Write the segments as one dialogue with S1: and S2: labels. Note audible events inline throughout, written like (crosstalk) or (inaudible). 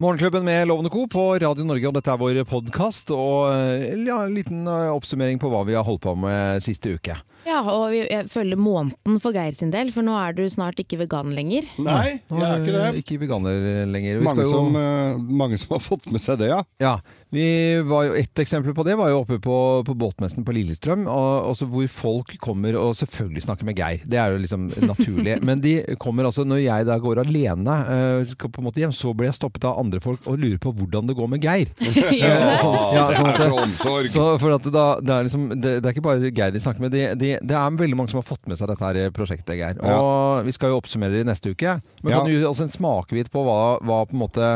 S1: Morgenklubben med Lovende Co. på Radio Norge, og dette er vår podkast. Og eh, ja, en liten eh, oppsummering på hva vi har holdt på med eh, siste uke.
S2: Ja, og vi- jeg følger måneden for Geir sin del, for nå er du snart ikke vegan lenger.
S3: (laughs) Nei,
S1: Nå
S3: jeg er ikke det.
S1: Ikke veganer lenger. Vi
S3: Mange,
S1: skal jo-
S3: som, eh, mange som har fått med seg det, ja.
S1: Ja, vi var jo, Et eksempel på det var jo oppe på, på båtmessen på Lillestrøm, og, også hvor folk kommer og selvfølgelig snakker med Geir. Det er jo liksom
S3: (laughs)
S1: naturlig. Men de kommer altså, når jeg da går alene eh, skal på en måte hjem, så blir jeg stoppet av andre folk og lurer på hvordan det går med Geir.
S2: (laughs) Gjør det?
S1: Ja, sånn at-
S3: det er så omsorg.
S1: Så for at da, det, er liksom, det, det er ikke bare Geir de snakker med, det, det, det er veldig mange som har fått med seg dette her eh, prosjektet. Geir. Og Vi skal jo oppsummere det i neste uke. Men
S3: Ja.
S1: kan du gi oss en smakebit på hva, hva på en måte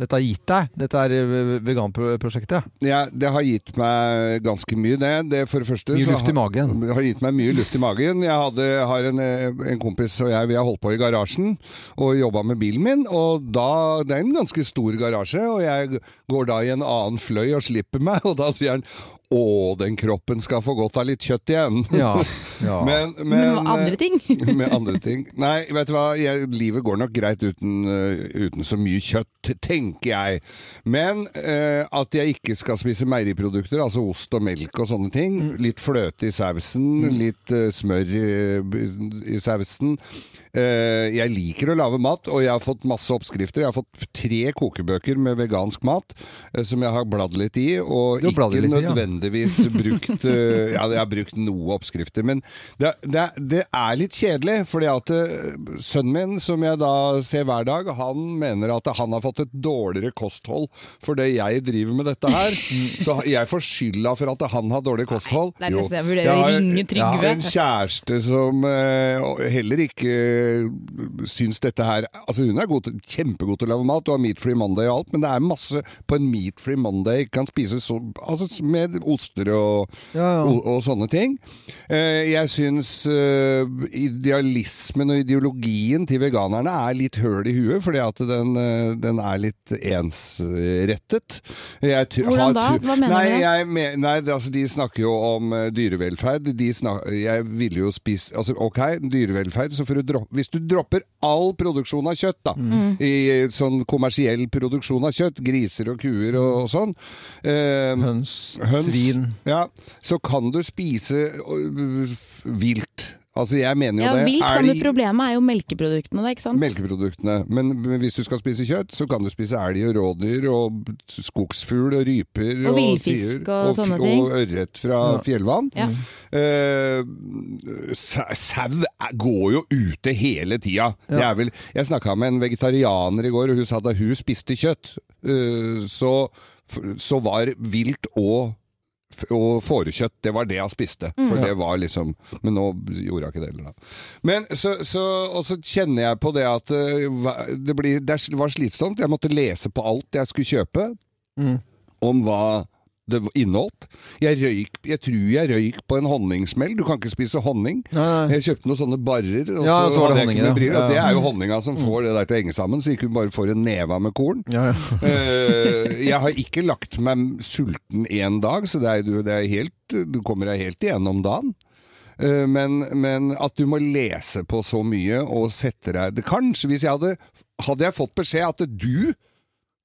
S1: dette har gitt deg? Dette er eh, veganprosjektet.
S3: (laughs) Ja, det har gitt meg ganske mye, det. det for det første,
S1: Mye
S3: så
S1: luft i magen.
S3: Har, har gitt meg mye luft i magen. Jeg hadde, har en, eh, en kompis og jeg, vi har holdt på i garasjen og jobba med bilen min. Og da, det er en ganske stor garasje, og jeg går da i en annen fløy og slipper meg, og da sier han å, den kroppen skal få godt av litt kjøtt igjen.
S1: Ja. ja.
S3: (laughs) Men,
S2: Men hva-
S3: eh,
S2: andre
S1: (laughs)
S2: ting. (laughs)
S3: med andre ting. Nei, vet du hva, jeg, livet går nok greit uten, øh, uten så mye kjøtt, tenker jeg. Men øh, at jeg ikke skal spise meieriprodukter, altså ost og melk og sånne ting.
S1: Mm.
S3: Litt fløte i sausen, litt øh, smør i, i sausen. Eh, jeg liker å lage mat, og jeg har fått masse oppskrifter. Jeg har fått tre kokebøker med vegansk mat eh, som jeg har bladd litt i, og
S1: Du har
S3: ikke
S1: bladd litt i, ja.
S3: nødvendigvis nødvendigvis brukt eh, Ja, jeg har brukt noe oppskrifter, men det, det, det er litt kjedelig. Fordi at eh, sønnen min, som jeg da ser hver dag, han mener at han har fått et dårligere kosthold for det jeg driver med dette her. Så jeg får skylda for at han har dårlig kosthold.
S2: Nei, det er
S3: Jo.
S2: nesten jeg vurderer
S3: har-
S2: å ringe Trygve.
S3: Jeg har en kjæreste som eh, heller ikke eh, syns dette her Altså, hun er god til, kjempegod til å lage mat, du har Meat Free Monday og alt, men det er masse på en Meat Free Monday kan spises så, altså, med oster og,
S1: Ja, ja.
S3: og, og sånne ting. Eh, jeg syns eh, idealismen og ideologien til veganerne er litt høl i huet, fordi at den, eh, den er litt ensrettet. Jeg tr-
S2: Hvordan
S3: har
S2: da?
S3: tr-
S2: Hva mener du
S3: nei,
S2: med det?
S3: jeg me- nei, det- altså, de snakker jo om eh, dyrevelferd. De snak, jeg ville jo spise altså, Ok, dyrevelferd, så får du dropp- hvis du dropper all produksjon av kjøtt, da,
S2: Mm.
S3: i eh, sånn kommersiell produksjon av kjøtt, griser og kuer og, og sånn eh,
S1: Høns,
S3: høns,
S1: svin
S3: Ja, så kan du spise øh, vilt. Altså, jeg mener jo
S2: Ja,
S3: det.
S2: vilt kan du
S3: Elg-
S2: Problemet er jo melkeproduktene, da, ikke sant?
S3: Melkeproduktene. Men hvis du skal spise kjøtt, så kan du spise elg og rådyr og skogsfugl og ryper
S2: Og villfisk
S3: tiur,
S2: og
S3: f-
S2: sånne ting.
S3: Og ørret fra fjellvann.
S2: Ja.
S3: Eh, sa- Sau er- går jo ute hele tida. Det er vel, jeg snakka med en vegetarianer i går, og hun sa da hun spiste kjøtt, eh, så, så var vilt og og fårekjøtt, det var det jeg spiste. For det var liksom Men nå gjorde jeg ikke det heller, da. Men så, så, og så kjenner jeg på det at eh, hva- det, blir, det er- var slitsomt. Jeg måtte lese på alt jeg skulle kjøpe,
S1: Mm.
S3: om hva det inneholdt. Jeg, røyk, jeg tror jeg røyk på en honningsmell. Du kan ikke spise honning.
S1: Nei, nei.
S3: Jeg kjøpte noen sånne barrer, og
S1: Ja,
S3: så,
S1: så var det
S3: hadde jeg
S1: honningen,
S3: ikke noe bryr.
S1: ja. Mm.
S3: Og det er jo honninga som får det der til å henge sammen, så ikke du bare får en neve av med korn.
S1: ja, ja.
S3: Eh, jeg har ikke lagt meg sulten én dag, så det er, du, det er helt, du kommer deg helt igjennom dagen. Eh, Men, men at du må lese på så mye og sette deg det Kanskje hvis jeg hadde Hadde jeg fått beskjed at du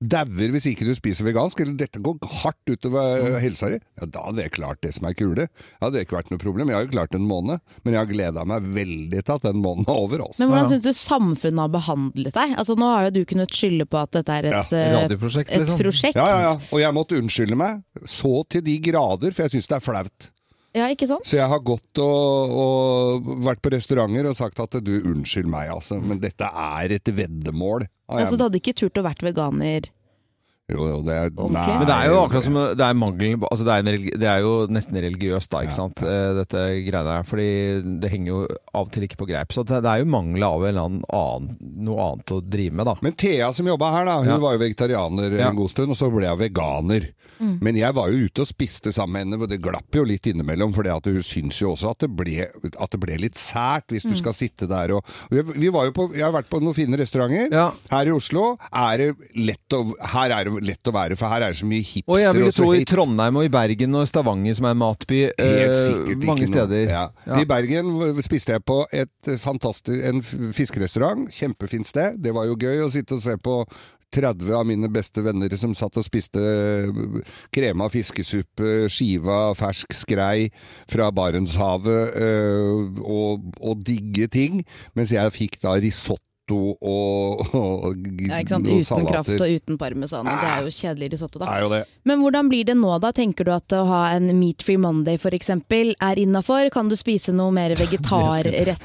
S3: dauer hvis ikke du spiser vegansk, eller dette går hardt utover helsa di, ja, da hadde jeg klart det som er kule. Det hadde ikke vært noe problem. Jeg har jo klart en måned, men jeg har gleda meg veldig til at den måneden er over. Altså.
S2: Men hvordan syns du samfunnet har behandlet deg? Altså, nå har jo du kunnet skylde på at dette er et,
S3: Ja,
S2: eh,
S1: radioprosjekt,
S2: et
S1: liksom.
S2: prosjekt.
S3: Ja, ja, ja. Og jeg måtte unnskylde meg så til de grader, for jeg syns det er flaut.
S2: Ja, ikke sant?
S3: Så jeg har gått og, og vært på restauranter og sagt at du, unnskyld meg, altså, men dette er et veddemål. Ah, jeg-
S2: Altså, du hadde ikke turt å vært veganer.
S3: jo, jo, det er,
S2: Ordentlig?
S3: nei,
S1: Men det er jo akkurat som det er mangel på- altså det, er en religi- det er jo nesten religiøst, da, ikke sant, eh, dette greiene her. Fordi det henger jo av og til ikke på greip. Så det det er jo mangel av en eller annen, annen- noe annet å drive med, da.
S3: Men Thea som jobba her, da, hun
S1: Ja.
S3: var jo vegetarianer
S1: Ja.
S3: en god stund, og så ble hun veganer. Men jeg var jo ute og spiste sammen med henne, og det glapp jo litt innimellom, for hun syns jo også at det ble, at det ble litt sært hvis du skal sitte der og vi, vi var jo på, Jeg har vært på noen fine restauranter.
S1: Ja.
S3: Her i Oslo er det lett å, her er det lett å være, for her er det så mye hipster.
S1: Og jeg vil jo
S3: så
S1: tro i
S3: hip-
S1: Trondheim og i Bergen og Stavanger, som er en matby,
S3: Helt
S1: eh,
S3: sikkert ikke
S1: mange
S3: noe.
S1: steder.
S3: Ja.
S1: Ja.
S3: I Bergen spiste jeg på et fantastisk, en f- fiskerestaurant. Kjempefint sted. Det var jo gøy å sitte og se på 30 av mine beste venner som satt og spiste eh, krema fiskesuppe, skiva fersk skrei fra Barentshavet eh, og, og digge ting, mens jeg fikk da risotto og, (laughs) og,
S2: Ja, ikke sant?
S3: og
S2: Uten kraft
S3: salater.
S2: og uten parmesan. og Det er jo kjedelig risotto, da.
S3: Er jo det.
S2: Men hvordan blir det nå, da? Tenker du at å ha en meat free monday f.eks. er innafor? Kan du spise noe mer
S3: (laughs)
S2: vegetarretter?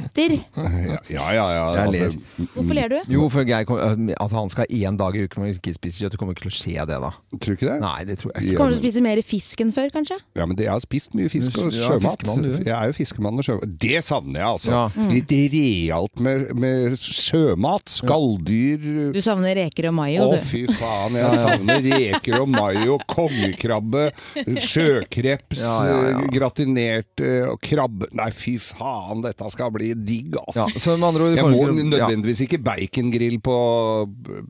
S3: Ja, ja, ja. ja altså,
S1: Jeg ler.
S2: Hvorfor ler du?
S1: Jo, for Geir, kom- eh, at han skal ha én dag i uken hvor han ikke spiser kjøtt, det kommer ikke til å skje det da.
S3: tror du ikke det?
S1: Nei, det tror jeg ikke.
S2: Kommer du til å spise mer fisk enn før, kanskje?
S3: Ja, men det, Jeg har spist mye fisk
S1: Du
S3: og
S1: er
S3: sjømat.
S1: fiskemann, du.
S3: jeg er jo fiskemann og sjømat. Det savner jeg, altså.
S1: Ja.
S2: Mm.
S3: Litt realt med, med sjømat. Skalldyr.
S2: Du savner reker og
S3: Å,
S2: mayo, du.
S3: fy
S1: (laughs)
S3: faen. Jeg savner reker og mayo, kongekrabbe, sjøkreps,
S1: Ja, ja, ja.
S3: eh, gratinert eh, og krabbe Nei, fy faen, dette skal bli digg,
S1: Ja,
S3: altså.
S1: så med andre ord,
S3: Jeg
S1: kommer
S3: må
S1: du til å- ja.
S3: nødvendigvis ikke bacongrill på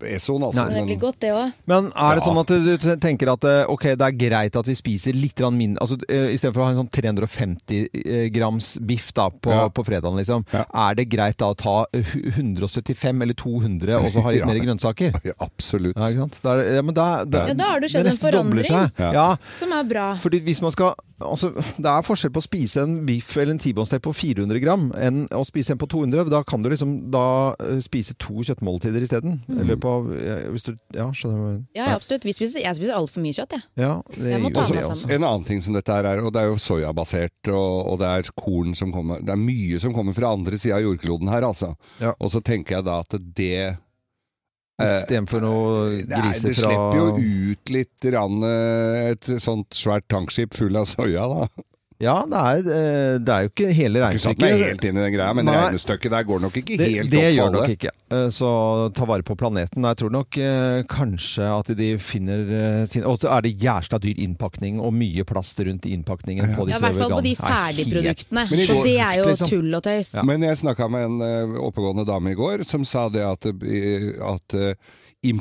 S3: Eson, altså.
S1: Nei.
S2: Det blir godt, det òg.
S1: Men er det
S3: Ja.
S1: sånn at du t- tenker at eh, ok, det er greit at vi spiser litt grann mindre altså, eh, Istedenfor å ha en sånn 350 eh, grams biff da, på,
S3: Ja.
S1: på fredagen, liksom.
S3: Ja.
S1: Er det greit da å ta eh, hu- 175 eller 200 og så ha litt
S3: Ja.
S1: mer grønnsaker?
S3: Ja, absolutt.
S1: Ja, ikke sant? Da er det- ja, men da, da,
S2: Ja, da har det skjedd en
S1: nesten dobler
S2: forandring.
S1: seg. Ja.
S2: Som er bra.
S1: Fordi hvis man skal, altså, Det er forskjell på å spise en biff eller en tibonsteak på 400 gram enn å spise en på 200. Da kan du liksom da eh, spise to kjøttmåltider isteden.
S2: Mm.
S1: Eller på eh, hvis du, Ja, skjønner du? hva jeg mener?
S2: Ja, ja, absolutt. Vi spiser, jeg spiser altfor mye kjøtt, jeg.
S1: Ja, det
S2: Jeg må
S1: gjør
S2: ta
S1: det
S2: meg
S1: også.
S2: sammen.
S3: En annen ting som dette her er, og det er jo sojabasert, og, og det er korn som kommer Det er mye som kommer fra andre sida av jordkloden her, altså.
S1: Ja.
S3: Og så tenker jeg da at det eh,
S1: Istedenfor noe
S3: det, er,
S1: griser
S3: det
S1: fra
S3: slipper jo ut litt rann, eh, et sånt svært tankskip full av soya, da.
S1: Ja, det er, eh, det er jo ikke hele
S3: Ikke satt meg
S1: regnestykket.
S3: helt inn i den greia, men
S1: Nei.
S3: regnestykket der går nok ikke
S1: Det,
S3: helt
S1: det
S3: opp
S1: gjør
S3: for
S1: nok
S3: alle.
S1: ikke. Eh, Så ta vare på planeten. Jeg tror nok eh, kanskje at de finner eh, sin Og så er det jævla dyr innpakning og mye plast rundt innpakningen på
S2: Ja,
S1: disse
S2: I hvert fall på de
S1: vegan- Nei, helt
S2: ferdigproduktene.
S3: Men i
S2: Så
S3: går-
S2: det er jo
S1: liksom.
S2: tull og tøys.
S3: Men jeg snakka med en eh, oppegående dame i går som sa det at, eh, at eh,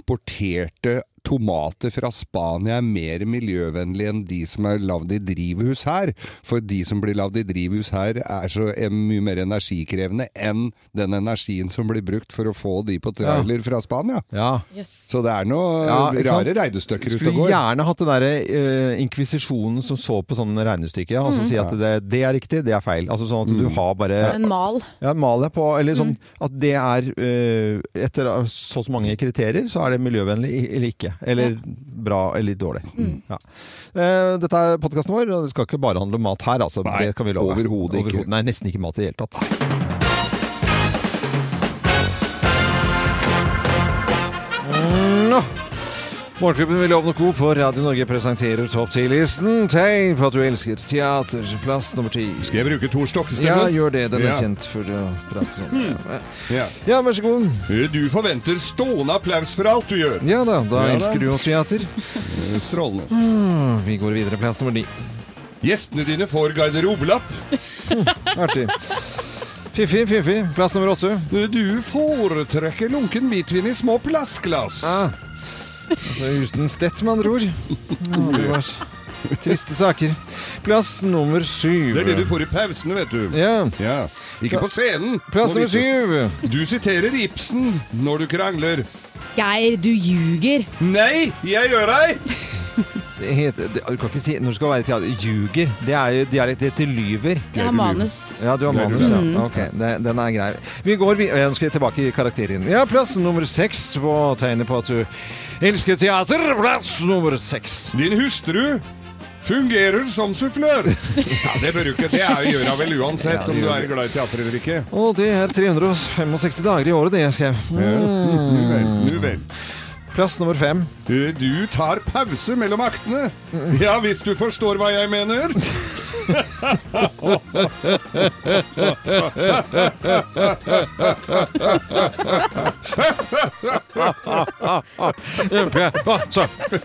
S3: importerte tomater fra Spania er mer miljøvennlige enn de som er lagd i drivhus her. For de som blir lagd i drivhus her er så eh, mye mer energikrevende enn den energien som blir brukt for å få de på trailer fra Spania.
S1: Ja.
S2: Yes.
S3: Så det er noe
S1: Ja, ikke sant?
S3: Eh, rare regnestykker ute
S1: Skulle
S3: og går.
S1: gjerne hatt den der eh, inkvisisjonen som så på sånne regnestykker, ja, og
S2: Mm.
S1: så si at det, det er riktig, det er feil. Altså sånn at du
S3: Mm.
S1: har bare
S2: En mal.
S1: ja, mal deg på, eller sånn
S2: Mm.
S1: at det er eh, Etter så og så mange kriterier, så er det miljøvennlig i- eller ikke. Eller bra eller dårlig.
S2: Mm.
S1: Ja. Eh, dette er podkasten vår, og det skal ikke bare handle om mat her, altså.
S3: Nei,
S1: det kan vi love.
S3: overhodet ikke.
S1: Nei, nesten ikke mat i det hele tatt. Nå. Morgenklubben med Lovende Co. på Radio Norge presenterer Topp 10-listen. Tegn på at du elsker teater. Plass nummer ti.
S3: Skal jeg bruke Tor
S1: Ja,
S3: Stokkestemmen?
S1: gjør det. Den er
S3: Ja.
S1: kjent for å prate sånn.
S3: Ja.
S1: Ja, vær så god.
S3: Eh, Du forventer stående applaus for alt du gjør.
S1: Ja da, da
S3: Ja da.
S1: elsker du jo teater.
S3: Eh, Strålende.
S1: Vi går videre, plass nummer ni.
S3: Gjestene dine får garderobelapp.
S1: Artig. Fiffig, fiffig. Plass nummer åtte.
S3: Du foretrekker lunken hvitvin i små plastglass.
S1: Ah. Altså uten stett, med andre ord. Ja, det var Triste saker. Plass nummer syv.
S3: Det er det du får i pausene, vet du.
S1: Ja.
S3: Ja. Ikke på scenen.
S1: Plass nummer
S3: Når du-
S1: syv.
S3: Du siterer Ibsen når du krangler.
S2: Geir, du ljuger!
S3: Nei, jeg gjør deg!
S1: Det heter, det, du kan ikke si når du skal være i teater. Ljuger. Det er jo dialekt. Det heter lyver.
S2: Jeg har
S3: du lyver.
S2: manus.
S1: Ja, du har
S3: Det er
S1: manus,
S3: du.
S1: ja. Ok, det, den er grei. Vi går vi, Jeg ønsker tilbake i karakteren. Ja, plass nummer seks på tegnet på at du elsker teater. Plass nummer seks.
S3: Din hustru fungerer som sufflør. Ja, det bør du ikke. Det er jo gjør hun vel uansett
S1: Ja, det
S3: om du
S1: gjør
S3: er glad i teater eller ikke.
S1: Og det er 365 dager i året, det jeg skrev.
S3: Nu vel, nu vel. Eh,
S1: Plass nummer fem.
S3: Du tar pause mellom aktene. Ja, hvis du forstår hva jeg mener.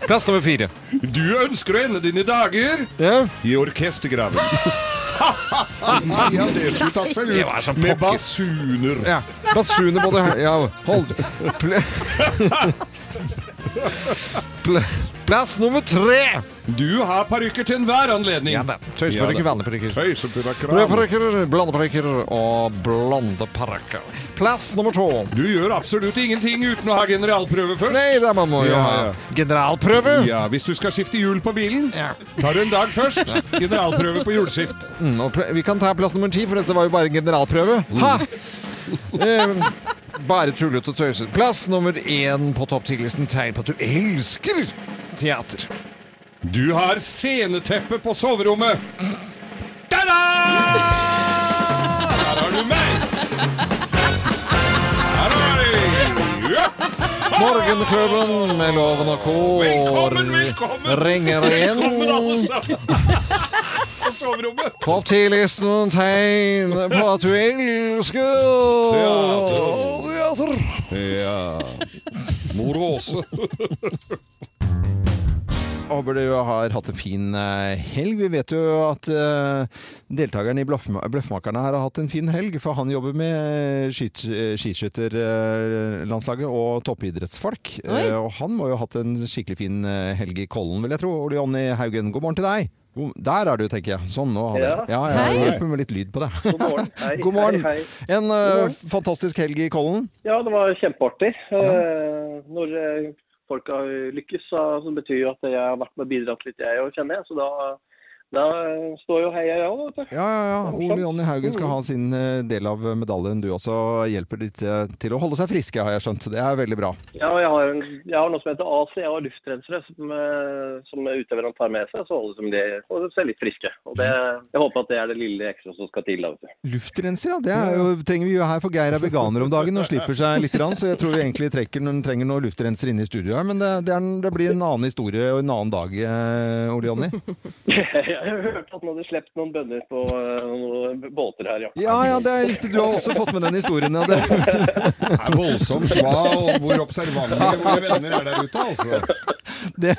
S1: Plass nummer fire.
S3: Du ønsker å ende dine dager
S1: Ja.
S3: I orkestergraven. (laughs) ja, det altså. skulle tatt seg
S1: Det var
S3: ut
S1: som
S3: med
S1: pokker.
S3: basuner.
S1: (laughs) ja. Basuner både her Ja, hold Pl- Pl- Plass nummer tre!
S3: Du har parykker til enhver anledning.
S1: Ja da. Tøysparykker,
S3: Ja da.
S1: vanneparykker.
S3: Tøyseparykker.
S1: Rødparykker, blondeparykker og blondeparykker. Plass nummer to.
S3: Du gjør absolutt ingenting uten å ha generalprøve først.
S1: Nei, det man må jo
S3: Ja,
S1: ha
S3: ja.
S1: generalprøve.
S3: Ja, Hvis du skal skifte hjul på bilen,
S1: Ja.
S3: tar du en dag først. Generalprøve på hjulskift.
S1: Mm, og pl- vi kan ta plass nummer ti, for dette var jo bare en generalprøve. Ha! Eh, bare tullete og tøysete. Plass nummer én på topp 10-listen tegn på at du elsker teater.
S3: Du har sceneteppe på soverommet. Ta-da! Her har du meg! Her har jeg! Ja.
S1: Morgenklubben med Loven og Co.
S3: Velkommen, velkommen!
S1: ringer
S3: Velkommen, alle
S1: inn.
S3: sammen! På soverommet.
S1: På 10-listen tegn på at du elsker teater.
S3: Ja. Mor Åse.
S1: Håper du har hatt en fin eh, helg. Vi vet jo at eh, deltakeren i Bløffma- Bløffmakerne her har hatt en fin helg, for han jobber med eh, skyt- eh, skiskytterlandslaget og toppidrettsfolk.
S2: Oi.
S1: Eh, Og han må jo ha hatt en skikkelig fin eh, helg i Kollen, vil jeg tro. Og Jonny Haugen, god morgen til deg. God- Der er du, tenker jeg. Sånn, nå har vi
S4: Ja.
S1: ja, ja,
S2: Hei.
S1: Hjelper med litt lyd på deg.
S4: God morgen. (laughs) Hei,
S1: God morgen.
S4: Hei, hei.
S1: En eh, fantastisk helg i Kollen.
S4: Ja, det var kjempeartig. Eh, Når eh, folk har lykkes, så så betyr jo at jeg har vært med og bidratt litt, jeg òg, kjenner jeg. Så da, da står jo heia jeg òg, vet du.
S1: Ja, ja, ja. Ole Jonny Haugen skal ha sin eh, del av medaljen, du også. Hjelper litt eh, til å holde seg friske, har jeg skjønt. Det er veldig bra.
S4: Ja, og jeg har, en- jeg har noe som heter AC, jeg har luftrensere som, eh, som utøverne tar med seg. Så holder de det, og de ser litt friske. Og det, jeg håper at det er det lille ekstra som skal til. da, vet du. (laughs)
S1: Luftrenser, ja. Det er jo, trenger vi jo her, for Geir er veganer om dagen og slipper seg litt, grann, så jeg tror vi egentlig trekker, noen- trenger noe luftrenser inne i studio her. Men det, det, er, en- det blir en annen historie og en annen dag, eh, Ole Jonny.
S4: Jeg hørte at han hadde sluppet noen bønner på eh, noen båter her, ja.
S1: Ja, ja, det er riktig. Du har også fått med den historien. Ja. Det,
S3: Det er voldsomt hva og hvor observante våre venner er der ute, altså.
S1: det,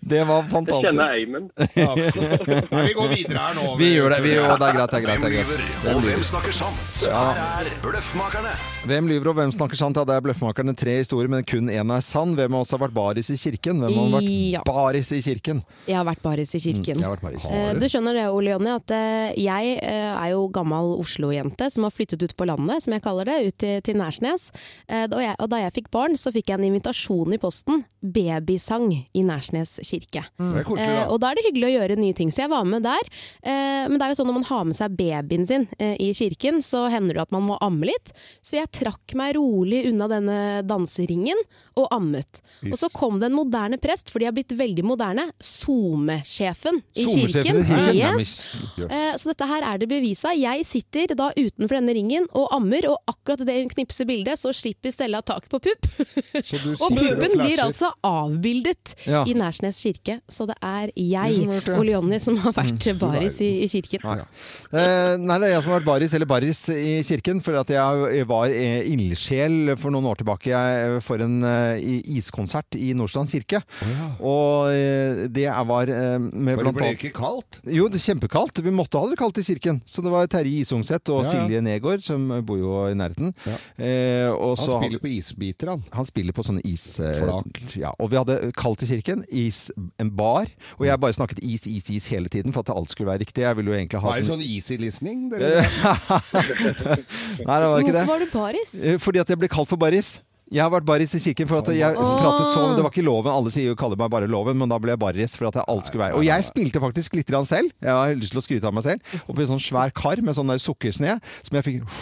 S1: det var
S4: Jeg
S1: fantastisk.
S4: kjenner Eimen.
S3: Nei, vi går videre her nå.
S1: Vi gjør det. Vi gjør, det er greit, det er
S5: Hvem
S1: greit. Det er greit.
S5: lyver, og hvem snakker sant? Her er Bløffmakerne.
S1: Hvem lyver og hvem snakker sant? Ja, det er Bløffmakerne tre historier, men kun én er sann. Hvem av oss har vært baris i kirken? Hvem har vært Mm,
S2: Ja.
S1: baris i kirken?
S2: Jeg har vært baris i kirken.
S1: Jeg har vært baris.
S2: Eh, Du skjønner det, Ole Jonny, at eh, jeg eh, er jo gammel Oslo-jente som har flyttet ut på landet, som jeg kaller det, ut til, til Nærsnes. Eh, da jeg, og da jeg fikk barn, så fikk jeg en invitasjon i posten. Babysang i Nærsnes kirke.
S3: Det er koselig,
S2: Eh,
S3: da.
S2: og da er det hyggelig å gjøre nye ting, så jeg var med der. Eh, men det er jo sånn når man har med seg babyen sin eh, i kirken, så hender det at man må amme litt. Så jeg trakk meg rolig unna denne danseringen og ammet. Og så kom det en moderne prest, for de har blitt veldig moderne, SoMe-sjefen i kirken.
S1: Sommersjefen i kirken? Nei, men
S2: Yes. Eh, Så dette her er det bevisa. Jeg sitter da utenfor denne ringen og ammer, og akkurat det hun knipser bildet, så slipper Stella tak på pupp.
S3: Så
S2: (laughs)
S3: du
S2: Og
S3: sitter og
S2: puppen blir altså
S3: flasher.
S2: avbildet
S1: Ja.
S2: i Nærsnes kirke. Så det er
S1: Du som har gjort
S2: jeg,
S1: det.
S2: Ole Jonny, som har vært baris i, i kirken.
S1: Ja, ja. Eh, nei, det er jeg som har vært baris, eller baris i kirken, for at jeg jeg var eh, ildsjel for noen år tilbake jeg, for en eh, i- iskonsert i Nordstrand kirke. Og eh, det er- var eh, med
S3: Men
S1: blant
S3: det ble
S1: annet
S3: ikke kaldt?
S1: Jo, det er kjempekaldt. Vi måtte ha det kaldt i kirken. Så det var Terje Isungseth og
S3: Ja, ja.
S1: Silje Negård, som bor jo i nærheten. Eh, og
S3: Han
S1: så-
S3: spiller på isbiter, han.
S1: han spiller på sånne is... eh,
S3: Flak.
S1: Ja, og vi hadde kaldt i kirken, is, en bar, og
S3: Mm.
S1: jeg bare snakket is, is, is hele tiden for at alt skulle være riktig. Jeg ville jo egentlig ha
S3: Er det
S1: sånn...
S3: sånn easy-listening? dere?
S1: Nei, det var ikke det.
S2: Hvorfor var du baris?
S1: Eh, Fordi at jeg ble kalt for baris. Jeg har vært baris i kirken, for at jeg pratet sånn. Det var ikke loven. Alle sier jo kaller meg bare loven, men da ble jeg baris for at jeg alt skulle være Og jeg spilte faktisk litt grann selv. Jeg har lyst til å skryte av meg selv. Oppi en sånn svær kar med sånn der sukkersne som jeg fikk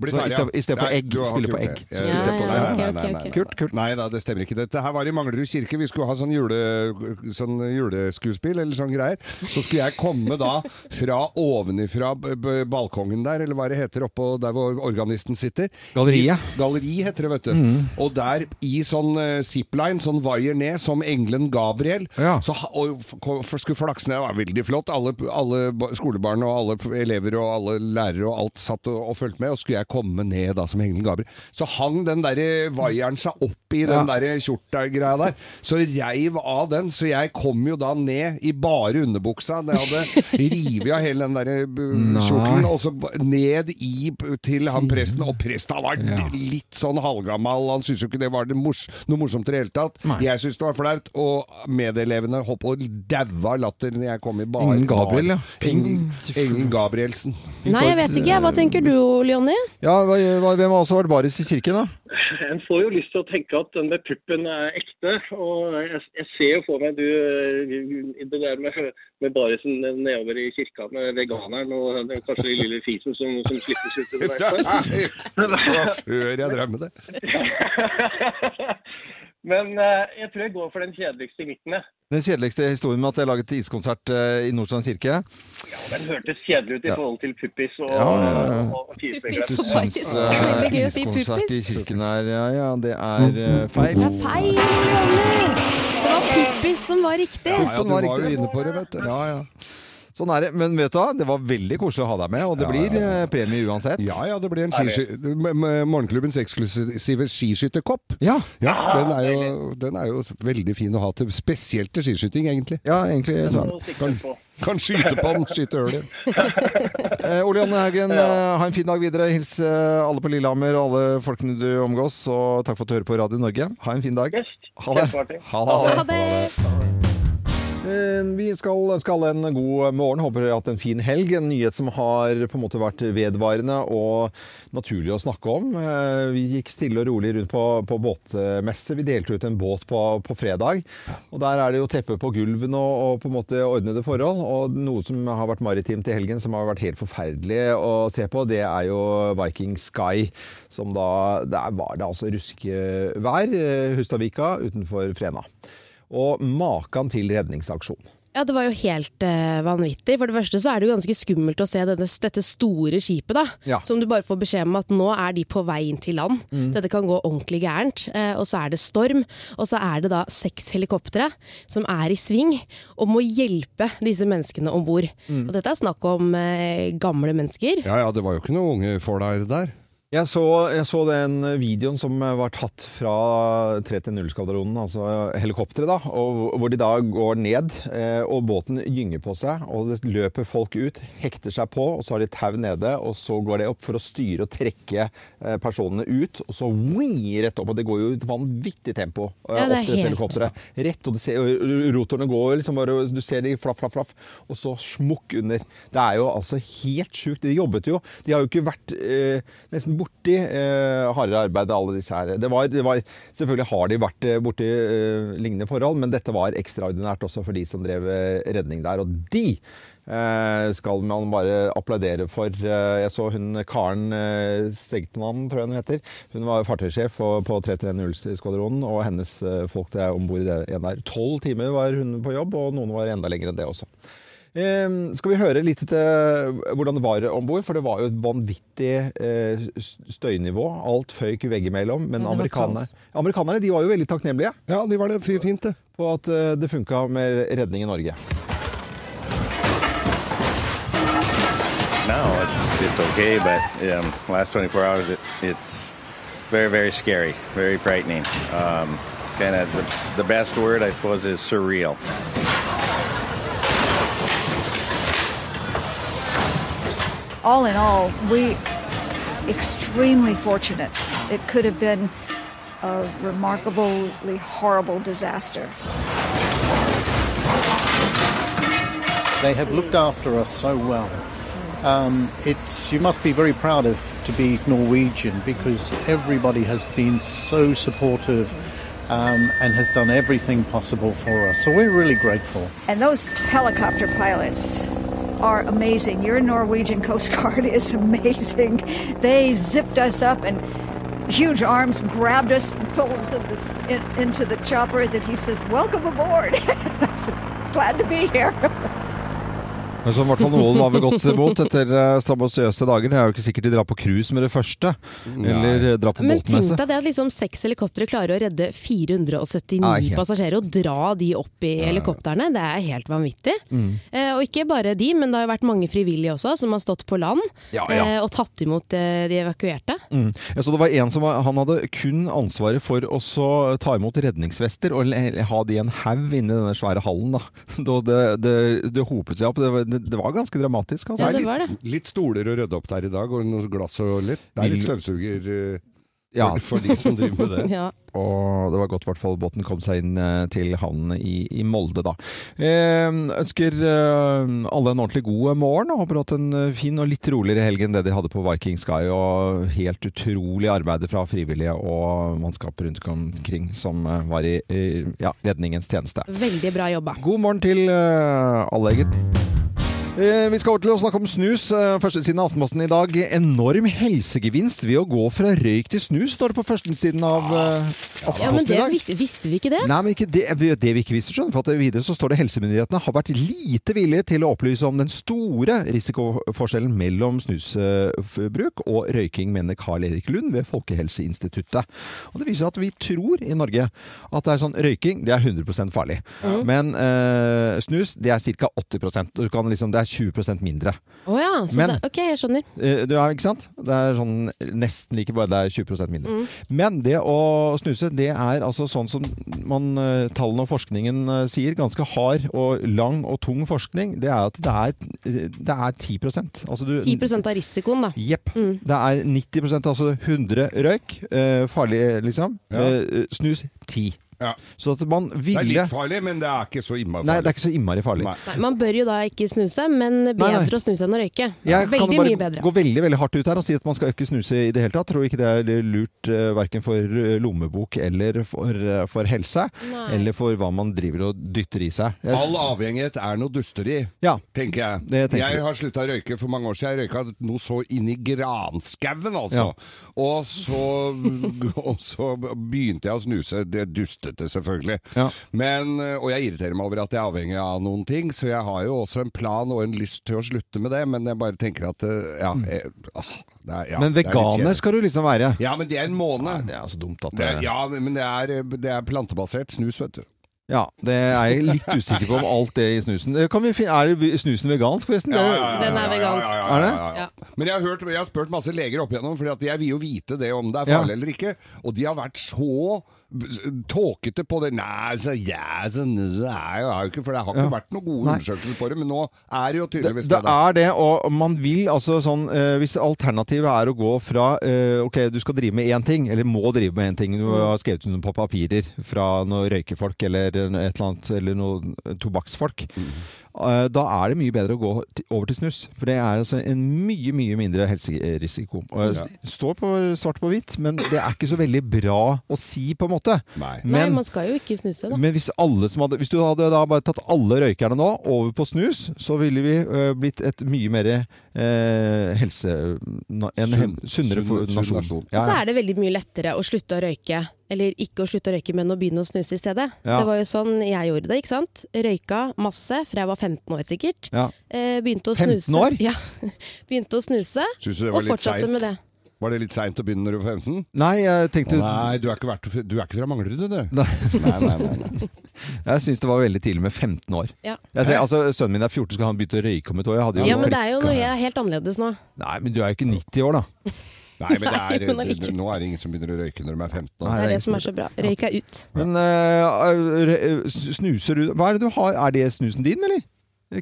S3: Blir
S1: så
S3: ferdig,
S1: i
S3: ja.
S1: sted- I stedet for
S3: Nei,
S1: egg.
S3: du har
S1: Spille
S3: ikke
S1: på
S3: gjort
S1: egg.
S3: det.
S1: Så
S3: Eh,
S1: spilte jeg på det.
S2: Ja, ja,
S3: nei,
S2: ok,
S3: nei,
S2: ok,
S3: nei,
S2: ok.
S3: nei.
S1: Kult, kult.
S3: Nei da, det stemmer ikke. Dette her var i Manglerud kirke. Vi skulle ha sånn, jule, sånn juleskuespill eller sånn greier. Så skulle jeg komme da fra ovenifra b- b- balkongen der, eller hva det heter, oppå der hvor organisten sitter.
S1: Galleriet.
S3: I- Galleri heter det, vet du. Og der i sånn eh, zipline, sånn vaier ned, som engelen Gabriel.
S1: Ja.
S3: Så ha- og f- kom- f- skulle flakse ned, det var veldig flott. Alle, alle ba- skolebarn og alle f- elever og alle lærere og alt satt og, og fulgte med. Og skulle jeg komme ned da som engelen Gabriel. Så hang den der vaieren seg opp i den der kjorta-greia der. Så reiv av den, så jeg kom jo da ned i bare underbuksa. Jeg
S1: (laughs)
S3: hadde revet av hele den der eh, kjorten, og så b- ned i p- til han presten. Og presten var
S1: Ja.
S3: litt sånn halvgammal, han syntes jo ikke det var det mors noe morsomt i det hele tatt.
S1: Nei.
S3: Jeg syntes det var flaut, og medelevene hoppet og daua av latter når jeg kom i bare.
S1: Engelen Gabriel, ja.
S3: Engelen, Engelen Gabrielsen.
S2: Nei, jeg vet ikke. Hva tenker du, Ole Jonny?
S1: Ja, hva, hva, hvem har også vært baris i kirken, da?
S4: En får jo lyst til å tenke at den med puppen er ekte. og Jeg, jeg ser jo for meg du eh, det der med, med barisen nedover i kirka med veganeren og den, kanskje den lille fisen som, som slippes ut. under
S3: Det
S4: der. (laughs)
S3: var før jeg drev med det.
S4: Men eh, jeg tror jeg går for den kjedeligste midten. jeg.
S1: Den kjedeligste historien med at jeg laget iskonsert eh, i Nordstrand kirke.
S4: Den hørtes kjedelig ut i forhold til puppis og,
S1: Ja, ja, ja.
S4: og, og
S1: Du
S4: fisebegrep.
S2: Puppis.
S1: syns
S2: faktisk. Det er
S1: eh,
S2: veldig gøy å si
S1: iskonsert i
S2: puppis.
S1: kirken er Ja ja, det er eh, feil.
S2: Det er feil, Ole Jonny! Det var puppis som var riktig.
S3: Ja, ja, du var jo
S1: riktig.
S3: inne på det, vet du. Ja, ja.
S1: Sånn er det. Men vet du hva, det var veldig koselig å ha deg med, og det blir eh, premie uansett.
S3: Ja, ja, det blir en skisky... med- med Morgenklubbens eksklusive skiskytterkopp.
S1: Ja.
S3: Ja, den er, jo, den er jo veldig fin å ha til spesielt til skiskyting, egentlig.
S1: Ja, egentlig Sånn. så er det.
S4: og sikte på.
S3: Kan skyte på den, skyte ølen.
S1: Eh, Ole Janne Haugen, eh, ha en fin dag videre. Hils eh, alle på Lillehammer og alle folkene du omgås. Og takk for at du hører på Radio Norge. Ha en fin dag.
S4: Yes.
S1: Ha det.
S4: Kjempeartig.
S1: Ha det.
S2: Ha det!
S1: Eh, Vi skal ønske alle en god morgen. Håper dere har hatt en fin helg. En nyhet som har på en måte vært vedvarende og naturlig å snakke om. Eh, Vi gikk stille og rolig rundt på, på båtmesse. Vi delte ut en båt på, på fredag. Og Der er det jo teppe på gulven og, og på en måte ordnede forhold. Og noe som har vært maritimt i helgen som har vært helt forferdelig å se på, det er jo Viking Sky. Som da Der var det altså ruskevær. eh, Hustadvika utenfor Frena. Og makan til redningsaksjon.
S2: Ja, det var jo helt eh, vanvittig. For det første så er det jo ganske skummelt å se denne, dette store skipet, da.
S1: Ja.
S2: Som du bare får beskjed om at nå er de på vei inn til land. Dette kan gå ordentlig gærent. Eh, og så er det storm. Og så er det da seks helikoptre som er i sving og må hjelpe disse menneskene om bord. Og dette er snakk om eh, gamle mennesker.
S3: Ja, ja, det var jo ikke noen unge folk der. der.
S1: Jeg så, jeg så den videoen som var tatt fra 3-0-skvadronen, altså helikopteret, da, og hvor de da går ned, eh, og båten gynger på seg, og det løper folk ut, hekter seg på, og så har de tau nede, og så går det opp for å styre og trekke eh, personene ut, og så wii, rett opp, og det går jo i et vanvittig tempo eh,
S2: Ja, det er
S1: opp til et
S2: helt-
S1: helikopter. helikopteret rett, og du ser og rotorene går, liksom bare, du ser de flaff, flaff, flaff, og så smukk under. Det er jo altså helt sjukt. De jobbet jo. De har jo ikke vært eh, nesten borti eh, hardere arbeid, alle disse her. Det var, det var, selvfølgelig har de vært eh, borti eh, lignende forhold, men dette var ekstraordinært også for de som drev eh, redning der, og de eh, skal man bare applaudere for. Eh, Jeg så hun Karen eh, Stegtmann, tror jeg hun heter. Hun var fartøysjef for- på 330-skvadronen, og hennes eh, folk det er om bord i det igjen der. Tolv timer var hun på jobb, og noen var enda lenger enn det også. Eh, Skal vi høre litt til hvordan det var om bord? For det var jo et vanvittig eh, støynivå. Alt føyk veggimellom. Men
S2: Ja, det var
S1: amerikanerne,
S2: kaos.
S1: amerikanerne de var jo veldig takknemlige
S3: Ja, de var det fi- fint, det.
S1: på at eh, det funka med redning i Norge.
S6: now it's it's okay, but um, last 24 hours it, it's very very scary, very frightening. Um, kind of the, the best word I suppose is surreal.
S7: all in all, we extremely fortunate. It could have been a remarkably horrible disaster.
S8: They have looked after us so well. Um, it's you must be very proud of to be Norwegian because everybody has been so supportive um, and has done everything possible for us. So we're really grateful.
S7: And those helicopter pilots are amazing. Your Norwegian Coast Guard (laughs) is amazing. They zipped us up and huge arms grabbed us and pulled us in the, in, into the (laughs) chopper that he says, Welcome aboard. I said, Glad to be here.
S1: Men som i hvert fall noen var vel
S2: (laughs)
S1: godt imot etter eh, strabasiøse dager. Det er jo ikke sikkert de drar på cruise med det første, eller eh, drar på
S2: Men tenk
S1: båtmesse.
S2: deg det at liksom seks helikoptre klarer å redde 479
S1: Nei, helt-
S2: passasjerer og dra de opp i helikoptrene. Det er helt vanvittig.
S1: Mm.
S2: Eh, og ikke bare de, men det har jo vært mange frivillige også som har stått på land
S1: Ja, ja.
S2: eh, og tatt imot eh, de evakuerte.
S1: Mm. Jeg så det var en som var- han hadde kun ansvaret for å så eh, ta imot redningsvester og le- ha de i en haug inni denne svære hallen. Da. (laughs) Da det, det, det hopet seg opp. Det var, det, det var ganske dramatisk. Altså.
S2: Ja, det var det.
S3: Litt stoler å rydde opp der i dag, og noe glass og litt. Det er litt støvsuger eh,
S1: Ja.
S3: for, for de som driver med det.
S2: Ja.
S1: Og det var godt i hvert fall båten kom seg inn eh, til havnen i, i Molde, da. Eh, ønsker eh, alle en ordentlig god morgen, og håper at en eh, fin og litt roligere helg enn det de hadde på Viking Sky. Og helt utrolig arbeid fra frivillige og mannskap rundt omkring som eh, var i eh, ja, redningens tjeneste.
S2: Veldig bra jobba.
S1: God morgen til eh, alle, eget. Eh, Vi skal over til å snakke om snus. Eh, Førstesiden av Aftenposten i dag. Enorm helsegevinst ved å gå fra røyk til snus, står det på førstesiden av eh,
S2: Ja, men
S1: Aftenposten
S2: det
S1: i dag.
S2: visste, visste vi ikke det?
S1: Nei, men ikke det, det vi ikke visste, skjønner du, for at videre så står det helsemyndighetene har vært lite villige til å opplyse om den store risikoforskjellen mellom snusbruk og røyking, mener Carl Erik Lund ved Folkehelseinstituttet. Og det viser at vi tror i Norge at det er sånn røyking, det er 100 farlig. Men eh, snus, det er ca. 80 Du kan liksom, Det er 20 mindre.
S2: Å ja, så
S1: Men-
S2: det, ok, jeg skjønner.
S1: Eh, Du er, ikke sant? Det er sånn nesten like bare, det er 20 mindre. Men det å snuse, det er altså sånn som man, eh, tallene og forskningen eh, sier, ganske hard og lang og tung forskning, det er at det er, eh, det er 10 Altså du
S2: 10 av risikoen, da.
S1: Jepp. Det er 90 altså 100 røyk. Eh, farlig, liksom. Eh, snus 10.
S3: Ja.
S1: Så at man
S3: Det er
S1: ville
S3: litt farlig, men det er ikke så innmari
S1: Nei, det er
S3: farlig.
S1: ikke så innmari farlig.
S3: Nei.
S2: Nei, man bør jo da ikke snuse, men bedre
S1: nei.
S2: å snuse enn å røyke.
S1: Jeg kan
S2: Veldig
S1: bare
S2: mye bedre.
S1: gå veldig veldig hardt ut her og si at man skal ikke snuse i det hele tatt. Tror ikke det er lurt eh, verken for eh, lommebok eller for, eh, for helse.
S2: Nei.
S1: Eller for hva man driver og dytter i seg. Jeg-
S3: All avhengighet er noe dusteri,
S1: Ja.
S3: tenker jeg.
S1: Det tenker du.
S3: jeg har slutta å røyke for mange år siden. Jeg røyka noe så inni granskauen, altså. Og, så, (laughs) og så begynte jeg å snuse. Det dustete, selvfølgelig.
S1: Ja.
S3: Men, og jeg irriterer meg over at jeg er avhengig av noen ting, så jeg har jo også en plan og en lyst til å slutte med det, men jeg bare tenker at eh, Ja. Jeg, ah, det er, ja
S1: Mm. Men
S3: det er litt
S1: veganer
S3: kjedelig.
S1: skal du liksom være.
S3: Ja, men det er en måned.
S1: Det er så dumt at
S3: Det er,
S1: det
S3: ja, men det er, det er plantebasert snus, vet du.
S1: Ja, det er jeg litt usikker på om alt det i snusen. Eh, Kan vi finne, er det snusen vegansk, forresten? Det er-
S2: Den er vegansk.
S1: Er det?
S2: Ja.
S3: Men jeg har, hørt, jeg har spurt masse leger opp igjennom, for jeg vil jo vite det om det er
S1: Ja.
S3: farlig eller ikke. Og de har vært så b- tåkete på det. Nei, så ja, så n- så er jo, er jo ikke For det har ikke vært noen gode
S1: Nei.
S3: undersøkelser på det, men nå er det jo
S1: Det,
S3: tydeligvis
S1: det
S3: det. da.
S1: er det, og man vil altså sånn eh, Hvis alternativet er å gå fra eh, Ok, du skal drive med én ting, eller må drive med én ting Du
S3: Mm.
S1: har skrevet under på papirer fra noen røykefolk eller et eller annet Eller noen tobakksfolk.
S3: Mm.
S1: Eh, da er det mye bedre å gå til- over til snus. For det er altså en mye, mye mindre helserisiko. Og det Står på svart på hvitt, men det er ikke så veldig bra å si, på en måte.
S3: Nei.
S2: Nei,
S1: Men-
S2: man skal jo ikke snuse, da.
S1: men hvis, alle som hadde, hvis du hadde da bare tatt alle røykerne nå over på snus, så ville vi ø, blitt et mye mer eh, helse... na- En
S3: Sunn-
S1: he- sunnere
S3: sunn-
S1: for-
S3: sunn
S1: nasjon.
S3: nasjon.
S1: Ja,
S2: Så
S1: ja.
S2: er det veldig mye lettere å slutte å røyke, eller ikke å slutte å røyke, men å begynne å snuse i stedet.
S1: Ja.
S2: Det var jo sånn jeg gjorde det, ikke sant. Røyka masse fra jeg var 15 år sikkert.
S1: Ja.
S2: Eh, begynte å
S1: 15
S2: snuse.
S1: år?
S2: Ja. (laughs) Begynte å snuse,
S3: Synes du det var
S2: og
S3: litt
S2: fortsatte
S3: sent?
S2: med det.
S3: Var det litt seint å begynne når du var 15?
S1: Nei, jeg tenkte
S3: Nei, du er ikke, vært, du er ikke fra Manglerud, du. Nei. Nei, nei, nei,
S1: Jeg syns det var veldig tidlig med 15 år.
S2: Ja.
S1: Jeg tenkte, altså, sønnen min er 14, skal han begynne å røyke om et år? Jeg hadde jo
S2: ja, men det
S1: prikka.
S2: er jo noe jeg er helt annerledes nå.
S1: Nei, men du er jo ikke 90 år, da.
S3: nei
S2: Nei,
S3: men det er,
S2: men allikevel.
S3: nå er det ingen som begynner å røyke når de er 15.
S1: Nei,
S2: Det er
S1: det er
S2: det som er så bra. Røyk er ut.
S1: Men ø, ø, ø, snuser du Hva er det du har? Er det snusen din, eller?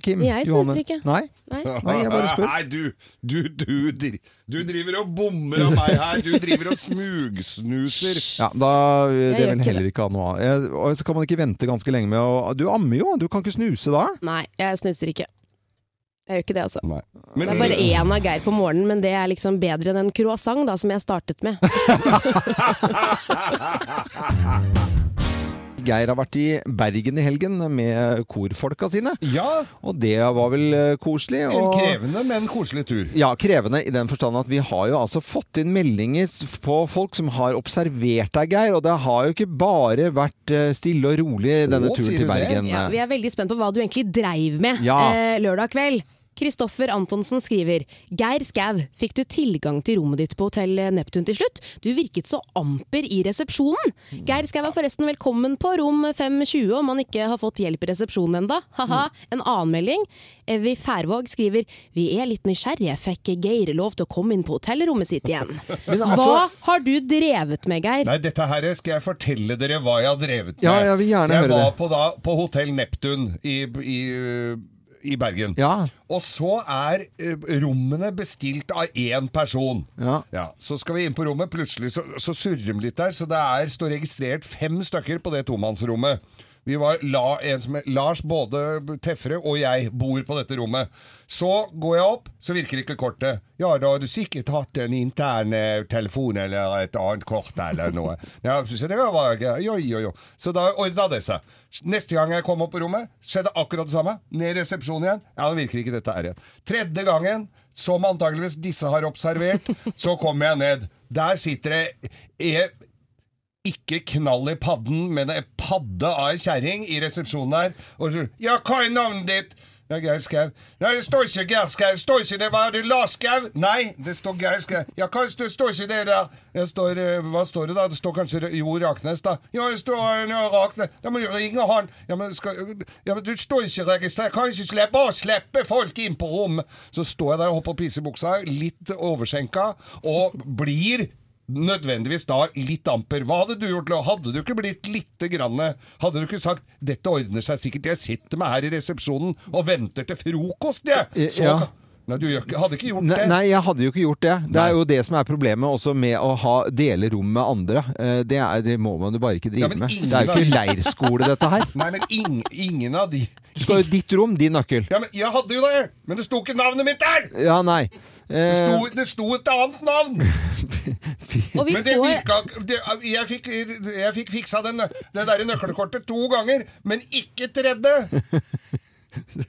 S1: Kim?
S2: Jeg snuser
S1: Johanne?
S2: ikke.
S1: Nei?
S2: Nei.
S1: Nei, jeg bare spør.
S3: Nei, du, du, du, dri- du driver og bommer av meg her. Du driver og smugsnuser.
S1: Ja, da, eh, det
S2: gjør
S1: vil
S2: ikke
S1: heller ikke ha noe av. Jeg- Og så kan man ikke vente ganske lenge med å Du ammer jo, du kan ikke snuse
S3: (laughs)
S1: da.
S2: Nei, jeg snuser ikke. Jeg gjør ikke det, altså.
S3: Nei.
S2: Det er bare én av Geir på morgenen, men det er liksom bedre enn en croissant da, som jeg startet med.
S1: Geir har vært i Bergen i helgen med korfolka sine.
S3: Ja,
S1: Og det var vel eh, koselig.
S3: en
S1: og-
S3: krevende, men koselig tur.
S1: ja, krevende i den forstand at vi har jo altså fått inn meldinger på folk som har observert deg, Geir, og det har jo ikke bare vært eh, stille og rolig denne
S3: Å,
S1: turen
S3: sier
S1: til
S3: du det?
S1: Bergen.
S2: Ja, vi er veldig spent på hva du egentlig dreiv med
S1: Ja.
S2: eh, lørdag kveld. Kristoffer Antonsen skriver Geir Skau, fikk du tilgang til rommet ditt på Hotell Neptun til slutt? Du virket så amper i resepsjonen. Geir Skau er forresten velkommen på rom 520 om han ikke har fått hjelp i resepsjonen enda. Haha, en annen melding. Evy Færvåg skriver Vi er litt nysgjerrige, fikk Geir lov til å komme inn på hotellrommet sitt igjen? Hva
S1: altså-
S2: har du drevet med, Geir?
S3: Nei, dette her skal jeg fortelle dere hva jeg har drevet med.
S1: Ja, jeg vil gjerne høre
S3: Jeg var
S1: det.
S3: på, da, på Hotell Neptun i, i, i Bergen.
S1: Ja.
S3: Og så er eh, rommene bestilt av én person.
S1: Ja.
S3: Så skal vi inn på rommet, plutselig så, så surrer de litt der, så det er, står registrert fem stykker på det tomannsrommet. Vi var la, en som, het- Lars, både Teffere og jeg, bor på dette rommet. Så går jeg opp, så virker ikke kortet. Ja, da har du sikkert hatt en intern eh, telefon eller et annet kort eller noe. Ja, så det var jo, jo, jo. Så da ordna det seg. Neste gang jeg kom opp på rommet, skjedde akkurat det samme. Ned i resepsjonen igjen. Ja, det virker ikke dette her igjen. Tredje gangen, som antageligvis disse har observert, så kommer jeg ned. Der sitter det e- ikke knall i padden, men en padde av ei kjerring i resepsjonen her. Og så Ja, hva er navnet ditt? Det er Geir Skau. Nei, det står ikke Geir Skau. Det står ikke det var det Lars Skau. Nei, det står Geir Skau. Ja, hva står, står ikke det der? Det står, eh, hva står det da? Det står kanskje Ra- Jo Raknes, da. Ja, det står eh, ja, Raknes. Da må du ringe han. Ja, men, skal, ja, men du står ikke registrert. Kan ikke slippe, bare slippe folk inn på rom. Så står jeg der og hopper pis i buksa, litt overskjenka, og blir nødvendigvis da litt amper. Hva hadde du gjort? Lo? Hadde du ikke blitt lite grann Hadde du ikke sagt 'dette ordner seg sikkert', 'jeg sitter meg her i resepsjonen og venter til frokost', jeg'? Så,
S1: Eh, Ja.
S3: Nei, du gjør ikke, hadde ikke gjort
S1: Nei,
S3: det.
S1: nei, jeg hadde jo ikke gjort det. Det er jo det som er problemet også med å ha, dele rom med andre. Eh, Det, er, det må man jo bare ikke drive
S3: Ja, men
S1: med.
S3: ingen
S1: Det er jo ikke
S3: av-
S1: leirskole, dette her.
S3: (laughs) Nei, men ing, ingen av de
S1: Du skal jo ditt rom, din nøkkel.
S3: Ja, men jeg hadde jo det! Men det sto ikke navnet mitt der!
S1: Ja, nei.
S3: Det
S1: Eh,
S3: sto, det sto et annet navn!
S2: Og vi
S3: Men det
S2: får-
S3: virka det, jeg, fikk, jeg fikk fiksa den, det derre nøkkelkortet to ganger, men ikke tredje!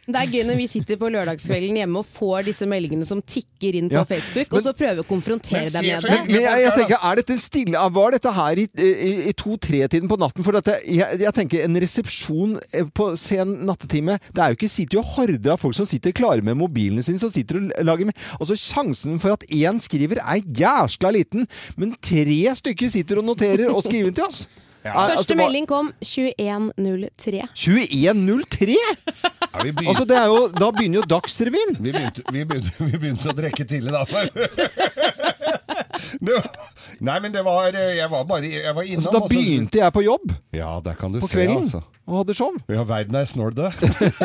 S2: Det er gøy når vi sitter på lørdagskvelden hjemme og får disse meldingene som tikker inn på
S1: Ja,
S2: Facebook,
S1: men-
S2: og så prøver vi å konfrontere
S3: Men
S2: dem
S3: se
S2: med
S3: så
S2: det.
S1: Men jeg, jeg tenker, er dette en stille ah, Var dette her i, i, i to-tre-tiden på natten? For dette, jeg, jeg tenker en resepsjon eh, på sen nattetime Det er jo ikke sitter jo horder av folk som sitter klare med mobilene sine, som sitter og lager Og så sjansen for at én skriver er jæskla liten, men tre stykker sitter og noterer og skriver til
S3: (laughs)
S1: oss. Er-
S2: Første
S1: altså, hva-
S2: melding kom 21.03.
S1: 21.03!
S3: Ja, vi, begynte,
S1: Altså, det er jo, da begynner jo Dagsrevyen!
S3: vi, begynte, vi, begynte, vi begynte å drikke tidlig da. (laughs) Det- Nei, men det var eh, Jeg var bare jeg var innom.
S1: Altså, da
S3: og så-
S1: begynte jeg på jobb
S3: Ja, der kan du
S1: på
S3: se,
S1: kvelden
S3: altså.
S1: og hadde show.
S3: Ja, verden er snålete. (laughs)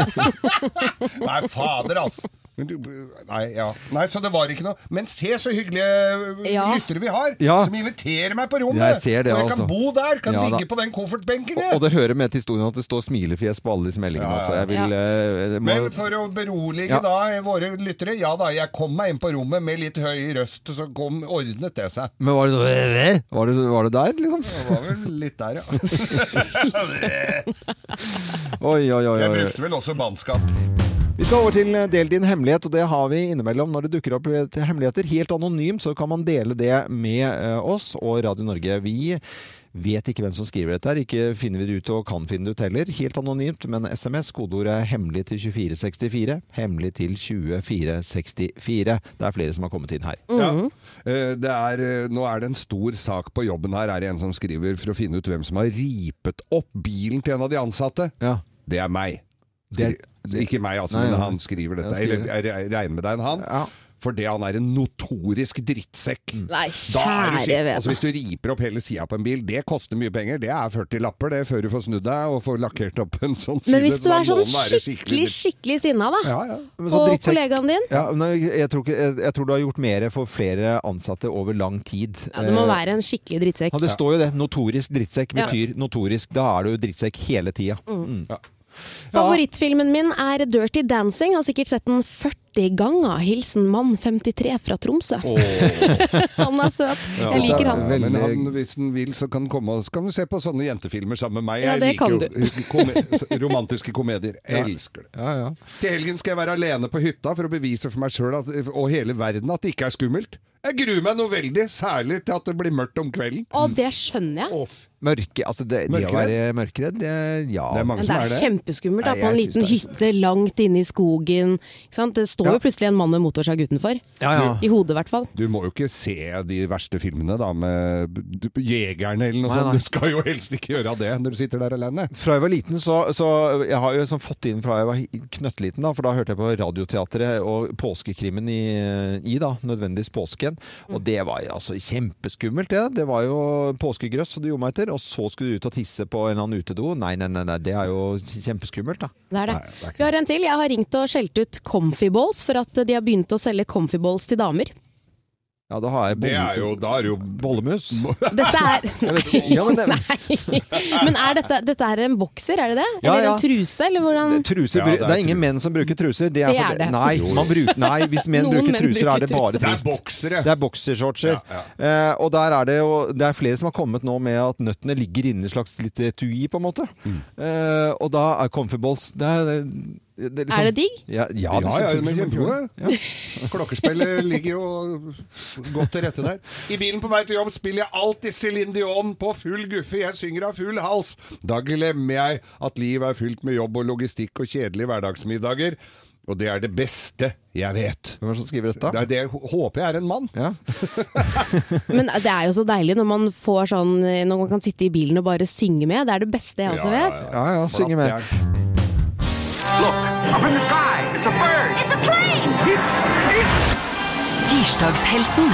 S3: Nei, fader, altså. Men du- Nei, ja. Nei, så det var ikke noe. Men se så hyggelige
S2: Ja.
S3: lyttere vi har,
S1: Ja.
S3: som inviterer meg på rommet.
S1: Jeg ser det,
S3: og jeg
S1: altså.
S3: kan bo der, kan
S1: Ja, da.
S3: ligge på den koffertbenken.
S1: Og,
S3: jeg.
S1: og det hører med til historien at det står smilefjes på alle disse meldingene
S3: Ja, ja,
S1: også. Jeg vil, eh, det må,
S3: Men for å berolige
S1: Ja.
S3: da våre lyttere, ja da, jeg kom meg inn på rommet med litt høy røst, så kom, ordnet det seg.
S1: men var, det, var, det, var det der,
S3: (laughs)
S1: liksom?
S3: Det var vel litt
S1: (laughs)
S3: der, ja.
S1: Oi, oi, oi.
S3: Jeg
S1: oi.
S3: brukte vel også bannskap.
S1: Vi skal over til eh, Del din hemmelighet, og det har vi innimellom når det dukker opp eh, hemmeligheter. Helt anonymt så kan man dele det med eh, oss og Radio Norge. Vi vet ikke hvem som skriver dette her. Ikke finner vi det ut og kan finne det ut heller. Helt anonymt, men SMS, kodeordet 'hemmelig' til 2464. Hemmelig til 2464. Det er flere som har kommet inn her.
S3: Ja. Eh, Det er, eh, nå er det en stor sak på jobben her, er det en som skriver, for å finne ut hvem som har ripet opp bilen til en av de ansatte.
S1: Ja.
S3: Det er meg.
S1: Det er- det-
S3: Ikke meg, altså,
S1: Nei,
S3: men
S1: ja.
S3: han skriver dette.
S1: Han skriver
S3: Eller jeg jeg regner med det er en han.
S1: Ja.
S3: Fordi han er en notorisk drittsekk.
S2: Nei,
S3: Da er du
S2: kjære
S3: skikkelig- altså,
S2: vene.
S3: hvis du riper opp hele sida på en bil, det koster mye penger. Det er 40 lapper det, før du får snudd deg og får lakkert opp en sånn side.
S2: Men hvis du
S3: Da
S2: er
S3: må
S2: sånn
S3: den være
S2: skikkelig,
S3: dritt-
S2: skikkelig sinna, da.
S3: Ja, ja.
S1: Men så
S2: Og
S1: drittsekk-
S2: kollegaen din.
S1: Ja, men jeg, jeg, tror ikke, jeg, jeg tror du har gjort mer for flere ansatte over lang tid.
S2: Ja, du må
S1: Eh,
S2: være en skikkelig drittsekk.
S1: ja, det står jo det. Notorisk drittsekk
S2: Ja.
S1: betyr notorisk. Da er du jo drittsekk hele tida. Mm.
S2: Favorittfilmen min er Dirty Dancing. Har sikkert sett den 40 ganger. Hilsen mann 53 fra Tromsø. han er søt. Jeg liker han.
S3: Ja, men
S1: Veldig-
S3: han, hvis han vil, så kan han komme og så kan du se på sånne jentefilmer sammen med meg.
S2: Ja, det
S3: jeg
S2: kan
S3: jo kome- romantiske komedier. Jeg elsker det.
S1: Ja, ja.
S3: Til helgen skal jeg være alene på hytta for å bevise for meg sjøl og hele verden at det ikke er skummelt. Jeg gruer meg noe veldig, særlig til at det blir mørkt om kvelden.
S2: Å, det skjønner jeg.
S1: Mørke, altså det, det å
S3: Mørkeredd?
S1: være mørkeredd, det, ja.
S3: Det er mange
S2: Men
S3: som
S2: det er kjempeskummelt. Da,
S1: Nei,
S2: på en
S1: jeg
S2: liten
S1: synes
S2: hytte langt inne i skogen. Ikke sant? Det står
S1: Ja.
S2: jo plutselig en mann med motorsag utenfor.
S1: Ja, ja.
S2: I hodet, i hvert fall.
S3: Du må jo ikke se de verste filmene da, med b- b- jegerne eller noe
S1: Nei,
S3: sånt.
S1: nei.
S3: Du skal jo helst ikke gjøre det når du sitter der alene.
S1: Fra jeg var liten, så, så Jeg har jo liksom fått inn fra jeg var hi- knøttliten, da, for da hørte jeg på Radioteatret og påskekrimmen i, i da, nødvendigvis påsken. Og
S2: Mm.
S1: det var jo altså kjempeskummelt, det. Det var jo påskegrøss, og du gjorde meg etter. Og så skulle du ut og tisse på en eller annen utedo. Nei, nei, nei, nei det er jo kjempeskummelt, da.
S2: Det er det.
S3: Nei, det er ikke
S2: Vi har en til. Jeg har ringt og skjelt ut comfy balls for at de har begynt å selge comfy balls til damer.
S1: Ja, da har jeg
S3: Det er jo, da er det jo
S1: bollemus.
S2: Dette er Nei.
S1: Ja, men det-
S2: (laughs) Nei. Men er dette, dette er en bokser, er det det?
S1: Ja,
S2: Eller
S1: ja.
S2: en truse, eller hvordan?
S1: Truser,
S3: Ja,
S1: bru-
S3: det
S1: det,
S3: er
S1: er ingen
S3: tru-
S1: menn som bruker truser. Det er,
S2: Det er
S1: for,
S2: det.
S1: Nei, man bruker, nei, hvis menn
S2: (laughs) Noen
S1: bruker
S2: menn
S1: truser,
S2: bruker
S1: er det bare
S2: truser.
S3: Det er
S1: trist.
S3: boksere.
S1: Det er boksershortser.
S3: Ja,
S1: Eh, og der er det jo Det er flere som har kommet nå med at nøttene ligger inne i et slags litt etui, på en måte. Eh, og da er comfy balls det er, det er, liksom,
S2: Er det digg?
S1: Ja, ja,
S3: Ja,
S1: det er
S3: ja, ja,
S1: selvfølgelig
S3: men
S1: kjempegod.
S3: kjempegode. Klokkespillet ligger jo godt til rette der. I bilen på vei til jobb spiller jeg alltid Céline Dion på full guffe. Jeg synger av full hals. Da glemmer jeg at livet er fylt med jobb og logistikk og kjedelige hverdagsmiddager. Og det er det beste jeg vet.
S1: Hvem er det som skriver
S3: Det,
S1: dette?
S3: er det jeg hå- håper jeg er en mann.
S1: Ja.
S2: Men det er jo så deilig når man får sånn Når man kan sitte i bilen og bare synge med. Det er det beste jeg også
S3: Ja, ja,
S2: vet.
S1: Ja, ja, synge med.
S9: Tirsdagshelten.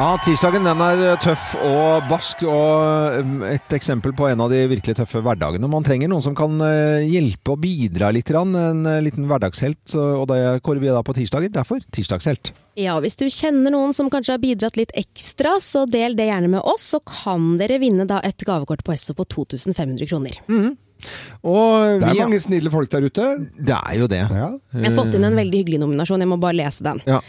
S1: Ja, tirsdagen den er eh, tøff og barsk, og um, et eksempel på en av de virkelig tøffe hverdagene. Man trenger noen som kan eh, hjelpe og bidra litt, grann, en eh, liten hverdagshelt, så- og det kårer vi da på tirsdager. Derfor tirsdagshelt.
S2: Ja, hvis du kjenner noen som kanskje har bidratt litt ekstra, så del det gjerne med oss, så kan dere vinne da et gavekort på Esso på 2500 kroner.
S1: Og
S3: Det
S1: vi,
S3: Eh, er mange snille folk der ute.
S1: det er jo det.
S3: Ja.
S2: Jeg har fått inn en veldig hyggelig nominasjon, jeg må bare lese den.
S1: Eh. Ja.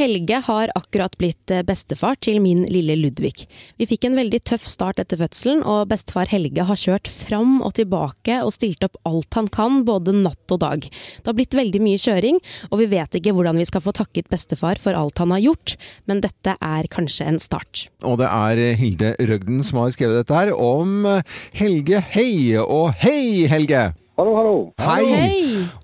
S2: Helge har akkurat blitt eh, bestefar til min lille Ludvig. Vi fikk en veldig tøff start etter fødselen, og bestefar Helge har kjørt fram og tilbake og stilt opp alt han kan, både natt og dag. Det har blitt veldig mye kjøring, og vi vet ikke hvordan vi skal få takket bestefar for alt han har gjort, men dette er kanskje en start.
S1: Og det er Hilde Røgden som har skrevet dette her om eh, Helge Hei. Og hei, Helge!
S4: Hallo, hallo.
S1: Hei!
S2: Hei!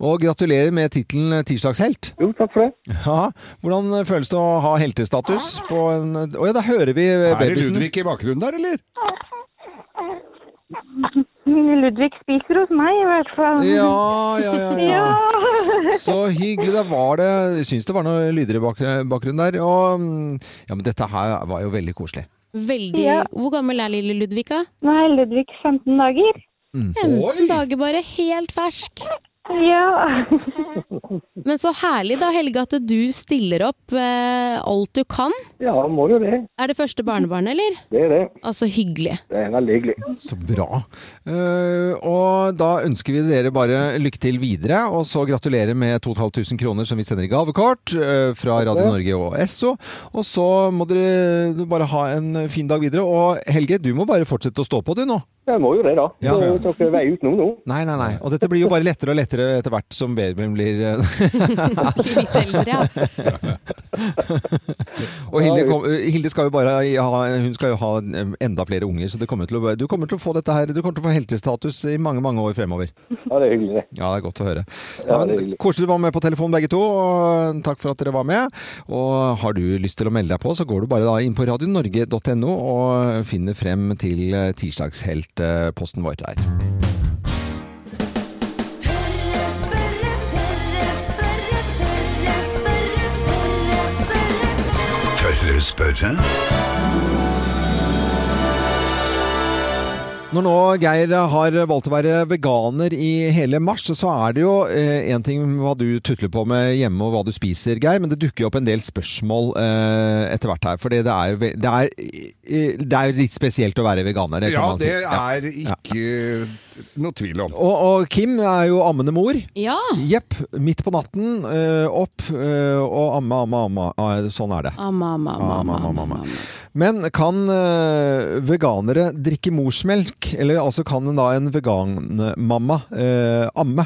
S1: Og gratulerer med tittelen Tirsdagshelt.
S4: Jo, takk for det.
S1: (laughs) Ja, hvordan føles det å ha heltestatus på en Å ja, da hører vi eh,
S3: Er det
S1: babysen.
S3: Ludvig i bakgrunnen der, eller?
S10: Lille Ludvig spiser hos meg, i hvert fall.
S1: Ja, ja, ja. ja.
S10: Ja.
S1: Så hyggelig. Da var det Jeg syns det var noen lyder i bak- bakgrunnen der. Og mm, ja, men dette her var jo veldig koselig.
S2: Veldig
S10: Ja.
S2: Hvor gammel er lille Ludvig, da?
S10: Nå er Ludvig 15 dager.
S2: 15 dager bare, helt fersk.
S10: Ja.
S2: (laughs) Men så herlig da, Helge, at du stiller opp eh, alt du kan.
S4: Ja, må jo det.
S2: Er det første barnebarn, eller?
S4: Det er det.
S2: Altså, hyggelig.
S4: Det er veldig hyggelig.
S1: Så bra. Eh, og da ønsker vi dere bare lykke til videre, og så gratulerer med 2500 kroner som vi sender i gavekort eh, fra Radio Norge og Esso. Og så må dere bare ha en fin dag videre. Og Helge, du må bare fortsette å stå på du nå.
S4: Jeg må jo det, da.
S1: Ja.
S4: Så tar dere vei utenom nå.
S1: Nei, nei, nei. Og dette blir jo bare lettere og lettere etter hvert som babyen blir eh,
S2: (laughs)
S1: (laughs)
S2: Litt eldre, ja.
S1: Og Hilde, kom, eh, Hilde skal jo bare ha, hun skal jo ha eh, enda flere unger, så det kommer til å, du kommer til å få dette her, du kommer til å få heltestatus i mange, mange år fremover.
S4: Ja, det er hyggelig, det.
S1: Ja, det er godt å høre. Ja,
S4: Ja, det er
S1: men,
S4: hyggelig.
S1: koselig du var med på telefon begge to, og takk for at dere var med. Og har du lyst til å melde deg på, så går du bare da inn på radionorge.no og finner frem til eh, tirsdagsheltposten vår der.
S5: Tørre spørre?
S1: Når nå Geir har valgt å være veganer i hele mars, så er det jo én ting hva du tutler på med hjemme og hva du spiser, Geir, men det dukker jo opp en del spørsmål eh, etter hvert her. For det er jo ve- det er, eh, det er jo litt spesielt å være veganer, det kan
S3: Ja,
S1: man si.
S3: det er ikke noe tvil om.
S1: Og, og Kim er jo ammende mor.
S2: Ja.
S1: Jepp. Midt på natten, eh, opp eh, og amme, amme, amme. Ah, sånn er det.
S2: Amma, amma, amma,
S1: Amme,
S2: amma,
S1: amme,
S2: amma,
S1: amme. Men kan eh, veganere drikke morsmelk? Eller altså kan da en veganmamma eh, amme?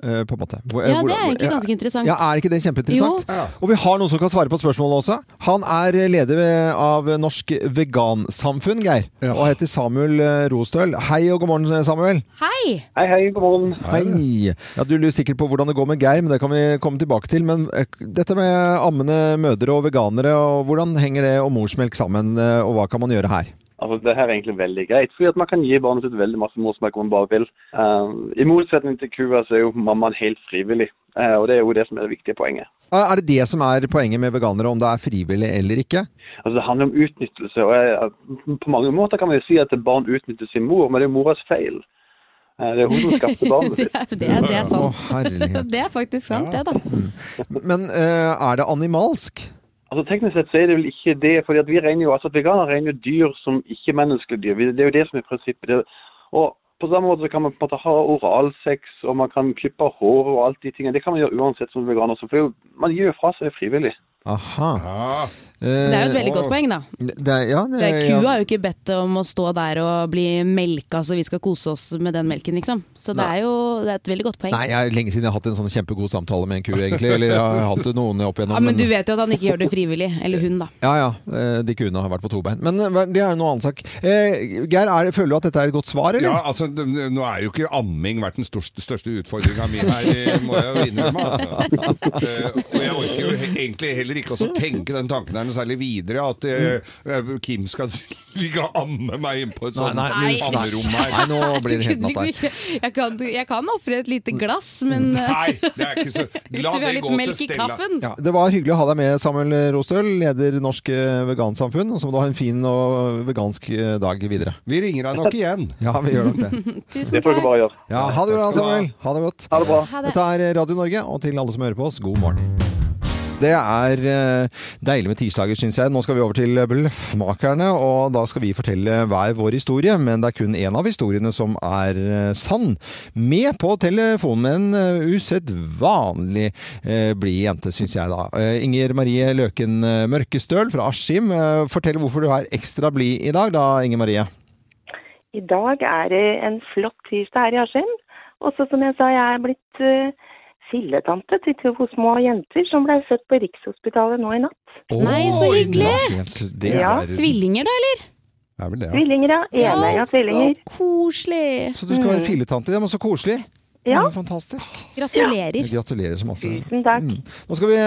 S1: eh, på en måte. Hvor-
S2: Ja, det
S1: hvordan-
S2: er egentlig ganske interessant.
S1: Ja, Er ikke det kjempeinteressant?
S2: Jo.
S1: Og vi har noen som kan svare på spørsmålet også. Han er leder ved- av Norsk Vegansamfunn, Geir. Og heter Samuel eh, Rostøl. Hei og god morgen, Samuel.
S2: Hei! (laughs)
S9: Hei, hei, god morgen.
S1: Hei! Ja, Du lurer sikkert på hvordan det går med Geir, men det kan vi komme tilbake til. Men eh, dette med ammende mødre og veganere, og hvordan henger det og morsmelk sammen? eh, Og hva kan man gjøre her?
S9: Altså, det her er egentlig veldig greit, fordi at man kan gi barnet sitt veldig masse morsmelk om man bare vil. Eh, I motsetning til kua så er jo mammaen helt frivillig, eh, og det er jo det som er det viktige poenget.
S1: Er er det det som er poenget med veganere, om det er frivillig eller ikke?
S9: Altså, det handler om utnyttelse, og jeg, på mange måter kan man jo si at et barn utnytter sin mor, men det er jo moras feil. Eh, det er hun som skapte barnet
S2: Det
S9: sitt.
S2: er, det er, det er
S1: Å,
S2: sant.
S1: herlighet.
S2: (laughs) Det er faktisk sant, det, da.
S1: Men eh, er det animalsk?
S9: Altså, teknisk sett så er det vel ikke det, fordi at vi regner jo, altså at veganere regner jo dyr som ikke-menneskelige dyr. Vi- Det er jo det som er prinsippet. Det, og på samme måte så kan man på en måte ha oralsex, og man kan klippe hår og alt de tingene. Det kan man gjøre uansett som veganer, så for det er jo- man gir jo fra seg frivillig.
S1: Aha. Eh,
S3: Ja.
S2: Det er jo et veldig godt poeng, da.
S1: Det er, ja, det,
S2: Det er, kua
S1: Eh, ja.
S2: har jo ikke bedt om å stå der og bli melka så vi skal kose oss med den melken, liksom. Så det er jo det er et veldig godt poeng.
S1: Nei, jeg, lenge siden jeg har hatt en sånn kjempegod samtale med en ku, egentlig. Eller jeg har hatt noen opp igjennom.
S2: Ja, men du vet jo at han ikke gjør det frivillig. Eller hun, da.
S1: Ja, ja. eh, De kuene har vært på to bein. Men eh, det er noe annen sak. Eh, Geir, er, føler du at dette er et godt svar, eller?
S3: Ja, altså, det- Nå er jo ikke amming vært den største, største utfordringa mi her, det må jeg jo innrømme. Altså. Eh, og jeg orker jo he- egentlig heller ikke også tenke den tanken her noe særlig videre, at eh, Kim skal ligge og amme meg inn på et sånt
S1: Nei, nei,
S3: ammerom
S1: Nei,
S3: her.
S1: nå
S2: (laughs)
S1: blir det helt natt her.
S2: (laughs) Jeg kan, jeg kan ofre et lite glass, men
S3: Nei, det er ikke så
S2: hvis du
S3: La
S2: vil ha
S3: det
S2: litt
S3: gå til
S2: melk i
S3: Stella.
S2: kaffen
S1: Ja, det var hyggelig å ha deg med, Samuel Rostøl, leder Norsk eh, Vegansamfunn. Og så må du ha en fin og vegansk eh, dag videre.
S3: Vi ringer deg nok igjen.
S1: Ja, vi gjør nok det.
S2: Tusen
S9: Det får dere
S2: takk.
S9: bare gjøre.
S1: (laughs) Ja, ha det bra, Samuel. Ha det godt.
S9: Ha det bra.
S2: Ha det.
S1: Dette er Radio Norge, og til alle som hører på oss, god morgen. Det er eh, deilig med tirsdager, syns jeg. Nå skal vi over til Bløffmakerne, og da skal vi fortelle hver vår historie. Men det er kun én av historiene som er eh, sann. Med på telefonen en eh, usedvanlig eh, blid jente, syns jeg da. Eh, Inger Marie Løken eh, Mørkestøl fra Askim, eh, fortell hvorfor du er ekstra blid i dag da, Inger Marie.
S10: I dag er det en flott tirsdag her i Askim. Og så som jeg sa, jeg er blitt eh, filletante til to små jenter som ble født på Rikshospitalet nå i natt.
S2: Nei, så hyggelig!
S1: Helt- Det
S10: Ja,
S1: er,
S2: Tvillinger, da, eller?
S3: Det er vel det. ja.
S10: Tvillinger, ja. Enegga tvillinger.
S2: Så koselig.
S1: så du skal være filletante. Ja, men så koselig. Det
S10: Mm. Ja.
S1: er jo Fantastisk.
S2: Gratulerer.
S1: Gratulerer så masse.
S10: Tusen takk.
S1: Mm. Nå skal vi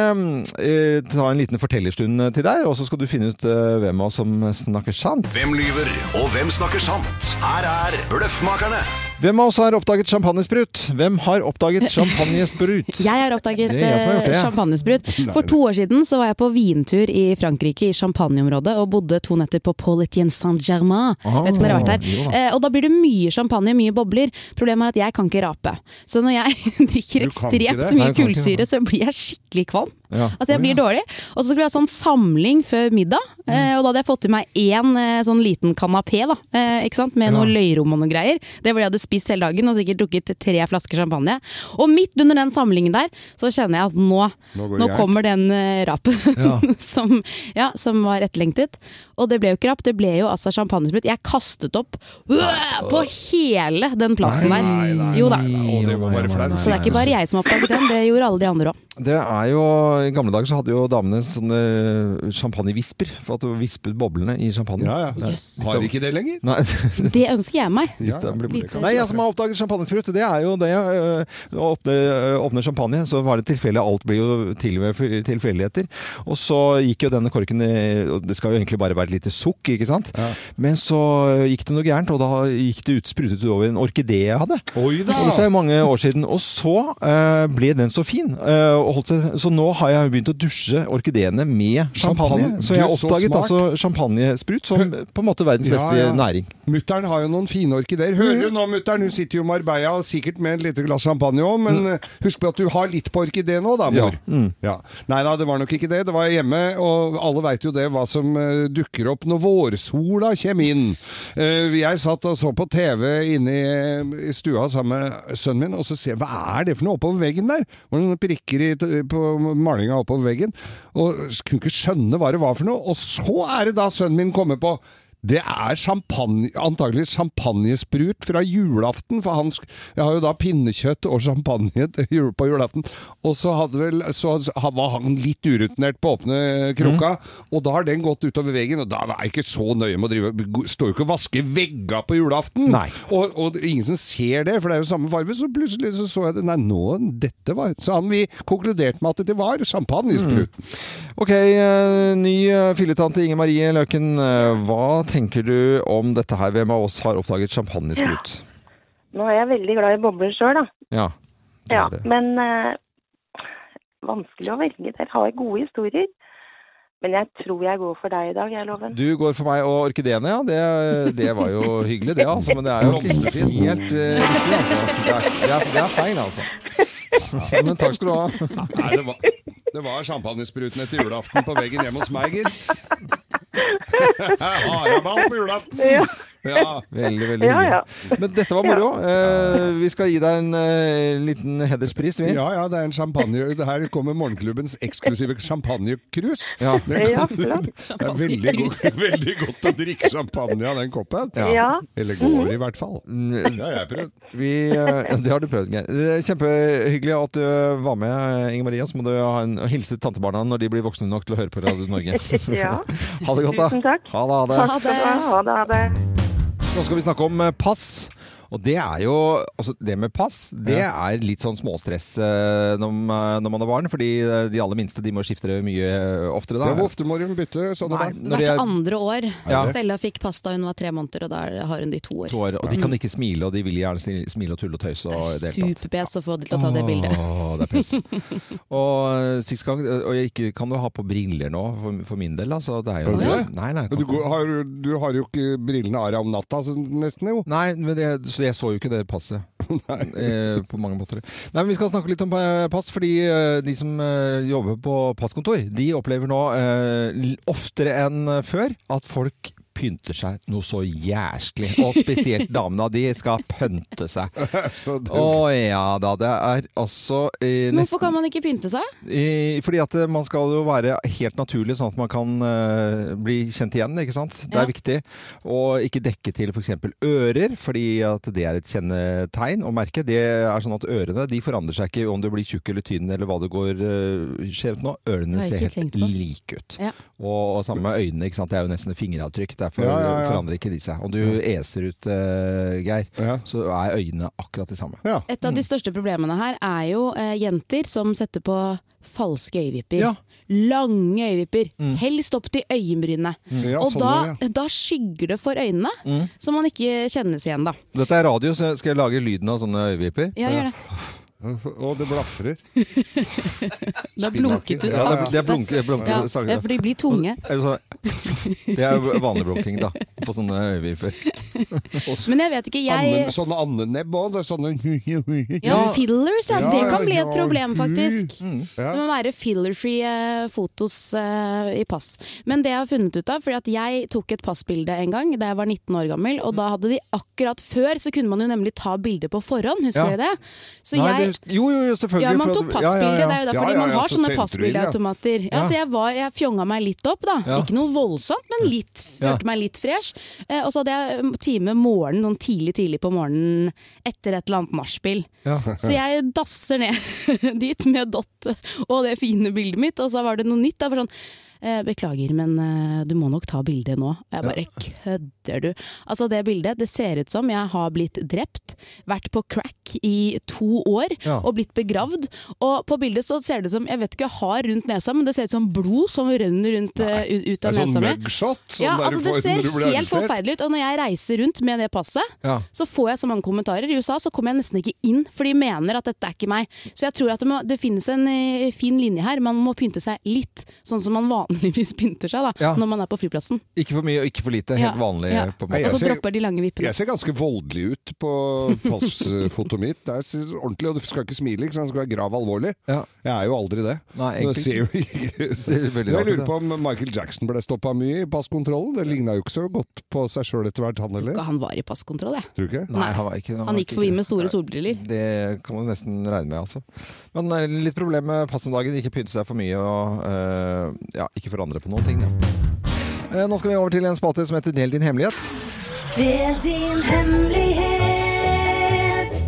S1: eh, ta en liten fortellerstund eh, til deg, og så skal du finne ut eh, hvem av oss som snakker sant.
S5: Hvem lyver, og hvem snakker sant? Her er Bløffmakerne.
S1: Hvem av oss har oppdaget champagnesprut? Hvem har
S10: (laughs)
S1: oppdaget champagnesprut?
S2: Jeg har oppdaget
S1: Det er jeg som har gjort det,
S2: eh,
S1: ja.
S2: champagnesprut. For to år siden så var jeg på vintur i Frankrike, i Champagneområdet, og bodde to netter på Paulitien Saint-Germain.
S1: Ah,
S2: Vet ikke om dere har vært
S1: jo
S2: der.
S1: da.
S2: Eh, Og da blir det mye champagne, mye bobler. Problemet er at jeg kan ikke rape. Så når jeg (laughs) drikker
S3: Du kan ikke
S2: ekstremt
S1: Nei,
S3: det?
S2: mye
S1: du kan ikke
S2: kullsyre,
S1: det.
S2: så blir jeg skikkelig kvalm.
S1: Ja.
S2: Altså jeg blir dårlig. Og så skulle vi ha sånn samling før middag,
S3: Mm.
S2: eh, og da hadde jeg fått i meg én eh, sånn liten kanapé da, eh, ikke sant? med noe løyrom og noe greier. Det var det jeg hadde spist hele dagen og sikkert drukket tre flasker champagne. Og midt under den samlingen der, så kjenner jeg at nå,
S3: Nå
S2: nå,
S3: går det gærent.
S2: kommer den eh,
S3: (laughs)
S2: rapen (laughs) som, ja, som var etterlengtet. Og det ble jo ikke rap, det ble jo altså champagnesprut. Jeg kastet opp øh, på hele den plassen der. Jo da.
S3: Å, det var bare flaut.
S2: Så det er ikke bare jeg som har oppdaget den, det gjorde alle de andre òg.
S1: Det er jo, I gamle dager så hadde jo damene sånne eh, champagnevisper, for at du vispet boblene i champagne.
S3: Ja, ja.
S2: Jøss.
S3: Har ikke det lenger.
S1: Nei, (laughs)
S2: Det ønsker jeg meg.
S1: litt, det blir borte.
S2: Lite
S1: Nei, Nei, jeg som har oppdaget champagnesprut, det er jo det øh, å åpne, øh, åpne champagne, så var det tilfeldig. Alt blir jo til og med tilfeldigheter. Og så gikk jo denne korken i- og Det skal jo egentlig bare være et lite sukk, ikke sant? Men så gikk det noe gærent, og da gikk det ut, sprutet det over en orkidé jeg hadde. Og dette er jo mange år siden. Og så øh, ble den så fin. øh, og holdt seg, så nå har jeg begynt å dusje orkideene med champagne.
S3: Champagne.
S1: Så jeg har
S3: Du er så
S1: oppdaget
S3: smart.
S1: altså champagnesprut som på en måte verdens beste næring. Mm.
S3: Mutter'n har jo noen fine orkideer. Hører du nå, mutter'n? Hun sitter jo i Marbella, sikkert med et lite glass champagne òg, men
S1: Mm.
S3: eh, husk på at du har litt på orkidé nå, da, mor. Ja. Nei da, det var nok ikke det. Det var hjemme, og alle veit jo det hva som eh, dukker opp når vårsola kommer inn. Eh, jeg satt og så på TV inne i, i stua sammen med sønnen min, og så ser jeg hva er det for noe oppover veggen der? Det var noen prikker i, på malinga oppover veggen, og kunne ikke skjønne hva det var for noe. Og så er det da sønnen min kommer på det er champagne, antagelig champagnesprut fra julaften, for han sk- jeg har jo da pinnekjøtt og champagne til jul- på julaften. Og så, hadde vel, så ha- var han litt urutinert på å åpne krukka, og da har den gått utover veggen, og da er jeg ikke så nøye med å drive Står jo ikke og vasker vegga på julaften! Og, og det er ingen som ser det, for det er jo samme farge, så plutselig så, så jeg det. Nei, nå dette var Så han vi konkluderte med at det var champagnesprut.
S1: Ok, eh, ny eh, fylletante Inger Marie Løken. eh, Hva tenker du om dette her? Hvem av oss har oppdaget champagnesprut?
S9: Nå er jeg veldig glad i bobler sjøl, da.
S1: Ja.
S9: Ja, men eh, vanskelig å velge. Dere har gode historier. Men jeg tror jeg går for deg i dag, jeg, Loven.
S1: Du går for meg og orkideene, ja. Det, det var jo hyggelig, det, altså. Men det er jo ikke helt eh, riktig, altså. Det er, det er, det er feil, altså. Ja, men takk skal du ha.
S3: Nei, det var, det var champagnespruten etter julaften på veggen hjemme hos meg, gitt. (laughs) Haraball på julaften!
S9: Ja.
S3: Ja.
S1: Veldig, veldig
S9: Ja,
S1: hyggelig.
S9: ja.
S1: Men dette var moro. Eh, Vi skal gi deg en eh, liten hederspris, vi.
S3: Ja, ja, det er en champagne Her kommer morgenklubbens eksklusive champagnekrus.
S1: Ja.
S3: Det, er-
S9: Ja,
S3: (laughs) det er veldig godt, veldig godt å drikke champagne av den koppen.
S9: Ja.
S3: Eller går i hvert fall.
S1: Mm,
S3: Det har jeg prøvd.
S1: Vi, eh, (laughs) det har du prøvd, Geir. Det er Kjempehyggelig at du eh, var med, Inger Maria. Så må du ha en, og hilse tantebarna når de blir voksne nok til å høre på Radio Norge.
S9: (laughs)
S1: (laughs)
S9: Ja.
S1: Ha det godt, da.
S9: Tusen takk.
S1: Ha det, ha det.
S9: Takk skal du ha. Ha det. Ha det.
S1: Nå skal vi snakke om eh, pass. Og det er jo altså Det med pass, det er litt sånn småstress eh, når, man- når man er barn. Fordi eh, de aller minste de må skifte mye eh, oftere da.
S3: Ja, Hvor ofte må du bytte sånne
S1: Nei,
S3: barn?
S1: når de
S2: Hvert
S1: er
S2: andre år.
S1: Ja.
S2: Stella fikk pasta hun var tre måneder, og da har hun det i to år.
S1: to år, og
S3: Mm.
S1: de kan ikke smile, og de vil gjerne sni- smile og tulle og tøyse. Og i det hele tatt.
S2: Superpes å få de til å ta det bildet.
S1: Åh, det er
S3: (laughs)
S1: pes. og eh, sist gang eh, Og jeg ikke, kan du ha på briller nå, for, for min del. Altså, det er jo
S3: Kan du det?
S1: Nei, nei,
S3: Men Du, går- har, jo- du har jo ikke brillene av deg om natta, så nesten jo.
S1: Nei, men jeg, så jeg så jo ikke det
S3: (laughs)
S1: passet. Eh, på mange måter. Nei, men Vi skal snakke litt om eh, pass, fordi eh, de som eh, jobber på passkontor, de opplever nå eh, l- oftere enn eh, før at folk pynter seg noe så jæsklig. Og spesielt damene, de skal pynte
S3: (laughs)
S1: seg.
S3: Så det,
S1: Å ja da. Det er altså eh,
S2: Men
S1: nesten
S2: Hvorfor kan man ikke pynte seg?
S1: i, fordi at eh, man skal jo være helt naturlig, sånn at man kan eh, bli kjent igjen. ikke sant? Det er
S2: Ja.
S1: viktig. Og ikke dekke til f.eks. ører, fordi at det er et kjennetegn å merke. Det er sånn at ørene de forandrer seg ikke om du blir tjukk eller tynn eller hva det går eh, skjevt nå. Ørene
S2: Det har
S1: ser
S2: jeg
S1: helt
S2: ikke tenkt på.
S1: like ut.
S2: Ja.
S1: Og, og samme med øynene. ikke sant? Det er jo nesten fingeravtrykk. Derfor
S3: Ja, ja, ja.
S1: forandrer ikke de seg. Om du eser ut, eh, Geir,
S3: Ja.
S1: så er øynene akkurat de samme.
S3: ja.
S2: Et
S1: Mm.
S2: av de største problemene her er jo eh, jenter som setter på falske øyevipper.
S1: Ja. Mm.
S2: Lange øyevipper. Helst opp til øyenbrynene.
S3: Ja,
S2: og
S3: sånn
S2: da,
S3: var det,
S2: da skygger det for øynene,
S1: Mm.
S2: så man ikke kjennes igjen, da.
S1: Dette er radio, så skal jeg lage lyden av sånne øyevipper.
S2: Ja, gjør det.
S3: Og det blafrer.
S2: Da blunket du
S1: Ja, det er, det
S2: sakte.
S1: er blunke, blunke,
S2: Ja,
S1: sakte.
S2: ja, for de blir tunge.
S1: Er det sånn- Det er jo vanlig blunking, da. På sånne øyevipper.
S2: Men jeg vet ikke,
S3: Anne,
S2: jeg
S3: sånne andenebb òg. Sånne (laughs)
S2: ja, fillers, ja,
S3: Ja,
S2: det
S3: ja,
S2: kan bli
S3: ja,
S2: et problem, faktisk.
S3: Ja.
S2: Det må være filler-free eh, fotos eh, i pass. Men det jeg har funnet ut av, fordi at jeg tok et passbilde en gang da jeg var 19 år gammel, og da hadde de akkurat før, så kunne man jo nemlig ta bilder på forhånd, husker
S1: Ja.
S2: dere det? Så
S1: Nei, det
S2: jeg,
S1: husker, jo, jo, jo, selvfølgelig.
S2: ja, man
S1: for at-
S2: tok
S1: ja, ja,
S2: passbilde,
S1: ja.
S2: det er jo
S3: Ja,
S2: derfor
S3: ja,
S2: man
S3: ja,
S2: har
S3: så
S2: sånne
S3: sentrum,
S2: passbildeautomater. Ja,
S1: Ja.
S2: så jeg, var, jeg fjonga meg litt opp, da.
S1: Ja.
S2: Ikke noe voldsomt, men litt, følte meg litt fresh. Eh, og så hadde jeg eh, time morgenen, sånn tidlig, tidlig på morgenen etter et eller annet nachspiel. Så jeg (laughs) dasser ned dit med Dott og det fine bildet mitt, og så var det noe nytt. Da, for sånn, eh, beklager, men eh, du må nok ta bildet nå. Og jeg bare kødder du? Altså det bildet, det ser ut som jeg har blitt drept, vært på crack i to år
S7: Ja.
S2: og blitt begravd. Og på bildet så ser det ut som, jeg vet ikke hva jeg har rundt nesa, men det ser ut som blod som renner rundt, eh, ut, ut
S3: Det
S2: av
S3: er sånn
S2: nesa mi.
S3: mugshot som
S2: Ja,
S3: dere
S2: altså det
S3: får når
S2: ser
S3: du blir
S2: helt
S3: arrestert.
S2: forferdelig ut. Og når jeg reiser rundt med det passet,
S3: Ja.
S2: så får jeg så mange kommentarer. I USA så kommer jeg nesten ikke inn, for de mener at dette er ikke meg. Så jeg tror at det, må, det finnes en eh, fin linje her. Man må pynte seg litt, sånn som man (laughs) vanligvis pynter seg da,
S1: Ja.
S2: når man er på flyplassen.
S1: Ikke for mye og ikke for lite. Helt vanlig.
S2: Ja.
S1: På en
S2: Og
S1: måte.
S2: så dropper de lange vippene.
S3: Jeg ser ganske voldelig ut på
S2: (laughs)
S3: passfotoet mitt. Det er s- ordentlig, og du skal ikke smile, ikke sant? Du skal være grav alvorlig. Jeg er jo aldri det.
S1: Nei,
S3: Så
S1: egentlig
S3: det ser jo
S1: (laughs)
S3: ikke
S1: Ser veldig rart
S3: Men Jeg
S1: ut,
S3: lurer på om Michael Jackson ble stoppa mye i passkontrollen. Det ligna jo ikke så godt på seg sjøl etter hvert, han heller.
S2: Han var i passkontroll, jeg.
S3: Tror du ikke?
S1: Nei, han var ikke
S2: Han gikk
S1: ikke
S2: forbi
S1: det.
S2: med store solbriller.
S1: Det kan man nesten regne med, altså. Men eh, litt problem med pass om dagen. Ikke pynte seg for mye og eh, ja, ikke forandre på noen ting. da. Eh, Nå skal vi over til en spalte som heter Del din hemmelighet.
S7: Del din hemmelighet.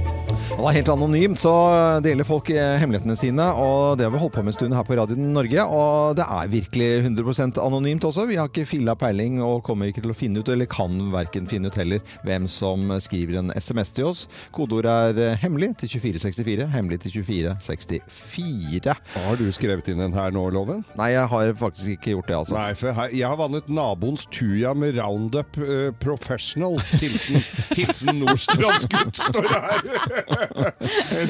S1: Og det er helt anonymt, så deler folk eh, hemmelighetene sine. Og det har vi holdt på med en stund her på Radio Norge. Og det er virkelig 100 anonymt også. Vi har ikke filla peiling og kommer ikke til å finne ut, eller kan verken finne ut heller, hvem som skriver en SMS til oss. Kodeord er eh, hemmelig til 2464. Hemmelig til 2464.
S3: Har du skrevet inn en her nå, Loven?
S1: Nei, jeg har faktisk ikke gjort det, altså.
S3: Nei, for her, jeg har vannet naboens Tuja med Roundup eh, Professional. (laughs) Hilsen, hilsen Nordstrandsgutt, står det her!
S2: Det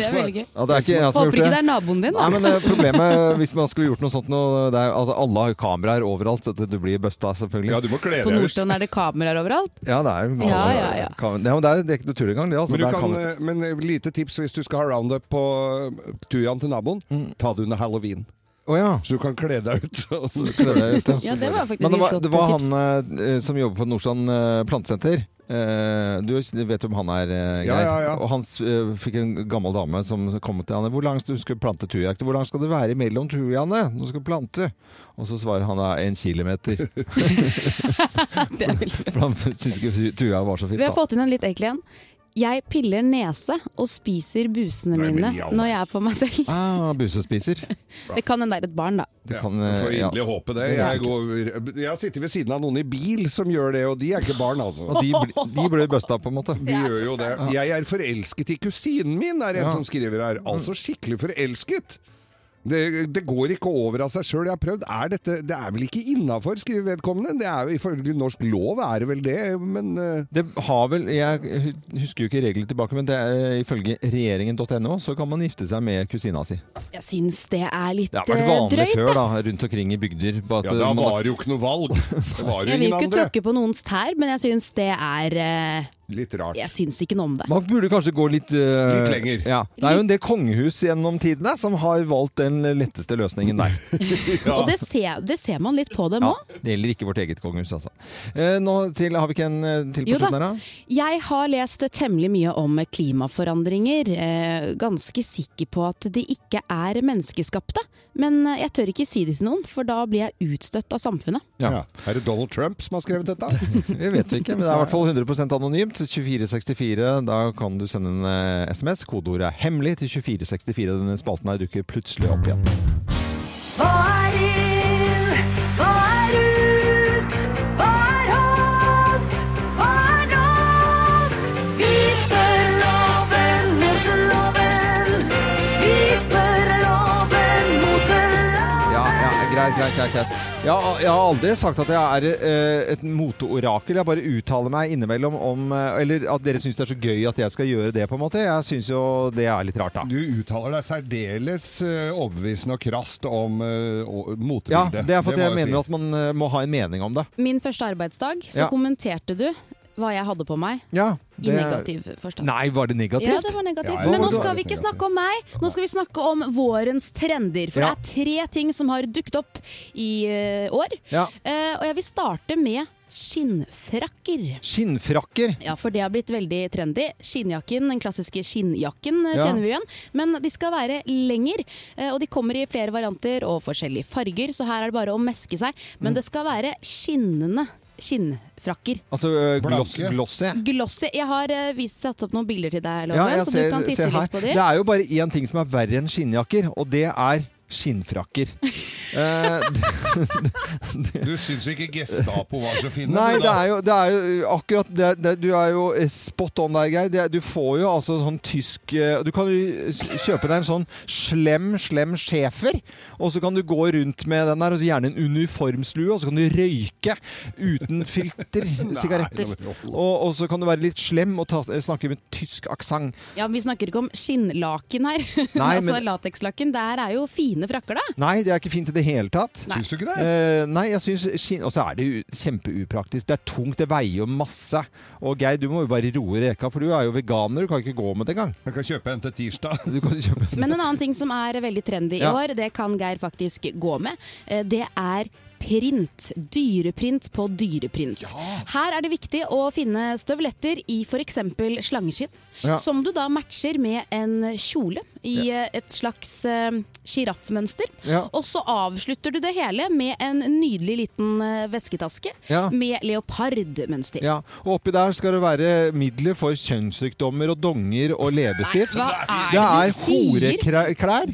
S2: er veldig gøy.
S1: Ja, det er ikke jeg som har
S2: Håper
S1: gjort
S2: ikke
S1: det.
S2: det er naboen din, da.
S1: Nei, men eh, problemet hvis man skulle gjort noe sånt nå, det er at alle har jo kameraer overalt, at du blir busta selvfølgelig. Ja,
S3: du må kle
S2: På Nordstrand er det kameraer overalt.
S1: Ja, det er jo
S2: Ja, ja, ja.
S1: kam- Ja, men det er, det er ikke noe tull engang, det. Altså.
S3: Men, du
S1: Det er
S3: kan,
S1: kamera-
S3: eh, men eh, lite tips hvis du skal ha roundup på eh, tujaen til naboen. Ta det under halloween. Så du kan kle deg ut. og eh, (laughs) så-
S1: Kle deg ut, ja.
S2: (laughs) Ja, det var faktisk
S1: Men det
S2: et
S1: var,
S2: godt
S1: det var
S2: tips.
S1: han eh, som jobber på Nordstrand eh, plantesenter. Eh, du vet jo om han er eh,
S3: Ja,
S1: Geir.
S3: ja, ja.
S1: Og han s- eh, fikk en gammel dame som kom til han Hvor langt du skal plante tujakt? Hvor langt skal det være mellom tujaene når du skal plante? Og så svarer han da en kilometer. (laughs) For han syntes ikke tu- tuja var så fint.
S2: Vi har
S1: da.
S2: fått inn en litt enkel en. Jeg piller nese og spiser busene
S1: Nei, men
S2: mine
S1: i all
S2: når jeg er for meg selv.
S1: Ah, busespiser.
S2: Det kan en være et barn, da.
S1: Det kan,
S3: Ja,
S1: eh,
S3: Får
S1: ja.
S3: inderlig håpe det.
S1: Det vet
S3: Jeg, går, jeg har sittet ved siden av noen i bil som gjør det, og de er ikke barn, altså.
S1: Og de, bl- de
S2: (laughs)
S1: ble busta, på en måte.
S3: De gjør jo det. Jeg er forelsket i kusinen min, er det en
S1: Ja.
S3: som skriver her. Altså skikkelig forelsket. Det, det går ikke over av seg sjøl. Jeg har prøvd. Er dette, det er vel ikke innafor, skriver vedkommende. Det er jo Ifølge norsk lov er det vel det, men eh,
S1: Det har vel, Jeg hu- husker jo ikke reglene tilbake, men det er, eh, ifølge regjeringen.no så kan man gifte seg med kusina si.
S2: Jeg syns det er litt
S1: Det har
S2: eh,
S1: vært vanlig
S2: drøyt,
S1: før,
S2: jeg.
S1: da, rundt omkring i bygder. bare at
S3: Ja, da
S1: man-
S3: var det jo ikke noe (laughs) valg. Det var
S2: Jeg
S3: jo
S2: vil
S3: ingen
S2: jo ikke
S3: andre.
S2: tråkke på noens tær, men jeg syns det er eh,
S3: Litt rart.
S2: Jeg syns ikke noe om det.
S1: Man burde kanskje gå litt eh,
S3: Litt lenger.
S1: Ja. Det er jo en del kongehus gjennom tidene som har valgt den letteste løsningen
S3: (laughs)
S1: der.
S2: Og det ser, det ser man litt på dem
S1: Ja,
S2: òg.
S1: det gjelder ikke vårt eget kongehus, altså. Eh, nå til, har vi ikke en eh, til på
S2: Jo da.
S1: slutten her, da?
S2: Jeg har lest temmelig mye om klimaforandringer. eh, Ganske sikker på at de ikke er menneskeskapte. Men eh, jeg tør ikke si det til noen, for da blir jeg utstøtt av samfunnet.
S1: Ja.
S3: Er det Donald Trump som har skrevet
S1: (laughs)
S3: dette?
S1: Det vet vi ikke, men det er i hvert fall 100 anonymt. 2464, da kan du sende en eh, SMS. Kodeordet er 'hemmelig' til 2464. Denne spalten her dukker plutselig opp igjen.
S7: Hva er inn? Hva er ut? Hva er hot? Hva er not? Vi spør loven mot loven. Vi spør loven mot loven.
S1: Ja, ja, greit, greit, greit. greit. Jeg, har- jeg har aldri sagt at jeg er eh, et moteorakel. Jeg bare uttaler meg innimellom om eh, Eller at dere syns det er så gøy at jeg skal gjøre det, på en måte. Jeg syns jo det er litt rart, da.
S3: Du uttaler deg særdeles eh, overbevisende og krast om eh, å-
S1: Ja,
S3: motebildet.
S1: det er fordi
S3: må
S1: jeg mener
S3: si.
S1: at man eh, må ha en mening om det.
S2: Min første arbeidsdag så
S1: Ja.
S2: kommenterte du hva jeg hadde på meg.
S1: Ja,
S2: I negativ forstand.
S1: Nei, var det negativt?
S2: Ja, det var negativt.
S1: Ja,
S2: Men nå
S1: det var
S2: skal vi ikke snakke om meg, nå skal vi snakke om vårens trender. For
S1: Ja.
S2: det er tre ting som har dukket opp i eh, år.
S1: Ja.
S2: Eh, og jeg vil starte med skinnfrakker.
S1: Skinnfrakker.
S2: Ja, for det har blitt veldig trendy. Skinnjakken, den klassiske skinnjakken eh,
S1: Ja.
S2: kjenner vi igjen. Men de skal være lenger, eh, og de kommer i flere varianter og forskjellige farger, så her er det bare å meske seg. Men
S1: Mm.
S2: det skal være skinnende skinnfrakker.
S1: Altså eh, gloss, glossy.
S2: Glossy. Jeg har eh, vist satt opp noen bilder til deg, Loven,
S1: Ja, jeg
S2: så
S1: ser,
S2: du kan titte
S1: ser her.
S2: litt på
S1: Det
S2: dem. (laughs)
S1: er jo bare én ting som er verre enn skinnjakker, og det er skinnfrakker.
S3: Du syns ikke Gestapo var så fine?
S1: Nei,
S3: du,
S1: det
S3: da?
S1: er jo, det er jo eh, akkurat det, det, Du er jo eh, spot on der, Geir. Det, er- du får jo altså sånn tysk eh, Du kan jo kjøpe deg en sånn slem, slem schæfer, og så kan du gå rundt med den der, og så gjerne en uniformslue, og så kan du røyke
S2: (laughs)
S1: uten filter sigaretter. Og, og så kan du være litt slem og ta, eh, snakke med tysk aksent.
S2: Ja, men Vi snakker ikke om skinnlaken her. (laughs)
S1: Nei,
S2: altså
S1: men-
S2: Latekslaken. Der er jo fine frakker, da.
S1: Nei, det er ikke fint i det hele tatt.
S2: Nei. Syns du ikke det?
S1: Eh, nei, jeg syns skinn Og så er det jo kjempeupraktisk. Det er tungt, det veier jo masse. Og Geir, du må jo bare roe reka, for du er jo veganer, du kan ikke gå med det engang.
S3: Jeg kan kjøpe en til tirsdag.
S1: (laughs) Du kan kjøpe en.
S2: Men en annen ting som er veldig trendy i
S1: Ja.
S2: år, det kan Geir faktisk gå med, eh, det er Print. Dyreprint på dyreprint. Her er det viktig å finne støvletter i f.eks. slangeskinn,
S11: Ja.
S2: som du da matcher med en kjole i eh, et slags sjiraffmønster.
S11: Ja.
S2: Og så avslutter du det hele med en nydelig liten eh, vesketaske
S1: Ja.
S2: med leopardmønster.
S1: Ja, og oppi der skal det være midler for kjønnssykdommer og donger og leppestift.
S2: Nei, hva er
S1: Det er
S2: det du sier?
S1: horeklær.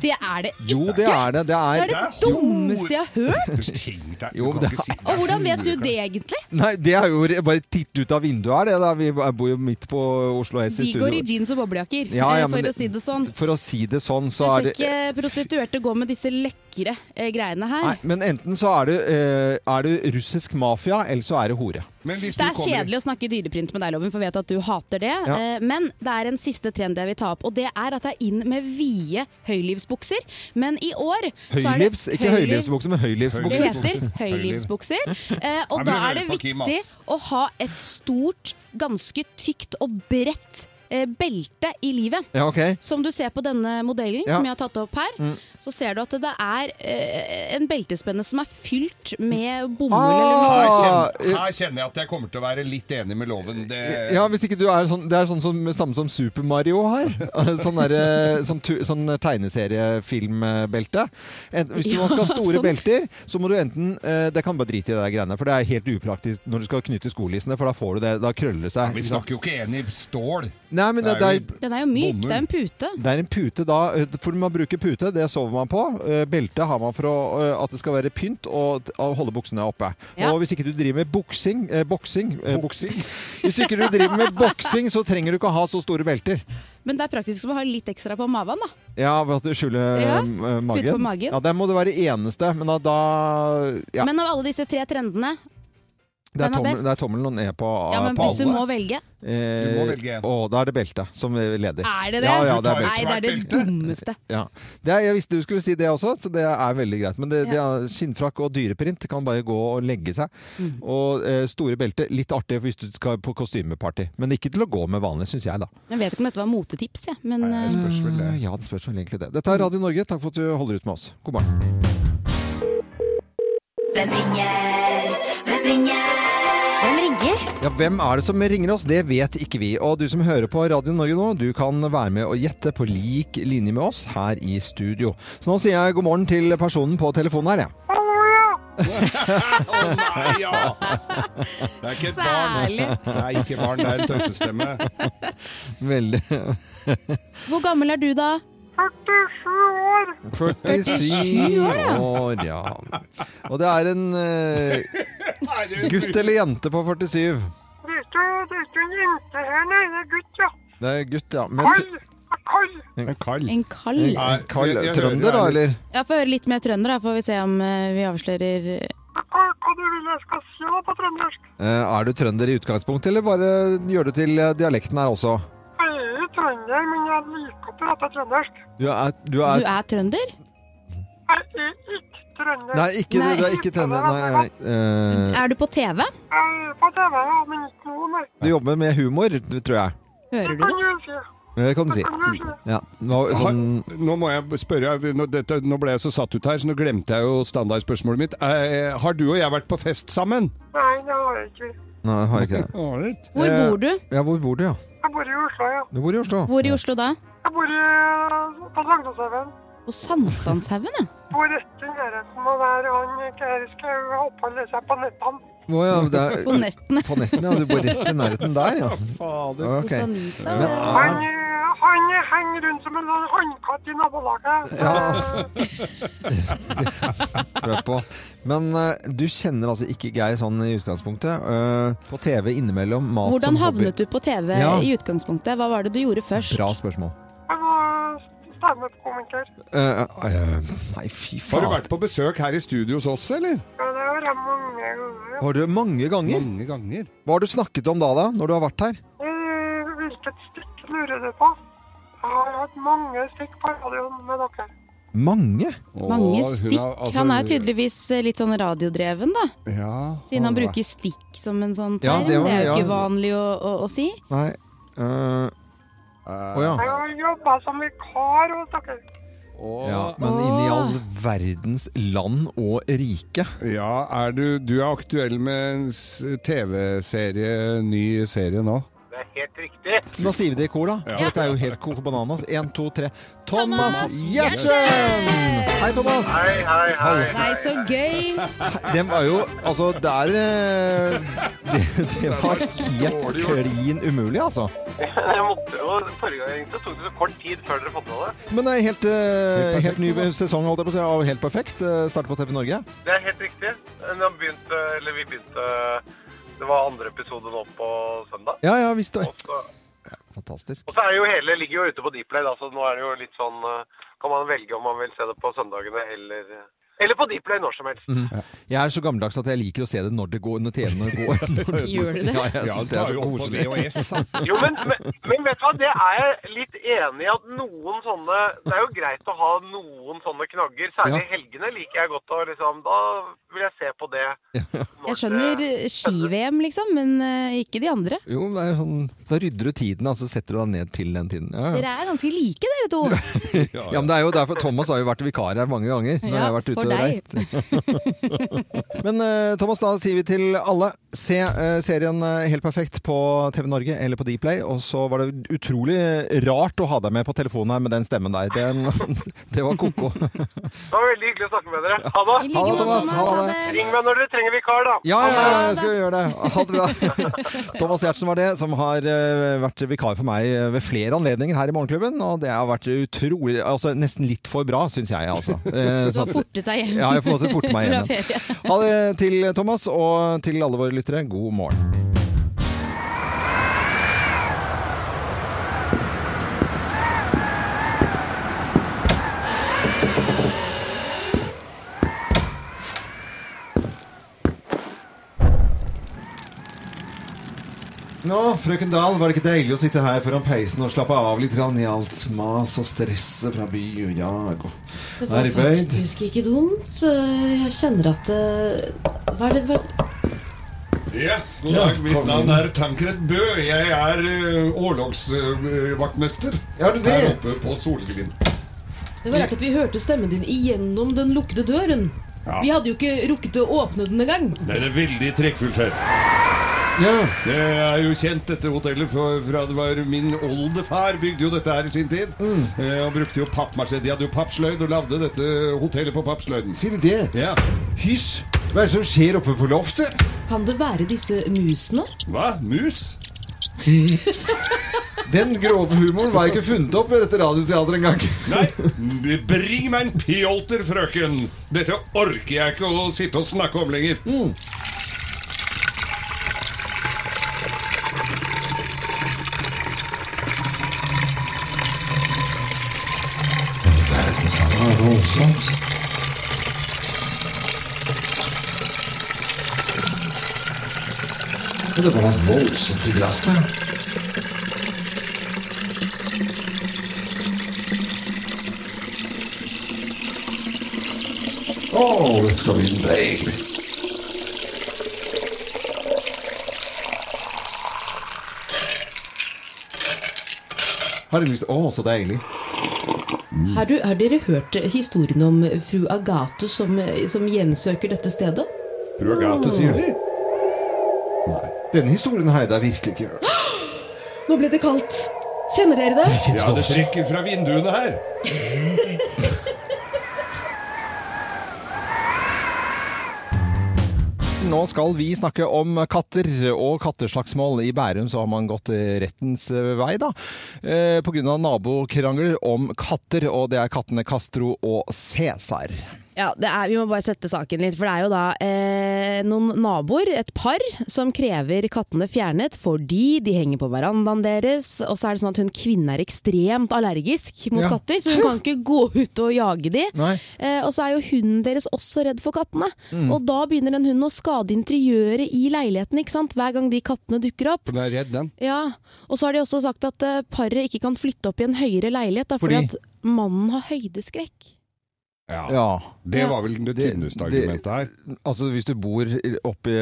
S2: Det er det ikke!
S1: Jo, det er det. Det
S2: Det
S1: er,
S2: er det dummeste jeg har hørt!
S1: Jo, det er...
S2: Og hvordan vet du det egentlig?
S1: Nei, det er jo re- bare titt ut av vinduet her, det. Da. Vi bor jo midt på Oslo S i
S2: De går i
S1: studio.
S2: jeans og boblejakker,
S1: Ja, ja,
S2: eh, for
S1: men
S2: å si det sånn.
S1: For å si det sånn,
S2: Du
S1: så
S2: ser
S1: er det
S2: ikke prostituerte gå med disse lekre eh, greiene her. (laughs)
S1: Nei, men enten så er det, eh, er det russisk mafia, eller så er det hore.
S2: Det er kjedelig å snakke dyreprint med deg, Loven, for jeg vet at du hater det.
S1: Ja.
S2: Eh, Men det er en siste trend jeg vil ta opp, og det er at det er inn med vide høylivsbukser. Men i år så er det
S1: Høylivs, ikke høylivsbukser, men
S2: Det
S1: høylivsbukser.
S2: heter høylivsbukser,
S1: (laughs)
S2: eh,
S1: Jeg
S2: og da
S1: blir
S2: er det
S1: hører på Kim,
S2: viktig
S1: ass.
S2: å ha et stort, ganske tykt og bredt eh, belte i livet.
S1: Ja, ok.
S2: Som du ser på denne modellen
S1: Ja.
S2: som jeg har tatt opp her,
S1: Mm.
S2: så ser du at det er eh, en beltespenne som er fylt
S1: Mm.
S2: med bomull
S1: Ah!
S3: Her,
S2: eller noe.
S3: kjenner, her kjenner jeg at jeg kommer til å være litt enig med loven. Det,
S1: Ja, hvis ikke du er sånn Det er sånn som, samme som Super Mario har. (laughs) Sånn, der, sånn, tu- sånn tegneseriefilmbelte. Ent- Hvis
S11: Ja,
S1: man skal ha store
S11: sånn.
S1: belter, så må du enten eh, Det kan bare drite i det der greiene, for det er helt upraktisk når du skal knytte skolissene, for da får du det, da krøller det seg.
S3: vi
S1: ikke sant?
S3: snakker jo ikke enig stål.
S1: Nei, men det, det, er,
S2: Den er jo myk,
S1: Bomull.
S2: det er en pute.
S1: det er en pute da eh, For man bruker pute, det sover man på. Eh, Belte har man for å, eh, at det skal være pynt og t- å holde buksene oppe.
S11: Ja.
S1: Og hvis ikke du driver med boksing eh, Boksing? Eh, (laughs) Hvis ikke du driver med boksing, så trenger du ikke å ha så store belter.
S2: Men det er praktisk som å ha litt ekstra på maven, da.
S1: Ja, ved at du skjuler
S2: Ja,
S1: eh, magen.
S2: pute på magen.
S1: Ja, det må det være eneste, men da, da ja.
S2: Men av alle disse tre trendene
S1: det, er
S2: den er
S1: tommel,
S2: best.
S1: det er tommelen og ned på,
S2: Ja, men
S1: på
S2: hvis du må velge
S1: Eh,
S3: Du må velge en.
S1: Å, da er det belte som leder.
S2: Er det det?
S1: Ja, ja, det er
S2: Nei,
S1: belte.
S2: det er det dummeste.
S1: Ja. Det er, jeg visste du skulle si det også, så det er veldig greit. Men det, det er skinnfrakk og dyreprint kan bare gå og legge seg. Og eh, store belte, litt artig hvis du skal på kostymeparty. Men ikke til å gå med vanlig, syns jeg, da. Ah,
S2: Jeg vet ikke om dette var motetips, jeg, men eh,
S1: Ja, det spørs vel egentlig det. Dette er Radio Norge, takk for at du holder ut med oss. God morgen.
S11: Hvem ringer? Hvem ringer?
S2: eh,
S11: Hvem ringer?
S1: Ja, Hvem er det som ringer oss? Det vet ikke vi. Og du som hører på Radio Norge nå, du kan være med og gjette på lik linje med oss her i studio. Så nå sier jeg god morgen til personen på telefonen her, jeg.
S3: Å nei, ja! Det er ikke et barn.
S2: Særlig.
S3: Det er ikke barn, det er en tøysestemme.
S1: Veldig
S2: (laughs) hvor gammel er du da? 47 år.
S1: 47 år, ja. Og det er en eh, gutt eller jente på 47.
S4: Dette dette er jente her nede, gutt, ja.
S1: Det er gutt, ja. Men
S4: Kall! Kall!
S1: en
S3: kall.
S2: En kall?
S1: En kall.
S3: Jeg- jeg hører
S1: Trønder, da,
S3: det er
S1: eller?
S2: Jeg får høre litt mer trønder, da, får vi se om eh, vi avslører
S4: Hva, hva du vil jeg skal si da på trøndersk?
S1: Eh, Er du trønder i utgangspunktet, eller bare gjør du til eh, dialekten her også?
S4: Jeg er jo trønder, men jeg liker å prate trøndersk.
S1: Du er, du
S2: Du
S1: er
S2: er trønder?
S4: Jeg er ikke trønder.
S1: Nei, ikke, du er ikke trønder. Nei, nei. Eh,
S2: Er du på TV?
S4: Jeg er på TV, ja, men ikke noe mer.
S1: Du jobber med humor, tror jeg.
S2: Hører
S4: du det?
S1: Det kan du si. Ja, nå, sånn,
S3: Har- Nå må jeg spørre, jeg- nå, dette, nå ble jeg så satt ut her, så nå glemte jeg jo standardspørsmålet mitt. Eh, har du og jeg vært på fest sammen?
S4: Nei, det har jeg ikke.
S1: nei, jeg har ikke det.
S2: Hvor
S1: Eh,
S2: bor du?
S1: Ja, hvor bor du, ja?
S4: Jeg bor i Oslo, ja.
S1: Du bor i Oslo.
S2: Hvor i Oslo da?
S4: Jeg bor i, på Sagnashaugen.
S2: På Sankthanshaugen, ja.
S4: Bor rett i nærheten av der han Geir Skau oppholder seg på nettene.
S1: Å, ja, det er,
S4: På nettene.
S3: (laughs)
S1: På nettene, ja. Du bor rett i nærheten der, ja.
S2: Sånn.
S3: Fader.
S1: Ok. Men,
S4: Han,
S1: ah,
S4: eh, han
S12: han henger rundt som en
S4: sånn
S12: hannkatt i nabolaget.
S1: Ja. (laughs) Tror jeg på. Men eh, du kjenner altså ikke Geir sånn i utgangspunktet. Eh, på TV innimellom, mat
S2: Hvordan
S1: som hobby.
S2: havnet du på TV
S1: Ja.
S2: i utgangspunktet? Hva var det du gjorde først?
S1: Bra spørsmål.
S12: Jeg var standup-komiker.
S1: Eh, eh, nei, fy
S3: Har
S1: faen.
S3: du vært på besøk her i studio hos oss, eller?
S12: Ja, det var jeg mange ganger.
S1: Har du mange ganger?
S3: Mange ganger.
S1: Hva har du snakket om da, da? Når du har vært her?
S12: Eh, Hvilket stikk lurer du på? Jeg har hatt mange stikk på radioen med dere.
S1: Mange?
S2: Mange stikk. han er tydeligvis eh, litt sånn radiodreven, da. Siden han bruker stikk som en sånn
S1: Ja,
S2: term.
S1: det
S2: det,
S1: var-
S2: er jo ikke
S1: ja.
S2: vanlig å, å, å si.
S1: Nei. eh, Å
S3: Eh,
S1: ja.
S12: Jeg har jobba som vikar hos dere.
S1: ja. Men inn i all verdens land og rike.
S3: Ja, er du, du er aktuell med en s- TV-serie, ny serie nå?
S4: Det er helt riktig.
S1: Nå sier vi det i kor, da. For dette er jo helt koko bananas. Én, to, tre. Thomas
S4: Thomas
S1: Giertsen! Hei, Thomas.
S4: Hei, hei, hei.
S2: Nei, så gøy!
S1: Den var jo Altså, der eh, Det, det var helt klin umulig, altså.
S4: Jeg måtte jo, Forrige gang jeg ringte, så tok det så kort tid før dere fant av det.
S1: Men det er helt, eh, helt ny sesong, holdt jeg på å si. av Helt perfekt. eh, Start på TV Norge.
S4: Det er helt riktig. Nå begynte, eller vi begynte Det var andre episode nå på søndag.
S1: Ja, ja, visst.
S4: Og så,
S1: Fantastisk.
S4: og så er jo hele ligger jo ute på Dplay, da, så nå er det jo litt sånn eh, Kan man velge om man vil se det på søndagene eller Eller på Dplay når som helst.
S1: Mhm. Jeg er så gammeldags at jeg liker å se det når det går, når
S3: (laughs)
S1: TV-en går. Når det
S4: Gjør du det?
S1: Ja, jeg
S3: Ja,
S1: synes
S3: det
S1: det
S3: er
S1: er
S3: jo
S1: så
S3: opp på
S1: koselig.
S3: VHS,
S4: Jo, men, men, men vet du hva, det er jeg litt enig i at noen sånne Det er jo greit å ha noen sånne knagger. Særlig i helgene liker jeg godt å liksom Da vil jeg se på det.
S2: Jeg skjønner eh, ski-VM, liksom, men eh, ikke de andre.
S1: Jo, men det er sånn, da rydder du tiden, og så setter du deg ned til den tiden. Ja, ja.
S2: Dere er ganske like, dere
S1: (laughs)
S2: to.
S1: ja, men det er jo derfor Thomas har jo vært vikar her mange ganger. Når
S2: Ja,
S1: jeg har vært ute
S2: for
S1: og reist. men eh, Thomas, da sier vi til alle se eh, serien eh, Helt perfekt på TV Norge eller på Dplay. Og så var det utrolig rart å ha deg med på telefonen her med den stemmen der. Den, (laughs) det var ko-ko.
S4: Det var veldig hyggelig å snakke med dere. Ha det.
S1: like Ha det, måte, Thomas. Ha Thomas. det.
S4: Ring meg når dere trenger vikar, da.
S1: Ja, ja, ja, jeg skal gjøre det. Ha
S2: (laughs)
S1: det bra. Thomas Giertsen var det, som har eh, vært vikar for meg eh, ved flere anledninger her i Morgenklubben. Og det har vært utrolig Altså nesten litt for bra, syns jeg, altså. Eh,
S2: Du
S1: så
S2: har
S1: at-
S2: fortet deg hjem.
S1: Ja, jeg får måtte
S2: (laughs)
S1: forte meg
S2: Fra
S1: hjem. igjen.
S2: ferie.
S1: Ha det til Thomas, og til alle våre lyttere, god morgen. Nå, frøken Dahl, var det ikke deilig å sitte her foran peisen og slappe av litt grann i alt mas og stresset fra by og jag
S9: Det
S1: og
S9: var
S1: arbeid?
S9: faktisk ikke dumt. Eh, Jeg kjenner at eh, Hva er det hva er det-
S3: Ja, god
S1: Ja,
S3: dag. Mitt
S1: kom
S3: navn
S1: inn.
S3: er Tankred Bø. Jeg er eh, årlogsvaktmester.
S1: Er du det?
S3: Her oppe på Solglimt.
S9: Det var rart at vi hørte stemmen din igjennom den lukkede døren.
S3: Ja.
S9: Vi hadde jo ikke rukket å åpne den engang.
S3: Det er veldig trekkfullt her. Det Eh, er jo kjent, dette hotellet, for- fra det var min oldefar bygde jo dette her i sin tid.
S1: Mm.
S3: Eh, og brukte jo pappmasjé. De hadde jo pappsløyd og lagde dette hotellet på pappsløyden.
S1: Sier de det?
S3: Ja.
S1: Hysj! Hva er det som skjer oppe på loftet?
S9: Kan det være disse musene?
S3: Hva? Mus?
S1: Den grove humoren var ikke funnet opp ved dette radioteatret engang.
S3: Nei, (laughs) bring meg en pjolter, frøken. Dette orker jeg ikke å sitte og snakke om lenger.
S1: Mm. Men det var da voldsomt i glass der. Å, det skal bli deilig. Har du lyst Å, så deilig.
S9: Har, du, har dere hørt historien om fru Agathe som, som hjemsøker dette stedet?
S3: Fru Agathe, sier de.
S1: Denne historien har jeg da virkelig ikke hørt.
S9: Nå ble det kaldt. Kjenner dere det?
S1: Mm.
S3: Ja, det drikker fra vinduene her.
S1: Nå skal vi snakke om katter og katteslagsmål. I Bærum så har man gått rettens vei, da. Eh, Pga. nabokrangler om katter, og det er kattene Castro og Cæsar.
S2: Ja, det er, Vi må bare sette saken litt. For det er jo da eh, noen naboer, et par, som krever kattene fjernet fordi de henger på verandaen deres. Og så er det sånn at hun kvinnen er ekstremt allergisk mot
S13: Ja.
S2: katter, så hun kan ikke gå ut og jage de.
S13: Nei.
S2: Eh, og så er jo hunden deres også redd for kattene.
S13: Mm.
S2: Og da begynner den hunden å skade interiøret i leiligheten ikke sant? hver gang de kattene dukker opp.
S3: Den er redd, den.
S2: Ja, Og så har de også sagt at eh, paret ikke kan flytte opp i en høyere leilighet da, fordi,
S3: Fordi?
S2: at mannen har høydeskrekk.
S3: Ja.
S1: Ja.
S3: Det var vel det tynneste argumentet her.
S1: Altså, hvis du bor oppi (laughs)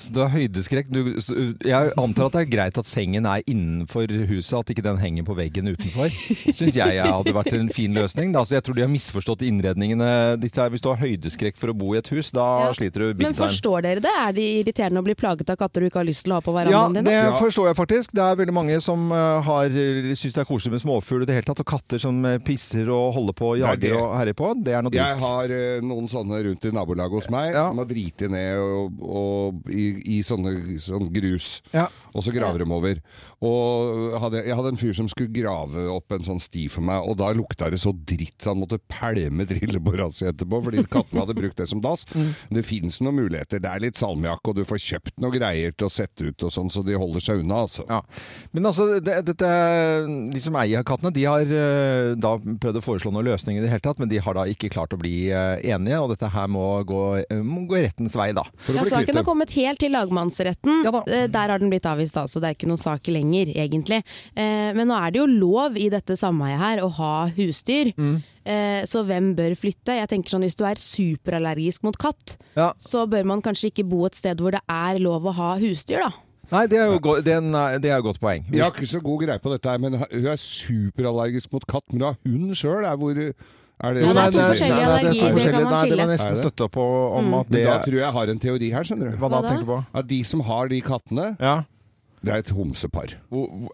S1: Så du har høydeskrekk. Du, så- jeg antar at det er greit at sengen er innenfor huset, at ikke den henger på veggen utenfor. Syns jeg hadde vært en fin løsning. Da. Så jeg tror de har misforstått innredningene. Disse her, Hvis du har høydeskrekk for å bo i et hus, da sliter du big
S2: Men
S1: time.
S2: forstår dere det? Er det irriterende å bli plaget av katter du ikke har lyst til å ha på
S1: Ja,
S2: verandaen
S1: det
S2: din? da?
S1: forstår jeg faktisk. Det er veldig mange som eh, har eh, syns det er koselig med småfugl i det hele tatt, og katter som eh, pisser og holder på,
S3: Det er det.
S1: jager og herjer på. Det er noe
S3: Jeg
S1: dritt.
S3: har eh, noen sånne rundt i nabolaget hos meg. De har driti ned og, og, i, i sånne sånn grus. Og så graver de over. Og hadde, jeg hadde en fyr som skulle grave opp en sånn sti for meg, og da lukta det så dritt. Han måtte pælme trillebåra si etterpå, fordi kattene hadde brukt det som dass. Det fins noen muligheter. Det er litt salmiakk, og du får kjøpt noe greier til å sette ut og sånn, så de holder seg unna, altså.
S1: Men altså, det, dette, de som eier kattene, de har eh, da prøvd å foreslå noen løsninger i det hele tatt, men de har da ikke klart å bli eh, enige, og dette her må gå, eh, må gå rettens vei, da.
S2: Ja, saken Altså, har kommet helt til lagmannsretten. Eh, Der har den blitt avvist, da, så det er ikke noen sak lenger, egentlig. Eh, Men nå er det jo lov i dette sameiet her å ha husdyr.
S1: Mm.
S2: Eh, Så hvem bør flytte? Jeg tenker sånn, Hvis du er superallergisk mot katt, så bør man kanskje ikke bo et sted hvor det er lov å ha husdyr, da.
S1: Nei, det er jo go det er en- det er et godt poeng.
S3: Jeg har ikke så god greie på dette, her, men hun er superallergisk mot katt. Men hun har hund sjøl, er hvor er det,
S1: Jo, nei, det er- nei, det er to forskjellige- nei, det må jeg
S3: Er
S1: nesten
S3: det?
S1: støtte opp på om at
S3: Men
S1: det
S3: da tror jeg jeg har en teori her, skjønner du.
S1: Hva da, Hva da? tenker du på?
S3: At de som har de kattene, det er et homsepar.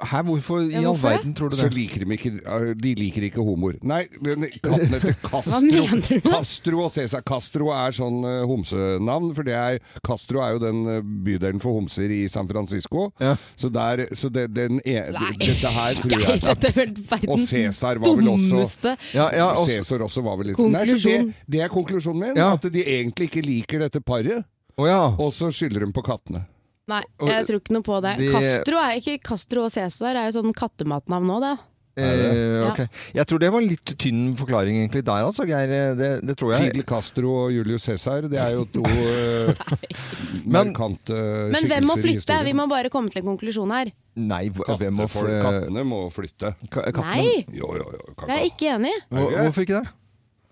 S1: Hæ, hvorfor i all verden tror du det?
S3: Så liker de ikke øh, De liker ikke homoer. Nei, men kattene heter
S1: (laughs)
S3: Castro.
S1: Hva mener
S3: Castro og Cæsar. Castro er sånn eh, homsenavn, for det er Castro er jo den eh, bydelen for homser i San Francisco. Så der Så det, den er, dette her tror jeg
S2: Nei, dette er vel
S3: og
S2: verdens
S3: Cæsar var vel også
S2: dummeste
S1: Ja, ja, også-
S3: Cæsar også var vel litt
S1: Konklusjon.
S3: Nei, så det, det er konklusjonen min.
S1: Ja.
S3: At de egentlig ikke liker dette paret. Og så skylder de på kattene.
S2: Nei,
S3: Og-
S2: jeg tror ikke noe på det.
S3: De-
S2: Castro, er ikke, Castro og Cæsar er jo sånn kattematnavn nå, det.
S1: Eh, ok. Jeg tror det var en litt tynn forklaring egentlig der, altså, Geir. Det, det tror jeg.
S3: Fidel Castro og Julius Cæsar, det er jo
S1: (laughs)
S3: to eh, markante skikkelser
S2: Men hvem må
S3: i
S2: flytte?
S3: historien.
S2: Vi må bare komme til en konklusjon her.
S1: Nei, hv- hvem må
S3: Kattefolk, kattene må flytte.
S1: kattene-
S2: Nei.
S3: Jo, jo, jo.
S2: Jeg er ikke enig.
S1: Hvor- Hvorfor ikke det?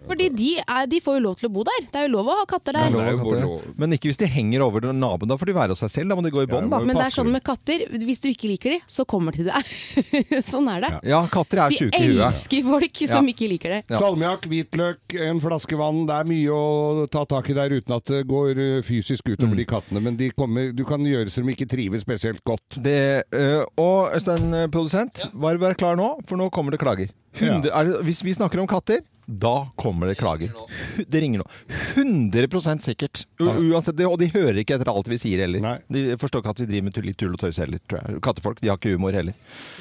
S2: Fordi de, er, de får jo lov til å bo der. Det er jo lov å ha katter
S1: Det er
S2: der.
S1: lov å katte det. Men ikke hvis de henger over den naboen. Da får de være seg selv. Da må de gå i bånd, da.
S2: Men det er sånn med katter. Hvis du ikke liker de, så kommer de til deg. (laughs) sånn er det.
S1: Ja, katter er sjuke i
S2: De
S1: huet.
S2: elsker folk som ikke liker det.
S3: Salmiakk, hvitløk, en flaske vann. Det er mye å ta tak i der uten at det går eh, fysisk
S1: Mm.
S3: utover de kattene. Men de kommer, du kan gjøre så de ikke trives spesielt godt.
S1: Det, eh, og Øystein, eh, produsent, bare vær klar nå, for nå kommer det klager. 100, er det, hvis vi snakker om katter, da kommer det klager. Hu- Det ringer nå. 100 sikkert. U uansett, det, og de hører ikke etter alt vi sier heller. De forstår ikke at vi driver med tull- litt tull og tøys heller, tror jeg. Kattefolk de har ikke humor heller.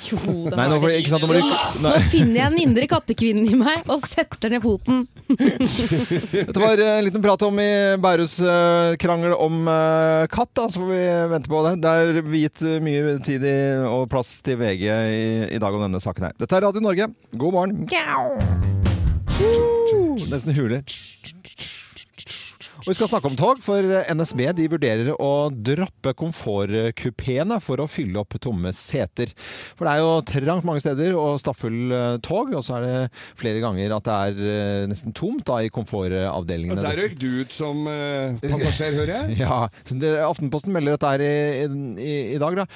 S2: Jo, det
S1: Nei, nå
S2: har
S1: får
S2: de.
S1: jeg- ikke sant, nå må de-
S2: Åh,
S1: nei.
S2: Nå finner jeg den indre kattekvinnen i meg og setter ned foten.
S1: Dette var eh, en liten prat om i Bærus eh, krangel om eh, katt, da, så får vi vente på det. Det er viet eh, mye tid i, og plass til VG i, i dag om denne saken her. Dette er Radio Norge. God morgen. Uh, Nesten hule. Og vi skal snakke om tog, for eh, NSB de vurderer å droppe komfortkupeene for å fylle opp tomme seter. For det er jo trangt mange steder og stappfull eh, tog, og så er det flere ganger at det er eh, nesten tomt da, i komfortavdelingene.
S3: Der røyk du ut som eh, passasjer, hører jeg.
S1: (laughs) Ja, det, Aftenposten melder dette her i, i, i dag. Da.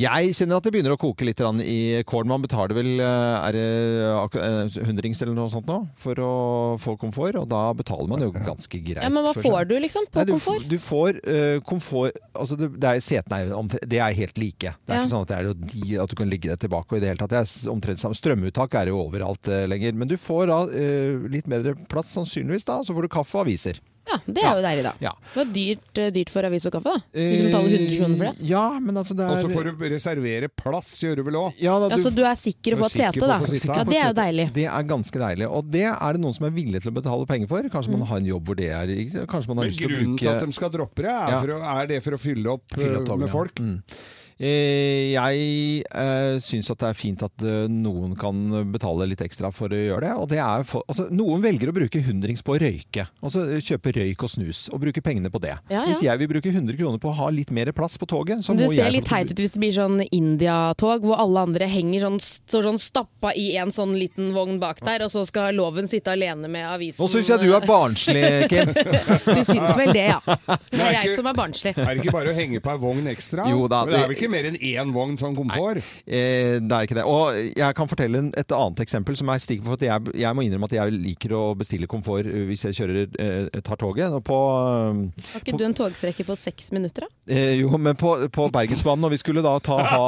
S1: Jeg kjenner at det begynner å koke litt grann i kålen. Man betaler vel eh, er det akkur- eh, hundrings eller noe sånt nå for å få komfort, og da betaler man jo ganske greit.
S2: Ja, men hva
S1: for
S2: får
S1: seg.
S2: du, liksom? På
S1: Nei, du, f-
S2: komfort?
S1: Du får eh, komfort altså det, det er, Setene er jo omtre- det er helt like. Det er
S2: Ja.
S1: ikke sånn at, det er jo de, at du kan ligge deg tilbake. Og i det hele tatt, det er s- omtrent samme. Strømuttak er jo overalt eh, lenger. Men du får da eh, litt bedre plass sannsynligvis, da. og Så får du kaffe og aviser.
S2: Ja, det er jo deilig, da.
S1: Ja.
S2: Det var dyrt, eh, dyrt for avis og kaffe, da. Hvis du betaler 100 kroner for det.
S1: Ja, men altså det er
S3: Og så får du reservere plass, gjør du vel òg?
S1: Ja, da,
S2: Ja, så Altså, du er sikker på
S1: Du er
S2: et sete,
S1: sikker på
S2: da?
S1: å få sitte.
S2: Ja, det er jo deilig.
S1: Det er ganske deilig. Og det er det noen som er villige til å betale penger for. Kanskje
S2: Mm.
S1: man har en jobb hvor det er ikke- Kanskje man har
S3: Men
S1: lyst til å
S3: grunnen
S1: bruke
S3: til at de skal droppe det, er,
S1: Ja.
S3: for å, er det for å fylle opp,
S1: Fylle opp
S3: eh,
S1: togene,
S3: med
S1: ja.
S3: folk?
S1: Mm. Eh, Jeg eh, syns at det er fint at eh, noen kan betale litt ekstra for å gjøre det. Og det er for, altså, noen velger å bruke hundrings på å røyke. Altså eh, kjøpe røyk og snus, og bruke pengene på det.
S2: Ja, ja.
S1: Hvis jeg vil bruke 100 kroner på å ha litt mer plass på toget, så
S2: Men
S1: må
S2: det
S1: jeg
S2: ser
S1: få
S2: litt
S1: lov
S2: teit
S1: til å
S2: ut hvis det blir sånn India-tog hvor alle andre henger sånn, står sånn stappa i en sånn liten vogn bak der, og så skal loven sitte alene med avisen.
S1: Nå syns jeg du er barnslig, Kim.
S2: (laughs) du syns vel det, ja. Det
S3: er
S2: er jeg
S3: ikke-
S2: som er barnslig.
S3: Er det ikke bare å henge på ei vogn ekstra?
S1: Jo da,
S3: Men det er vel
S1: det-
S3: ikke mer enn én vogn som komfort?
S1: Eh, det er ikke det. Og jeg kan fortelle en- et annet eksempel som er stikk for at jeg, jeg må innrømme at jeg liker å bestille komfort eh, hvis jeg kjører, eh, tar toget. Og på, eh,
S2: Har ikke du en togstrekke på seks minutter, da?
S1: eh, jo, men på, på Bergensbanen, og vi skulle da ta ha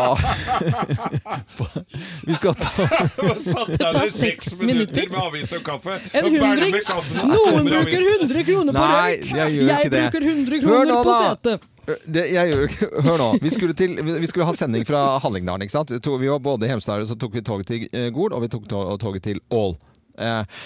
S1: (laughs) på, Vi skal ta
S3: Satt der i seks minutter med avis og kaffe.
S2: En
S3: og bælmer
S2: hundrings!
S3: kaffen og så
S2: Noen
S3: kommer avisen.
S2: bruker 100 kroner på
S1: Nei,
S2: røyk!
S1: jeg gjør ikke det.
S2: bruker 100
S1: Hør
S2: kroner
S1: nå,
S2: på
S1: da!
S2: setet!
S1: Det, jeg gjør jo ikke Hør nå. Vi skulle, til, vi skulle ha sending fra Hallingdalen, ikke sant? To- Vi var både i Hemsedal, og så tok vi toget til eh, Gol, og vi tok to- toget til Ål. Eh,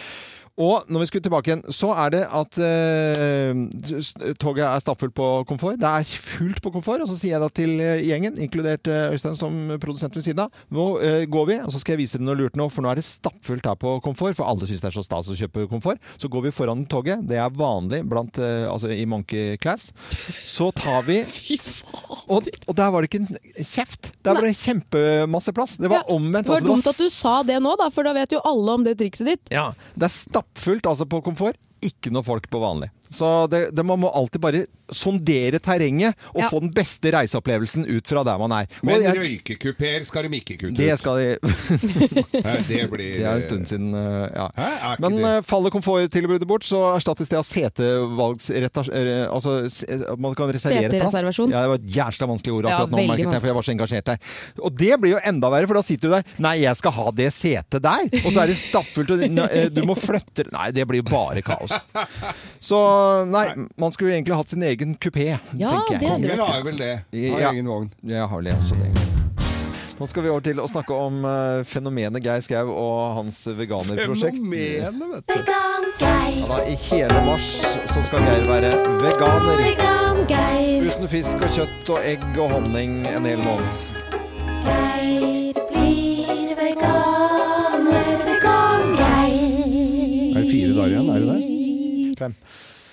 S1: og når vi skulle tilbake igjen, så er det at eh, s- toget er stappfullt på komfort. Det er fullt på komfort. Og så sier jeg da til eh, gjengen, inkludert eh, Øystein som produsent ved siden av, nå eh, går vi, og så skal jeg vise dere noe lurt nå, for nå er det stappfullt her på komfort. For alle syns det er så stas å kjøpe komfort. Så går vi foran toget. Det er vanlig blant, eh, altså i monkey class. Så tar vi og, og der var det ikke en kjeft. Der var det kjempemasse plass. Det var omvendt.
S2: Det var
S1: altså, det var
S2: dumt at du sa det nå, da, for da vet jo alle om det trikset ditt.
S1: ja, det er stappfullt altså på komfort. Ikke noe folk på vanlig. Så det, det, man må alltid bare sondere terrenget og
S2: Ja.
S1: få den beste reiseopplevelsen ut fra der man er. Og
S3: Men
S1: jeg,
S3: røykekupeer skal de ikke kutte ut.
S1: det skal de
S3: Nei, det blir
S1: Det er en stund siden. eh, Ja.
S3: Er ikke
S1: Men
S3: det.
S1: eh, faller komforttilbudet bort, så erstattes det av setevalgsretta- eh, Altså se- at man kan reservere plass.
S2: Setereservasjon.
S1: Ja, det var et jævla vanskelig ord
S2: Ja,
S1: akkurat nå,
S2: veldig
S1: merket jeg, for jeg var så engasjert der. Og det blir jo enda verre, for da sitter du der Nei, jeg skal ha det setet der! Og så er det stappfullt, og ne- eh, du må flytte Nei, det blir jo bare kaos. Så nei, man skulle jo egentlig hatt sin egen kupé,
S3: Ja,
S1: tenker jeg.
S3: det hadde vært Kongen har vel det. Har egen vogn.
S1: Jeg har vel også det. Nå skal vi over til å snakke om eh, fenomenet Geir Skau og hans veganerprosjekt.
S3: Fenomenet, vet
S1: du. Ja, da, I hele mars så skal Geir være veganer. Uten fisk og kjøtt og egg og honning en hel måned.
S9: Geir blir veganer, vegan-Geir.
S3: Er det fire dager igjen? Er det det?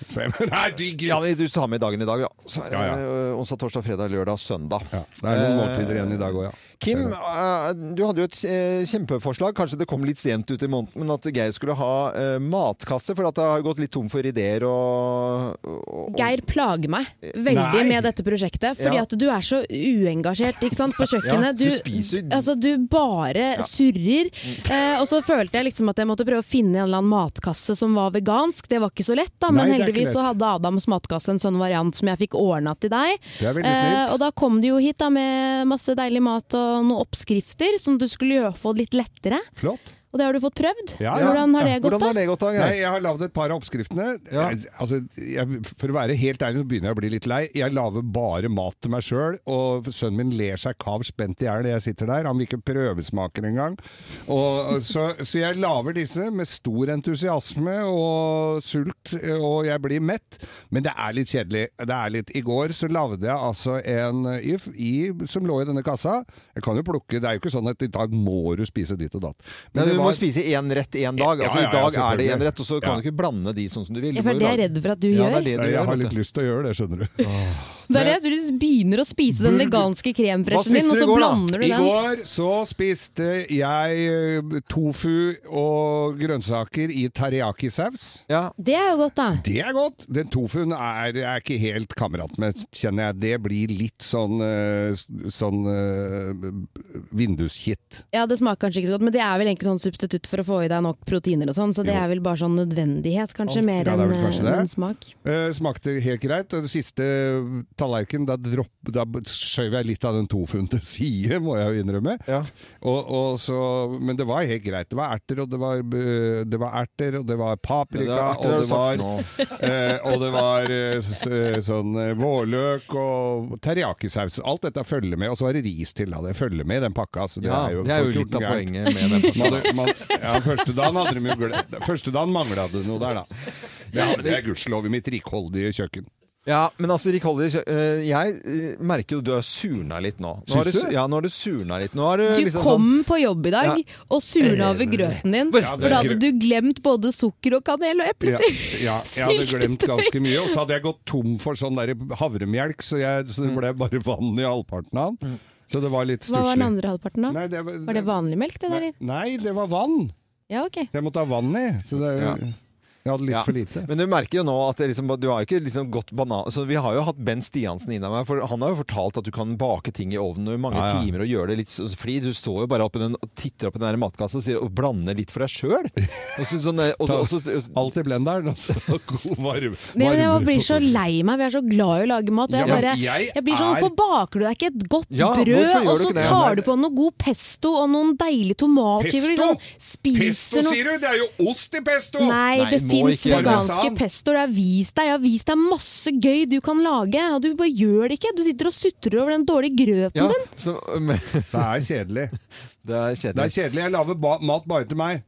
S1: Fem.
S3: (laughs) Nei, digg!
S1: Ja, men Du tar med dagen i dag, ja. Så er det eh, onsdag, torsdag, fredag, lørdag, søndag.
S3: Det er noen måltider igjen i dag òg, ja.
S1: Eh, Kim, eh, du hadde jo et eh, kjempeforslag. Kanskje det kom litt sent ut i måneden, men at Geir skulle ha eh, matkasse, for at det har gått litt tom for ideer og, og
S2: Geir plager meg veldig
S1: Nei.
S2: med dette prosjektet, fordi
S1: Ja.
S2: at du er så uengasjert ikke sant, på
S1: Ja,
S2: kjøkkenet.
S1: du spiser-
S2: altså, du bare surrer. Eh, og så følte jeg liksom at jeg måtte prøve å finne en eller annen matkasse som var vegansk. Det var ikke så lett, da, men
S14: Nei, det er ikke
S2: heldigvis så
S14: lett.
S2: hadde Adams matkasse en sånn variant som jeg fikk ordna til deg. Eh,
S14: Det er veldig snilt.
S2: og da kom du jo hit da med masse deilig mat og noen oppskrifter som du skulle gjøre for litt lettere.
S3: Flott.
S2: Og det har du fått prøvd.
S3: Ja, ja.
S2: Hvordan har det gått, da?
S3: Nei, jeg har lagd et par av oppskriftene. Jeg, altså, jeg, for å være helt ærlig så begynner jeg å bli litt lei. Jeg lager bare mat til meg sjøl, og sønnen min ler seg kav spent i hjel når jeg sitter der. Han vil ikke prøvesmake det engang. Og- Så, så jeg lager disse med stor entusiasme og sult, og jeg blir mett. Men det er litt kjedelig. Det er litt. I går så lagde jeg altså en if i, som lå i denne kassa. Jeg kan jo plukke, det er jo ikke sånn at i dag må du spise ditt og datt.
S1: Nei,
S3: det
S1: du må
S3: var-
S1: spise én rett én dag. Altså,
S3: Ja, ja,
S1: I dag
S3: ja,
S1: er det
S3: selvfølgelig.
S1: én rett, og så kan
S3: Ja.
S1: du ikke blande de sånn som du vil.
S2: Ja, for det er jeg redd for at du
S1: ja,
S2: gjør.
S1: Det er det
S3: Nei,
S1: du
S3: jeg
S1: gjør,
S3: har
S1: vet
S3: litt
S1: du.
S3: lyst til å gjøre det, skjønner du.
S2: Det er det, jeg tror du begynner å spise den
S3: Burger.
S2: veganske kremfreshen din, og så blander du
S3: I
S2: den.
S3: går så spiste jeg eh, tofu og grønnsaker i teriyaki-saus.
S2: Det er jo godt, da.
S3: Det er godt. Den tofuen er jeg er ikke helt kamerat med, kjenner jeg. Det blir litt sånn, eh, s- sånn eh, vinduskitt.
S2: Ja, Det smaker kanskje ikke så godt, men det er vel egentlig sånn substitutt for å få i deg nok proteiner og sånn, så det er vel bare sånn nødvendighet, kanskje,
S3: Ja,
S2: mer
S3: det er
S2: enn
S3: vel kanskje det.
S2: enn smak.
S3: Eh, smakte helt greit. Og det siste tallerken, da, dropp, da skjøv jeg litt av den tofunden til (laughs) side, må jeg jo innrømme. Og, og så, men det var helt greit. Det var erter, og det var, eh, det var erter, og det var paprika,
S1: Ja, det er erter,
S3: og
S1: det
S3: det
S1: har du
S3: var,
S1: sagt
S3: (laughs) eh, og det var eh, s- eh, sånn eh, vårløk og teriyaki-saus. Alt dette følger med, og så var det ris til. Da. Det følger med i den pakka. Så det,
S1: Ja,
S3: er jo,
S1: det er jo
S3: folk gjort
S1: litt av
S3: gærent.
S1: poenget med
S3: (laughs)
S1: den pakka.
S3: Man hadde- man, ja, første dagen hadde de jo glemt Første dagen mangla det noe der, da. Det hadde jeg gudskjelov i mitt rikholdige kjøkken.
S1: Ja, men altså, Rick Holly, eh, jeg eh, merker jo du har surna litt nå. nå
S3: Syns
S1: har
S3: du?
S1: Ja, nå har du surna litt. Nå har du,
S13: Du
S1: liksom
S13: kom
S1: sånn
S13: på jobb i dag
S1: Ja.
S13: og surna over grøten din,
S1: Ja,
S13: for da hadde
S3: Eh, det-
S13: du glemt både sukker og kanel og
S3: Ja,
S13: eplesyltetøy.
S3: ja,
S13: (laughs)
S3: jeg hadde glemt ganske mye, og så hadde jeg gått tom for sånn der havremelk, så, jeg, så det ble bare vann i halvparten av den. Så det var litt
S13: Hva var den
S3: stusslig.
S13: andre halvparten, da?
S3: var,
S13: det vanlig melk, det der?
S3: Nei, det var vann.
S13: Ja, ok.
S3: Jeg måtte ha vann i. Så det,
S1: Ja.
S3: Jeg hadde litt
S1: Ja.
S3: for lite.
S1: Men du merker jo nå at det liksom, du har jo ikke liksom gått banan... Så vi har jo hatt Ben Stiansen innom her, for han har jo fortalt at du kan bake ting i ovnen i mange
S3: Ja, ja.
S1: timer og gjøre det litt så- fordi du står jo bare opp i den, og titter opp i den der matkassa og, sier, og blander litt for deg sjøl. Sånn, eh, (laughs) og- og så-
S3: Alt i blenderen, og så (laughs) god varm.
S13: Nei, men jeg
S3: varmere
S13: blir
S3: på-
S13: så lei meg, vi er så glad i å lage mat. Og jeg
S3: Ja,
S13: bare,
S3: jeg
S13: jeg blir sånn,
S3: er-
S13: Hvorfor baker du deg ikke et godt
S3: Ja,
S13: brød,
S3: hvorfor
S13: og
S3: gjør du
S13: så
S3: ikke det?
S13: tar du på noe god pesto og noen deilige tomatskiver?
S3: Pesto?
S13: Liksom, spiser
S3: Pesto,
S13: noe-
S3: sier du? Det er jo ost i pesto!
S13: Nei, det fins veganske
S3: Parmesan.
S13: pestoer. Jeg har vist deg jeg har vist deg masse gøy du kan lage, og du bare gjør det ikke. Du sitter og sutrer over den dårlige grøten
S1: Ja,
S13: din.
S1: så, men, (laughs)
S3: Det er kjedelig.
S1: Det er kjedelig.
S3: Det er kjedelig. Jeg lager ba mat bare til meg.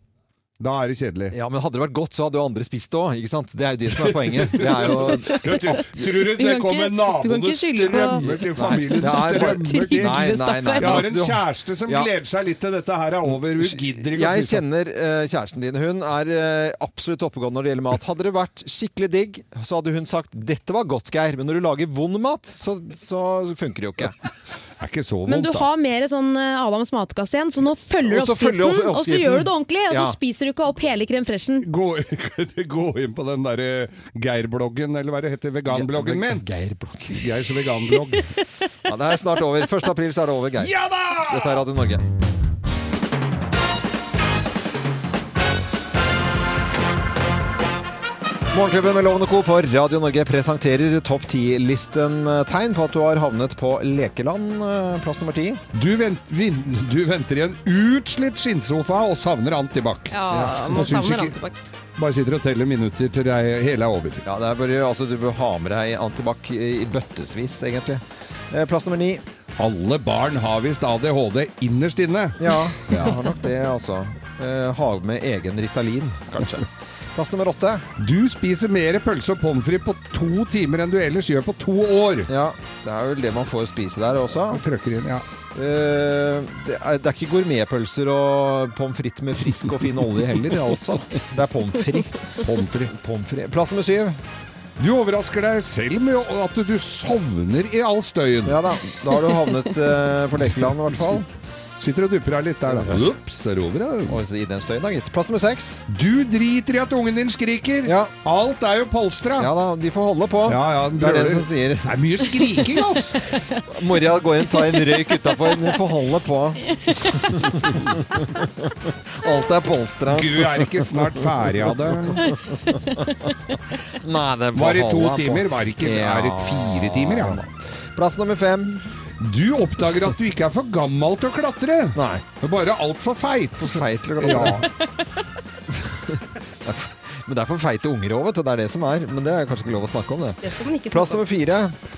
S3: Da er det kjedelig.
S1: Ja, men hadde det vært godt, så hadde jo andre spist det òg, ikke sant? Det er jo det som er poenget. Det er jo
S3: (laughs) Du, tror- tror du
S1: Du
S3: det
S1: kan
S3: kommer
S1: ikke- du kan
S3: naboene
S1: ikke skylde på-
S3: strømmer til familien?
S1: Nei, det er bare-
S3: strømmer til?
S1: Nei, nei, nei.
S3: Jeg har en
S1: Altså, du-
S3: kjæreste som
S1: Ja.
S3: gleder seg litt til dette her er over. Hun gidder
S1: Jeg
S3: ikke å spise.
S1: kjenner eh, kjæresten din. Hun er eh, absolutt oppegående når det gjelder mat. Hadde det vært skikkelig digg, så hadde hun sagt 'dette var godt, Geir', men når du lager vond mat, så, så funker det jo ikke.
S3: Det er ikke så
S13: Men du har mer sånn eh, Adams matkasse igjen, så nå følger du
S1: Og så følger
S13: oppskriften, og
S1: du opp-
S13: så
S1: oppskriften.
S13: gjør du det ordentlig, og så
S3: Ja.
S13: spiser du ikke opp hele krem freshen.
S3: Gå, gå (laughs) inn på den derre Geir-bloggen, eller hva det heter, veganbloggen min.
S1: Geir-bloggen.
S3: Geirs veganblogg.
S1: Ja, det er snart over. 1. april så er det over, Geir.
S3: Ja da!
S1: Dette er Radio Norge. Morgenklubben med Lovende Co. på Radio Norge presenterer topp 10-listen. Tegn på at du har havnet på lekeland, eh, plass nummer 10.
S3: Du, vent, vin, du venter i en utslitt skinnsofa og savner antibac.
S1: Ja,
S3: Og
S1: man
S3: syns
S1: savner
S3: ikke-
S1: antibac.
S3: Bare sitter og teller minutter til det hele er over.
S1: Ja, det er bare, altså, du bør ha med deg antibac i bøttesvis, egentlig. Eh, Plass nummer 9.
S3: Alle barn har visst ADHD innerst inne.
S1: (laughs) Ja, jeg har nok det, altså. Eh, Ha med egen Ritalin, kanskje. Plass nummer åtte.
S3: Du spiser mer pølse og pommes frites på to timer enn du ellers gjør på to år.
S1: Ja, det er vel det man får spise der også.
S3: Krøkker inn, ja.
S1: Eh, det, er, det er ikke gourmetpølser og pommes frites med frisk og fin olje heller, altså. Det er pommes frites.
S3: Pommes frites.
S1: Pommes frites. Plass nummer syv.
S3: Du overrasker deg selv med å- at du sovner i all støyen.
S1: Ja da, da har du havnet eh, på lekeland i hvert fall.
S3: Sitter og dupper deg litt der, da. Ups, er det over, ja.
S1: Og så I den støyen, da, gitt. Plass nummer seks.
S3: Du driter i at ungen din skriker. Alt er jo polstra.
S1: Ja da, de får holde på.
S3: Ja, ja,
S1: det er det
S3: brøler.
S1: som sier.
S3: Det er mye skriking, ass!
S1: Mora går inn, tar en røyk utafor. De får holde
S3: (laughs)
S1: på. Alt er polstra.
S3: Du er ikke snart ferdig av det.
S1: Nei, det får
S3: Var det to
S1: holde på.
S3: timer? Var det ikke Er det fire timer, ja?
S1: Plass nummer fem.
S3: Du oppdager at du ikke er for gammel til å klatre.
S1: Nei.
S3: Men bare altfor feit.
S1: For feit til å klatre.
S3: Ja.
S1: Men det er for feite unger òg, vet du. Det er det som er. Men det er kanskje ikke lov å snakke om, det.
S3: skal man ikke
S1: Plass
S3: snakke om.
S1: nummer fire.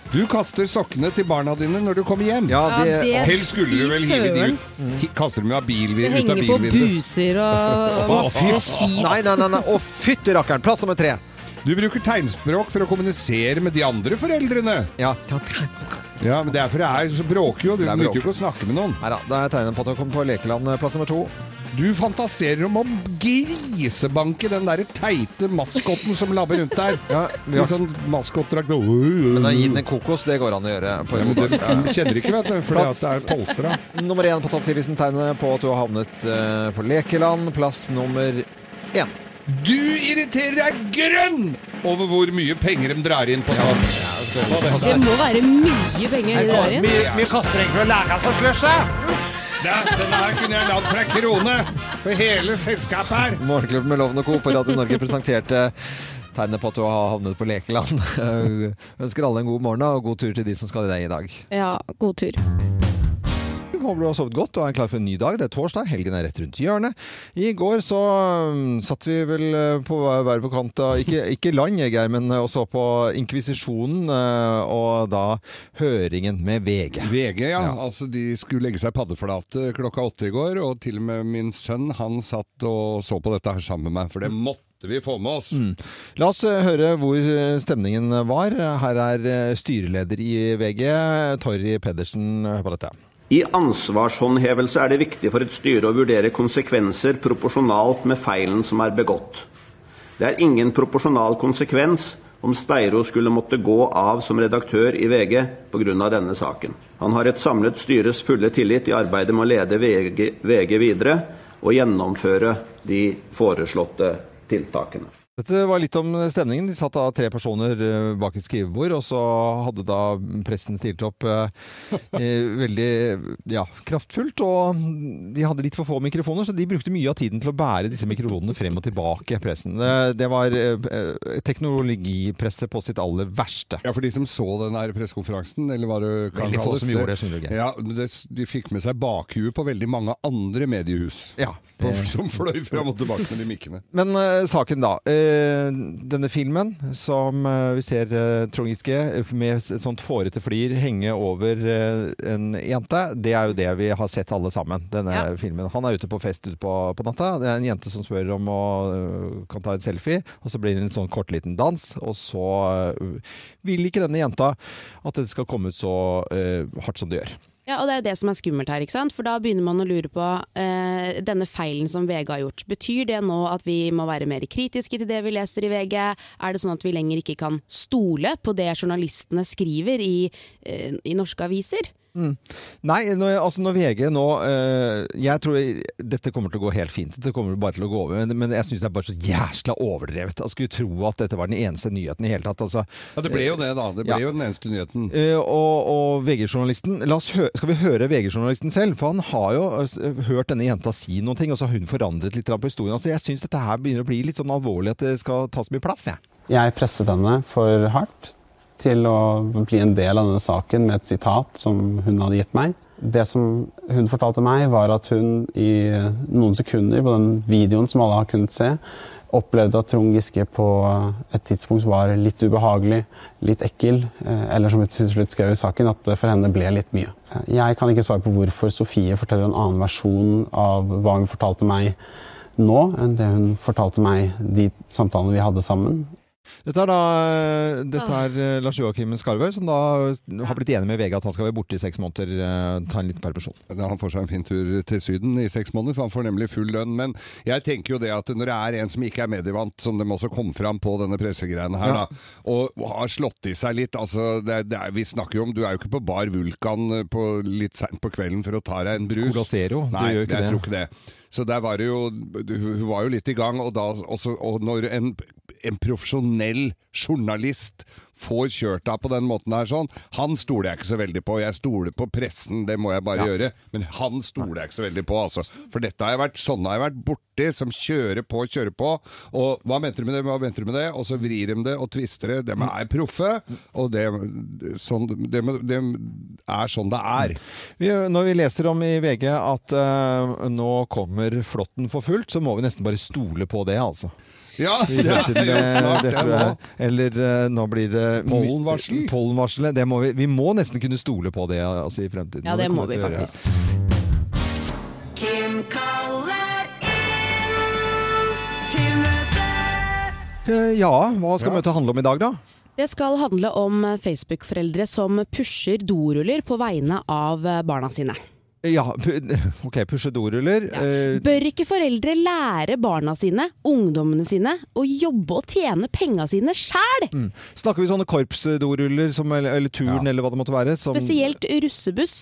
S3: Du kaster sokkene til barna dine når du kommer hjem.
S1: Ja, det- Ja, det-
S3: Helst skulle du vel hive de ut. Hi- Kaster dem av bil, ut
S13: Det
S3: av
S13: henger på
S3: bilvinduet.
S13: buser og masse skit.
S1: Nei, nei, nei. nei. Å, fytti rakkeren! Plass nummer tre.
S3: Du bruker tegnspråk for å kommunisere med de andre foreldrene.
S1: Ja,
S3: ja men det er for det er så bråker jo. Du
S1: Det er
S3: nytter
S1: bråk.
S3: jo ikke å snakke med noen.
S1: Nei da, da er tegnet på at du kommer på lekeland. Plass nummer to.
S3: Du fantaserer om å grisebanke den der teite maskotten som labber rundt der.
S1: Ja,
S3: Litt sånn maskottdrakt. Men
S1: da gi den en kokos, det går an å gjøre. På
S3: Ja,
S1: en
S3: men
S1: god
S3: det
S1: dag. Ja.
S3: kjenner ikke, vet du, fordi
S1: Plass-
S3: at det er polstra.
S1: Nummer én på topp 10-listen tegner på at du har havnet eh, på lekeland. Plass nummer én.
S3: Du irriterer deg grønn over hvor mye penger de drar inn på sånt.
S13: Det må være mye penger i det der igjen.
S1: kaster egentlig å lære seg sløsje!
S3: Den her kunne jeg lagd for ei krone for hele selskapet her.
S1: Morgenklubben med Loven og Co. på Radio Norge presenterte tegnet på at du har havnet på lekeland. (laughs) Ønsker alle en god morgen og god tur til de som skal i deg i dag.
S2: Ja, god tur.
S1: Håper du har sovet godt og er klar for en ny dag. Det er torsdag, helgen er rett rundt hjørnet. I går så mm, satt vi vel eh, på hver hver vår kant av ikke, ikke land, jeg, Geir, men eh, og så på Inkvisisjonen eh, og da høringen med VG.
S3: VG, ja. Altså, de skulle legge seg paddeflate klokka åtte i går, og til og med min sønn han satt og så på dette her sammen med meg, for det måtte vi få med oss.
S1: La oss eh, høre hvor eh, stemningen var. Her er eh, styreleder i VG, Torry Pedersen. Hør på dette.
S15: I ansvarshåndhevelse er det viktig for et styre å vurdere konsekvenser proporsjonalt med feilen som er begått. Det er ingen proporsjonal konsekvens om Steiro skulle måtte gå av som redaktør i VG pga. denne saken. Han har et samlet styres fulle tillit i arbeidet med å lede VG, VG videre og gjennomføre de foreslåtte tiltakene.
S1: Dette var litt om stemningen. De satt da tre personer eh, bak et skrivebord, og så hadde da pressen stilt opp eh,
S3: (laughs)
S1: eh, veldig ja, kraftfullt. Og de hadde litt for få mikrofoner, så de brukte mye av tiden til å bære disse mikrofonene frem og tilbake. pressen. Eh, Det var eh, eh, teknologipresset på sitt aller verste.
S3: Ja, for de som så den her pressekonferansen, eller var det
S1: Veldig få
S3: Carl
S1: som gjorde det, skjønner du, Geir.
S3: Ja, det, de fikk med seg bakhuet på veldig mange andre mediehus.
S1: Ja.
S3: På, som fløy fram og tilbake med de mikkene.
S1: Men eh, saken, da. Eh, denne filmen som eh, vi ser eh, Trond Giske eh, med et sånt fårete flir henge over eh, en jente, det er jo det vi har sett alle sammen. Denne
S16: Ja.
S1: filmen. Han er ute på fest ute på, på natta. Det er en jente som spør om å eh, kan ta en selfie, og så blir det en sånn kort liten dans, og så eh, vil ikke denne jenta at det skal komme ut så eh, hardt som det gjør.
S2: Ja, og Det er jo det som er skummelt her. ikke sant? For Da begynner man å lure på eh, denne feilen som VG har gjort. Betyr det nå at vi må være mer kritiske til det vi leser i VG? Er det sånn at vi lenger ikke kan stole på det journalistene skriver i, eh, i norske aviser?
S1: Mm. Nei, når, altså når VG nå eh, Jeg tror dette kommer til å gå helt fint. Dette kommer bare til å gå over. Men, men jeg syns det er bare så jæsla overdrevet. Jeg skulle tro at dette var den eneste nyheten i hele tatt. Altså,
S3: Ja, det ble jo det, da. Det
S1: Ja.
S3: ble jo den eneste nyheten.
S1: Eh, og og VG-journalisten La oss hø Skal vi høre VG-journalisten selv? For han har jo eh, s- hørt denne jenta si noen ting, og så har hun forandret litt på historien. Altså, jeg syns dette her begynner å bli litt sånn alvorlig at det skal ta så mye plass. Jeg.
S12: Jeg presset henne for hardt til å bli en del av denne saken med et sitat som hun hadde gitt meg. Det som hun fortalte meg, var at hun i noen sekunder på den videoen som alle har kunnet se, opplevde at Trond Giske på et tidspunkt var litt ubehagelig, litt ekkel, eh, eller som hun til slutt skrev i saken, at det for henne ble litt mye. Jeg kan ikke svare på hvorfor Sofie forteller en annen versjon av hva hun fortalte meg nå, enn det hun fortalte meg de samtalene vi hadde sammen.
S1: Dette er da eh, dette er eh, Lars Joakim Skarvøy, som da har blitt enig med VG at han skal være borte i seks måneder. eh, ta en liten permisjon.
S3: Ja, Han får seg en fin tur til Syden i seks måneder, for han får nemlig full lønn. Men jeg tenker jo det at når det er en som ikke er medievant, som de også kom fram på denne pressegreiene her,
S1: Ja.
S3: da, og har slått i seg litt altså, det, er- det er, Vi snakker jo om Du er jo ikke på Bar Vulkan eh, på, litt seint på kvelden for å ta deg en brus.
S1: Cola Zero, du
S3: Nei,
S1: gjør ikke
S3: jeg
S1: det.
S3: tror ikke det. Så der var det jo Hun var jo litt i gang, og, da, også, og når en, en profesjonell journalist får kjørt deg på den måten her sånn, han stoler jeg ikke så veldig på. Jeg stoler på pressen, det må jeg bare
S1: Ja.
S3: gjøre, men han stoler jeg ikke så veldig på, altså. For dette har jeg vært, sånne har jeg vært borti, som kjører på, kjører på, og hva mente du med det, hva mente du med det, og så vrir de det og twister det. De er proffe, og det, sånn, det, det er sånn det er.
S1: Vi, når vi leser om i VG at eh, nå kommer flåtten for fullt, så må vi nesten bare stole på det, altså.
S3: Ja,
S1: I fremtiden,
S3: det er jo snart
S1: det
S3: det
S1: tror
S3: nå.
S1: jeg. Eller eh, nå blir det Pollenvarsel? Pollenvarselet. Det må vi, vi må nesten kunne stole på det altså, i fremtiden.
S7: Ja, det må
S1: kommer
S7: vi
S1: til å gjøre.
S7: faktisk. Kim kaller inn til møte.
S1: Eh, Ja, hva skal møtet handle om i dag, da?
S2: Det skal handle om Facebook-foreldre som pusher doruller på vegne av barna sine.
S1: Ja, pu (laughs) ok, pushe doruller. eh,
S2: Bør ikke foreldre lære barna sine, ungdommene sine, å jobbe og tjene penga sine sjæl?
S1: mm. Snakker vi sånne korpsdoruller, som, eller, eller turn, eller hva det måtte være? Som,
S2: Spesielt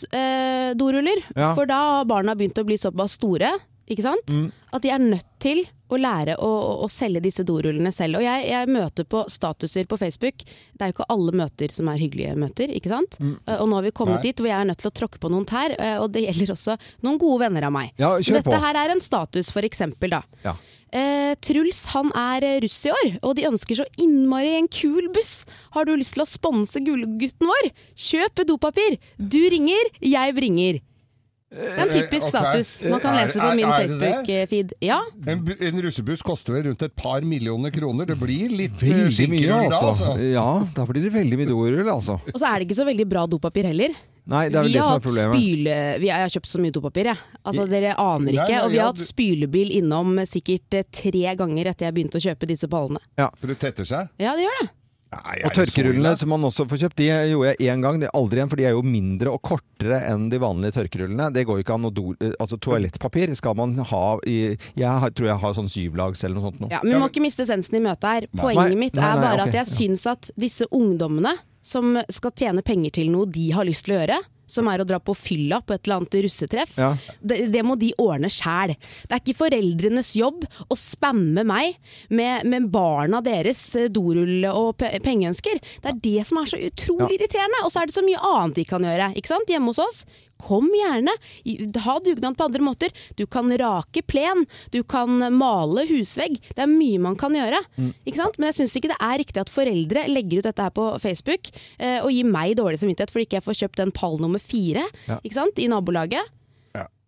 S2: russebuss-doruller.
S1: Ja.
S2: For da har barna begynt å bli såpass store ikke sant?
S1: Mm.
S2: at de er nødt til å lære å, å, å selge disse dorullene selv. Og jeg, jeg møter på statuser på Facebook. Det er jo ikke alle møter som er hyggelige møter, ikke sant?
S1: Mm.
S2: Eh, Og nå har vi kommet
S1: Nei.
S2: dit hvor jeg er nødt til å tråkke på noen tær, eh, og det gjelder også noen gode venner av meg.
S1: Ja, kjør
S2: Dette
S1: på.
S2: her er en status, for eksempel, da.
S1: Ja.
S2: Eh, Truls han er eh, russ i år, og de ønsker så innmari en kul buss. Har du lyst til å sponse Gullgutten vår? Kjøp dopapir! Du ringer, jeg bringer. Det er en typisk
S3: Eh, Ok.
S2: status. Man kan
S3: Er-
S2: lese det på min
S3: er- er det det?
S2: Facebook-feed. Ja.
S3: En, bu- en russebuss koster vel rundt et par millioner kroner. Det blir litt eh,
S1: Veldig
S3: skinkerull
S1: mye,
S3: da,
S1: altså. Ja, da blir det veldig mye dorull, altså.
S2: Og så er det ikke så veldig bra dopapir heller.
S1: Nei, det er vel
S2: vi
S1: det som
S2: har
S1: er
S2: hatt
S1: problemet.
S2: spyle... Vi har, jeg har kjøpt så mye dopapir, jeg. Altså, dere aner
S1: Nei,
S2: ikke.
S1: nei,
S2: og vi
S1: ja,
S2: har hatt
S1: du-
S2: spylebil innom sikkert eh, tre ganger etter jeg begynte å kjøpe disse pallene.
S3: For det tetter seg?
S2: Ja, det gjør det.
S1: Og tørkerullene
S3: altså.
S1: som man også får kjøpt, de gjorde jeg én gang, det er aldri igjen, for de er jo mindre og kortere enn de vanlige tørkerullene. Det går jo ikke an å do... Altså toalettpapir skal man ha i Jeg har, tror jeg har sånn syvlags eller noe sånt nå.
S2: Ja, men Vi må ikke miste essensen i møtet her.
S1: Nei.
S2: Poenget
S1: Nei,
S2: mitt
S1: nei,
S2: er
S1: nei, ok,
S2: bare at jeg syns at disse ungdommene som skal tjene penger til noe de har lyst til å gjøre, som er å dra på fylla på et eller annet russetreff,
S1: Ja.
S2: det, det må de ordne sjæl. Det er ikke foreldrenes jobb å spamme meg med, med barna deres eh, dorull og pe pengeønsker. Det er det som er så utrolig
S13: Ja.
S2: irriterende. Og så er det så mye annet de kan gjøre ikke sant? hjemme hos oss. Kom gjerne. I- Ha dugnad på andre måter. Du kan rake plen, du kan male husvegg. Det er mye man kan gjøre.
S13: Mm.
S2: Ikke sant? Men jeg syns ikke det er riktig at foreldre legger ut dette her på Facebook eh, og gir meg dårlig samvittighet fordi ikke jeg får kjøpt den pall nummer fire
S1: Ja.
S2: ikke sant? i nabolaget.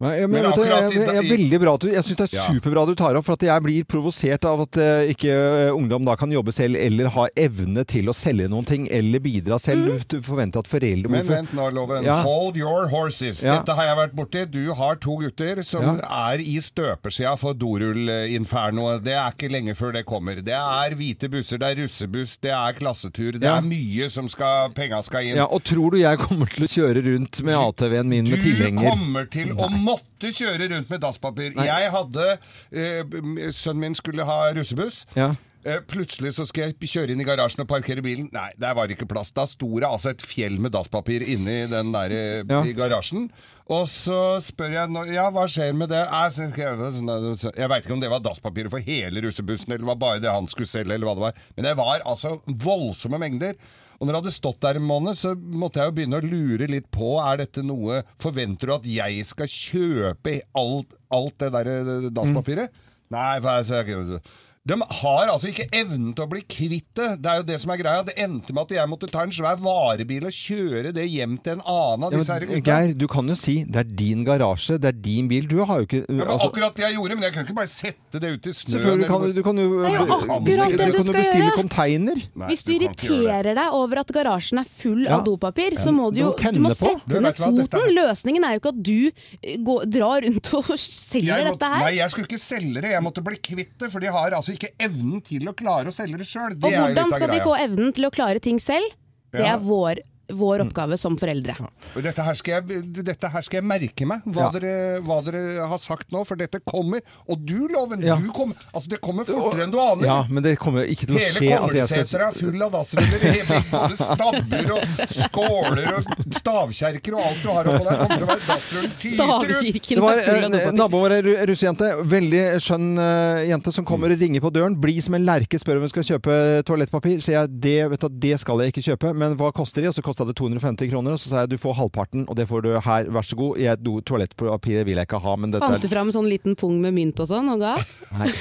S1: Nei, jeg, men,
S2: Men
S1: vet du, jeg,
S2: akkurat i-
S1: jeg, er veldig bra at du, jeg syns det er
S3: Ja.
S1: superbra du tar opp, for at jeg blir provosert av at eh, ikke eh, ungdom da kan jobbe selv, eller ha evne til å selge noen ting, eller bidra selv. Du forventer at foreldre
S3: Men
S1: hvorfor-
S3: vent nå, Loven.
S1: Ja.
S3: Hold your horses.
S1: Ja.
S3: Dette har jeg vært borti. Du har to gutter som er i støpeskjea for dorullinfernoet. Det er ikke lenge før det kommer. Det er hvite busser, det er russebuss, det er klassetur. Det
S1: Ja.
S3: er mye som skal, penga skal inn.
S1: Ja, og tror du jeg kommer til å kjøre rundt med ATV-en min med tilhenger?
S3: Du kommer til å måtte kjøre rundt med dasspapir.
S1: Nei.
S3: Jeg hadde eh, m- Sønnen min skulle ha russebuss.
S1: Ja.
S3: Eh, Plutselig så skal jeg kjøre inn i garasjen og parkere bilen. Nei, der var det ikke plass. Da sto det altså et fjell med dasspapir inni den der eh,
S1: Ja.
S3: i garasjen. Og så spør jeg nå- Ja, hva skjer med det? Jeg, så- jeg veit ikke om det var dasspapiret for hele russebussen, eller det var bare det han skulle selge, eller hva det var. Men det var altså voldsomme mengder. Og når jeg hadde stått der en måned, så måtte jeg jo begynne å lure litt på Er dette noe Forventer du at jeg skal kjøpe alt, alt det der eh, dasspapiret? Nei, for jeg så jeg- de har altså ikke evnen til å bli kvitt det. Det er jo det som er greia. Det endte med at jeg måtte ta en svær varebil og kjøre det hjem til en annen av
S1: Ja,
S3: disse her
S1: men,
S3: gutta.
S1: Geir, du kan jo si det er din garasje, det er din bil. Du har jo ikke
S3: Det var
S1: altså,
S3: akkurat det jeg gjorde, men jeg kan ikke bare sette det ut i snøen.
S1: Selvfølgelig kan du, du kan jo
S2: Det er jo akkurat det
S1: du
S2: du
S1: kan jo
S2: skal
S1: bestille
S2: gjøre.
S1: container.
S2: Hvis du irriterer deg over at garasjen er full
S1: Ja.
S2: av dopapir,
S1: Ja,
S2: så må
S1: du
S2: du jo
S1: må tenne
S2: du må
S1: på.
S2: sette
S1: Du, vet
S2: ned
S1: du hva, dette
S2: foten. Løsningen er jo ikke at du eh, går, drar rundt og (laughs) selger
S3: Jeg måtte,
S2: dette her.
S3: nei, jeg skulle ikke selge det, jeg måtte bli kvitt det, for de har altså ikke evnen til å klare å selge det sjøl.
S2: Og hvordan skal de få evnen til å klare ting selv? Det
S3: Ja.
S2: er vår, vår oppgave som foreldre. (laughs)
S3: Og Dette her, skal jeg, dette her skal jeg merke meg, hva, dere, hva dere har sagt nå, for dette kommer. Og du, Loven, du kommer, altså det kommer fortere enn du aner.
S1: Ja, men det kommer jo ikke til å
S3: Hele
S1: skje at jeg
S3: Kongleseter
S1: skal
S3: er full av dassruller. i hele- Både stabber og skåler og stavkjerker og alt du har oppå der. Kommer til å være dassrull tyter ut.
S1: Det var eh, en en- naboen vår, en ru- russejente, veldig skjønn eh, jente, som kommer
S3: Mm.
S1: og ringer på døren. Blid som en lerke, spør om hun skal kjøpe toalettpapir. Sier jeg det, vet du, det skal jeg ikke kjøpe, men hva koster de? Og så kosta det 250 kroner, og så sa jeg du får halvparten, og det får du her, vær så god. Jeg, do, toalettpapiret vil jeg ikke ha, men dette
S2: Fant du
S1: er
S2: fram sånn liten pung med mynt og sånn og
S1: (laughs)
S2: ga?
S1: Nei,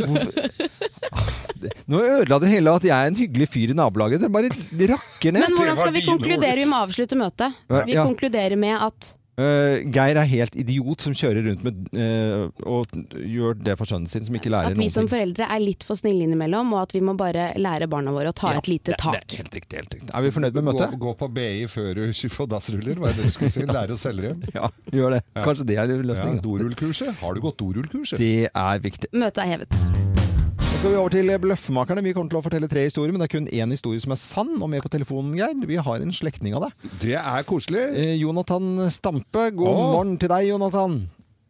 S1: hvorfor Nå ødela dere hele at jeg er en hyggelig fyr i nabolaget. Dere bare rakker ned.
S2: Men hvordan skal vi konkludere? Vi må avslutte møtet.
S1: Ja,
S2: Vi
S1: ja.
S2: konkluderer med at
S1: Eh, Geir er helt idiot som kjører rundt med eh, og gjør det for sønnen sin, som ikke lærer
S2: at vi
S1: noen
S2: som
S1: ting.
S2: foreldre er litt for snille innimellom, og at vi må bare lære barna våre å ta et lite tak.
S1: Helt riktig, helt riktig. Er vi fornøyd med møtet?
S3: Gå, gå på BI før du får dassruller, hva er det du skal si? Lære å selge dem?
S1: Ja, gjør det. Kanskje det er løsningen, da.
S3: Dorullkurset. Har du gått dorullkurset?
S1: Det er viktig.
S2: Møtet er hevet.
S1: Nå skal vi over til Bløffmakerne. Vi kommer til å fortelle tre historier, men det er kun én historie som er sann. Og med på telefonen, Geir, vi har en slektning av deg.
S3: Det er koselig.
S1: Eh, Jonathan Stampe, god
S17: Åh.
S1: morgen til deg, Jonathan.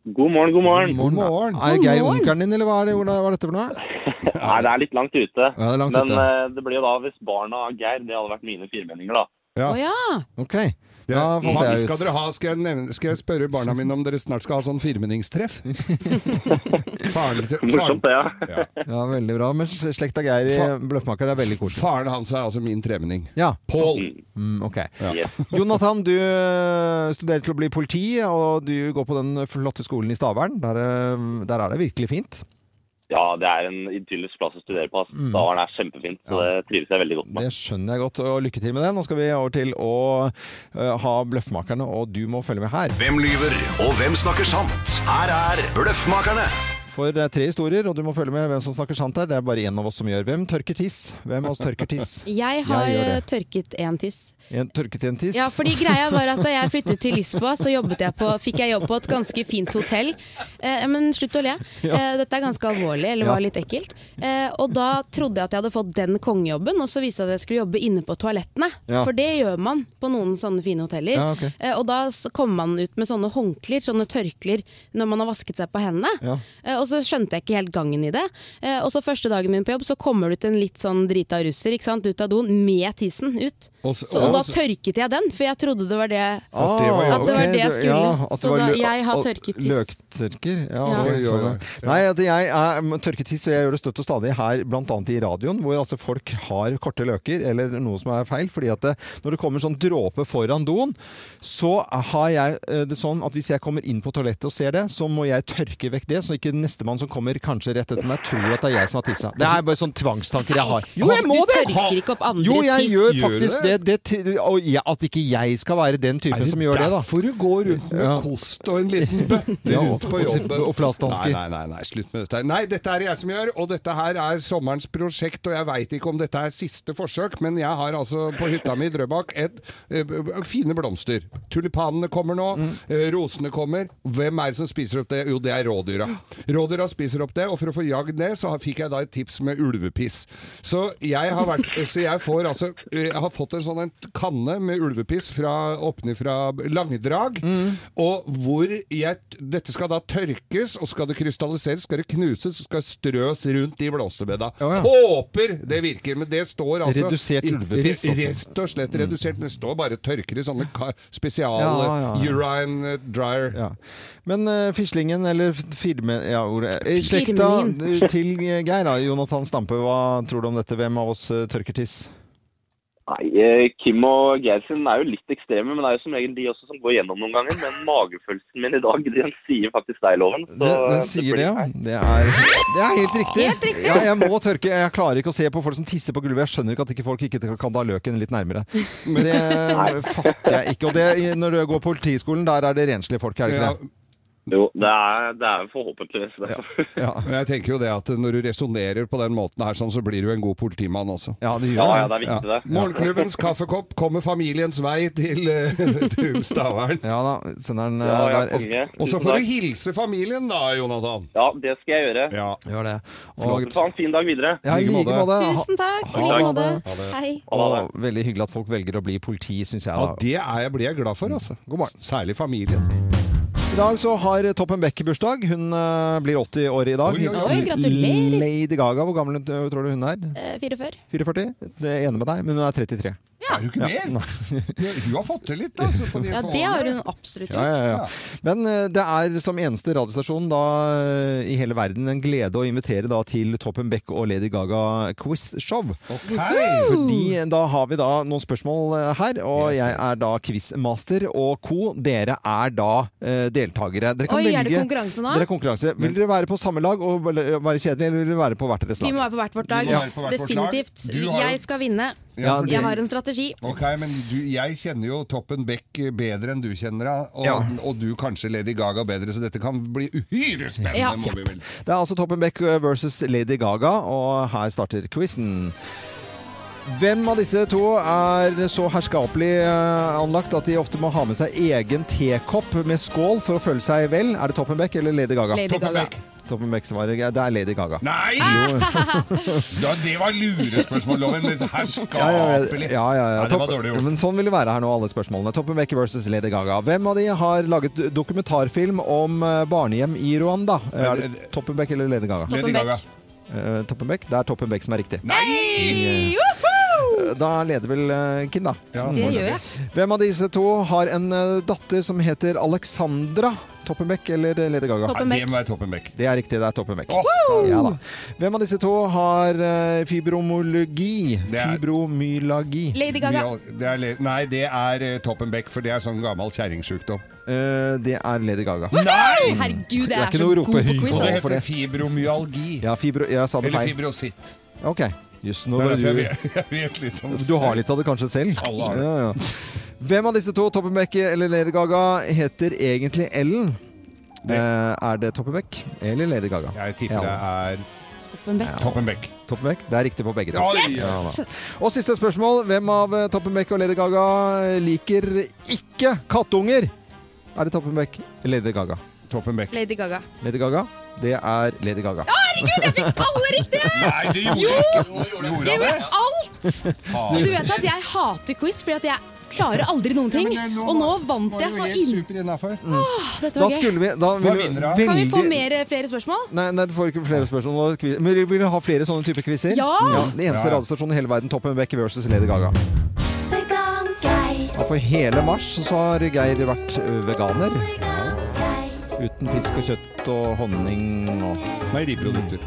S17: God morgen, god morgen.
S1: Er Geir onkelen din, eller hva er det, hvordan var dette for noe?
S17: Nei, det er litt langt ute.
S1: Ja, det er langt
S17: Men
S1: ute.
S17: eh, det blir jo da hvis barna av Geir, det hadde vært mine firmenninger, da.
S3: Ja.
S2: Å ja!
S1: Ok. Da fant
S3: Hva
S1: jeg
S3: skal,
S1: ut.
S3: dere ha? Skal, jeg nevne, skal jeg spørre barna mine om dere snart skal ha sånn (laughs) firmenningstreff? Faren til-
S17: Morsomt, det, ja.
S3: Ja.
S1: Ja, veldig bra. Men slekta Geir i
S3: Fa-
S1: Bløffmaker det er veldig koselig.
S3: Faren hans er altså min tremenning.
S1: Ja.
S3: Pål.
S1: Mm, ok. Jonathan, du studerer til å bli eh, politi, og du går på den flotte skolen i Stavern. Der, eh, der er det virkelig fint.
S17: Ja, det er en idyllisk plass å studere på. ass.
S1: Mm.
S17: Davern er kjempefint, så det trives jeg veldig godt med.
S1: Det skjønner jeg godt, og lykke til med det. Nå skal vi over til å eh, ha Bløffmakerne, og du må følge med her.
S5: Hvem lyver, og hvem snakker sant? Her er Bløffmakerne.
S1: For det er tre historier, og du må følge med hvem som snakker sant her. Det er bare én av oss som gjør. Hvem tørker tiss? Hvem av oss tørker tiss?
S2: Jeg har
S1: gjør det.
S2: eh, tørket en tiss.
S1: En tørket i en tiss?
S2: Ja, fordi greia var at Da jeg flyttet til Lisboa, så jobbet jeg på, fikk jeg jobb på et ganske fint hotell. Eh, men slutt å le.
S13: Ja.
S2: Eh, dette er ganske alvorlig, eller
S13: Ja.
S2: var litt ekkelt. Eh, og da trodde jeg at jeg hadde fått den kongejobben, og så viste det seg at jeg skulle jobbe inne på toalettene.
S13: Ja.
S2: For det gjør man på noen sånne fine hoteller.
S13: Ja, ok.
S2: eh, og da s- kommer man ut med sånne håndklær, sånne tørklær, når man har vasket seg på hendene.
S13: Ja.
S2: Eh, og så skjønte jeg ikke helt gangen i det. Eh, og så første dagen min på jobb, så kommer det ut en litt sånn drita russer ikke sant? ut av doen med tissen ut.
S1: Og
S2: Så,
S1: s-
S2: og da
S1: og s-
S2: tørket jeg den, for jeg trodde det var det,
S1: At det var-
S2: at det, var
S1: Ah, ok,
S2: det jeg
S1: du-
S2: skulle.
S1: ja, at det
S2: så
S1: var
S2: da,
S1: lø-
S2: jeg har
S1: og-
S2: tørket tiss.
S1: Løktørker. Ja,
S2: Ja.
S1: ok,
S2: Oi,
S1: sånn,
S2: oi,
S1: ja.
S2: oi.
S1: Nei, at jeg er mm, tørket tiss, og jeg gjør det støtt og stadig her, bl.a. i radioen, hvor altså folk har korte løker, eller noe som er feil. fordi at det, når det kommer sånn dråpe foran doen, så har jeg eh, det sånn at hvis jeg kommer inn på toalettet og ser det, så må jeg tørke vekk det, så ikke nestemann som kommer kanskje rett etter meg, tror at det er jeg som har tissa. Det er bare sånne tvangstanker jeg har. Jo, jeg må
S2: du
S1: det!
S2: tørker ikke opp andres
S1: Jo, jeg
S2: tiss.
S1: gjør faktisk det. det til- og jeg, at ikke jeg skal være den typen som gjør det, da.
S3: derfor du går rundt med kost og en liten
S1: (laughs)
S3: bøtte
S1: Ja,
S3: rundt på
S1: og-
S3: jobben?
S1: og plasthansker.
S3: Nei, nei, nei, nei, slutt med dette. her. Nei, dette er det jeg som gjør, og dette her er sommerens prosjekt, og jeg veit ikke om dette er siste forsøk, men jeg har altså på hytta mi i Drøbak et, eh, b- fine blomster. Tulipanene kommer nå,
S1: Mm.
S3: eh, rosene kommer. Hvem er det som spiser opp det? Jo, det er rådyra. Rådyra spiser opp det, og for å få jagd det, så har- fikk jeg da et tips med ulvepiss. Så jeg har vært Så jeg får altså eh, Jeg har fått en sånn en kanne med ulvepiss fra, åpne fra Langedrag,
S1: Mm.
S3: og hvor jeg Dette skal da tørkes, og skal det krystalliseres, skal det knuses, og skal strøs rundt i blomsterbeda. Håper det virker, men det står altså
S1: Redusert
S3: i-
S1: ulvepiss, altså.
S3: Rett og slett redusert. Det står bare tørker i sånne ka- spesial
S1: Ja, ja, ja.
S3: urine eh, dryer.
S1: Men eh, fislingen, eller f- firme... Ja, ordet. eh, Slekta
S3: Firmingen.
S1: eh, (laughs) til eh, Geir, da. Jonathan Stampe, hva tror du om dette? Hvem av oss eh, tørker tiss?
S17: Nei, eh, Kim og Geirsen er jo litt ekstreme, men det er jo som regel de også som går gjennom noen ganger. Men magefølelsen min i dag, den sier faktisk deg, Loven. Så
S1: Den, den sier det, ja. Det er, det er helt riktig.
S17: Helt riktig.
S1: Ja, jeg må tørke. Jeg klarer ikke å se på folk som tisser på gulvet. Jeg skjønner ikke at ikke folk ikke kan ta løken litt nærmere. Men det eh,
S17: Nei.
S1: fatter jeg ikke. Og det, når du går på politiskolen, der er det renslige folk, er det ikke det?
S17: Jo, det er, det er forhåpentligvis det.
S3: Men jeg tenker jo det at når du resonnerer på den måten her, sånn, så blir du en god politimann også.
S1: Ja, det
S17: (laughs) Ja, ja, det er viktig, det.
S3: Morgenklubbens kaffekopp kommer familiens vei til, eh, (laughs) til Stavern.
S1: Ja da, sender den eh,
S3: Ja, ja,
S1: der.
S3: konge. Og så får du hilse familien da, Jonathan.
S17: Ja, det skal jeg gjøre.
S3: Ja.
S1: Gjør det.
S17: Og... Ha en fin dag videre.
S1: Ja, i like måte. Ha-
S2: Tusen takk.
S1: ha
S2: I like måte.
S1: det.
S2: Hei.
S1: Og veldig hyggelig at folk velger å bli politi, syns jeg.
S3: Ja,
S1: Da.
S3: det er jeg, blir jeg glad for, altså. Særlig familien.
S1: I dag så har Toppen Beck bursdag. Hun eh, blir 80 år i dag.
S3: Oi, oi, oi. Oi,
S2: gratulerer.
S1: Lady Gaga, hvor gammel eh, tror du hun er?
S2: Eh, 44.
S1: 44? Det er enig med deg, men hun er 33.
S3: Er du ikke
S1: (laughs) Ja,
S3: mer? Hun har fått til litt, da. Så får de
S2: Ja,
S3: få
S2: det
S3: ordne
S2: har hun absolutt
S1: Ja, ja, ja. Men eh, det er som eneste radiostasjon da, eh, i hele verden en glede å invitere da, til Toppen Beck og Lady Gaga quizshow. Fordi
S2: Mm.
S1: eh, da har vi da noen spørsmål eh, her, og jeg er da quizmaster og co. Dere er da eh, deltakere. Dere kan
S2: Oi, er det
S1: velge-
S2: konkurranse nå? Mm.
S1: Dere er konkurranse. Vil dere være på samme lag og vel- være kjedelige, eller vil dere være på hvert deres
S2: Vi
S1: lag?
S2: må være på hvert vårt lag.
S1: Vi må være på hvert vårt lag.
S2: Definitivt.
S3: Du har jo-
S2: Jeg skal vinne.
S3: Ja, for det-
S2: Jeg har en strategi.
S3: Ok, men du, jeg kjenner jo Toppen Beck bedre enn du kjenner henne, og, og du kanskje Lady Gaga bedre, så dette kan bli uhyre spennende.
S1: Ja.
S3: Må vi vel.
S1: Det er altså Toppen Beck versus Lady Gaga, og her starter quizen. Hvem av disse to er så herskapelig eh, anlagt at de ofte må ha med seg egen tekopp med skål for å føle seg vel? Er det Toppen Beck eller Lady Gaga?
S2: Lady Toppen Gaga. Beck.
S1: Toppen Beck svarer ja, Det er Lady Gaga.
S3: Nei! (laughs) Da, det var lurespørsmål, Loven. Litt
S1: Ja, ja, ja,
S3: herskapelig.
S1: ja, ja,
S3: Nei, det var dårlig
S1: Topp-
S3: gjort.
S1: Men sånn vil det være her nå, alle spørsmålene. Toppen Beck versus Lady Gaga. Hvem av de har laget dokumentarfilm om eh, barnehjem i Rwanda? Eh, Er
S3: eh,
S1: det Toppen Beck eller Lady Gaga?
S3: Lady Gaga.
S1: Eh, Toppen Beck. Det er Toppen Beck som er riktig.
S3: Nei!
S1: Da leder vel eh, Kim, da.
S3: Det foreløpig. gjør jeg.
S1: Hvem av disse to har en eh, datter som heter Alexandra? Toppenbeck eller Lady Gaga?
S3: Nei, det må være Toppenbeck.
S1: Det er riktig, det er Toppenbeck.
S3: Åh!
S1: Ja, da. Hvem av disse to har eh, fibromologi?
S3: Det er-
S1: Fibromyalgi.
S2: Lady Gaga.
S3: Myal- Det er, le- nei, det er eh, Toppenbeck, for det er sånn gammel kjerringsjukdom.
S1: Eh, det er Lady Gaga.
S3: Nei!
S2: Herregud,
S1: Det
S2: jeg
S1: er
S2: er,
S1: ikke
S2: så
S1: noe å
S2: god på
S1: rope høyt
S2: quiz.
S1: nå
S2: altså.
S1: for det.
S3: Fibromyalgi.
S1: Ja, fibro, jeg sa det
S3: Eller
S1: feil.
S3: fibrositt.
S1: Ok. Jøss, nå
S3: Det er
S1: var
S3: derfor jeg
S1: du
S3: vet- jeg (laughs) vet litt om det.
S1: Du har litt av det kanskje selv?
S3: Alle har det.
S1: Ja, ja. Hvem av disse to, Toppenbeck eller Lady Gaga, heter egentlig Ellen? Eh, er det Toppenbeck eller Lady Gaga?
S3: Jeg tipper det er
S2: Toppenbeck.
S3: Toppenbeck.
S1: Toppenbeck. Det er riktig på begge to.
S3: Oi! Yes!
S1: da. og siste spørsmål. Hvem av eh, Toppenbeck og Lady Gaga liker ikke kattunger? Er det Toppenbeck eller Lady Gaga?
S3: Toppenbeck.
S2: Lady Gaga.
S1: Lady Gaga. Det er Lady Gaga.
S2: Herregud, jeg fikk alle riktige!
S3: Nei, du gjorde
S2: jo!
S3: Gjorde
S2: Jeg
S3: han det?
S2: gjorde alt! Så Du vet at jeg hater quiz, fordi at jeg klarer aldri noen ting. Og nå vant jeg så inn... Åh, dette
S1: Da
S2: var gøy.
S1: skulle vi da
S3: Hva
S1: ville-
S3: vinner da?
S2: Kan vi få
S1: veldig-
S2: mer, eh, flere spørsmål?
S1: Nei, nei, du får ikke flere spørsmål. og quiz- Men vil du ha flere sånne type quizer?
S2: Ja!
S1: den eneste
S3: Ja, ja.
S1: radiostasjonen i hele verden. Toppenbeck versus Lady Gaga. Ja, for hele mars så har Geir vært ø, veganer. Uten fisk og kjøtt og honning og
S3: Meieriprodukter.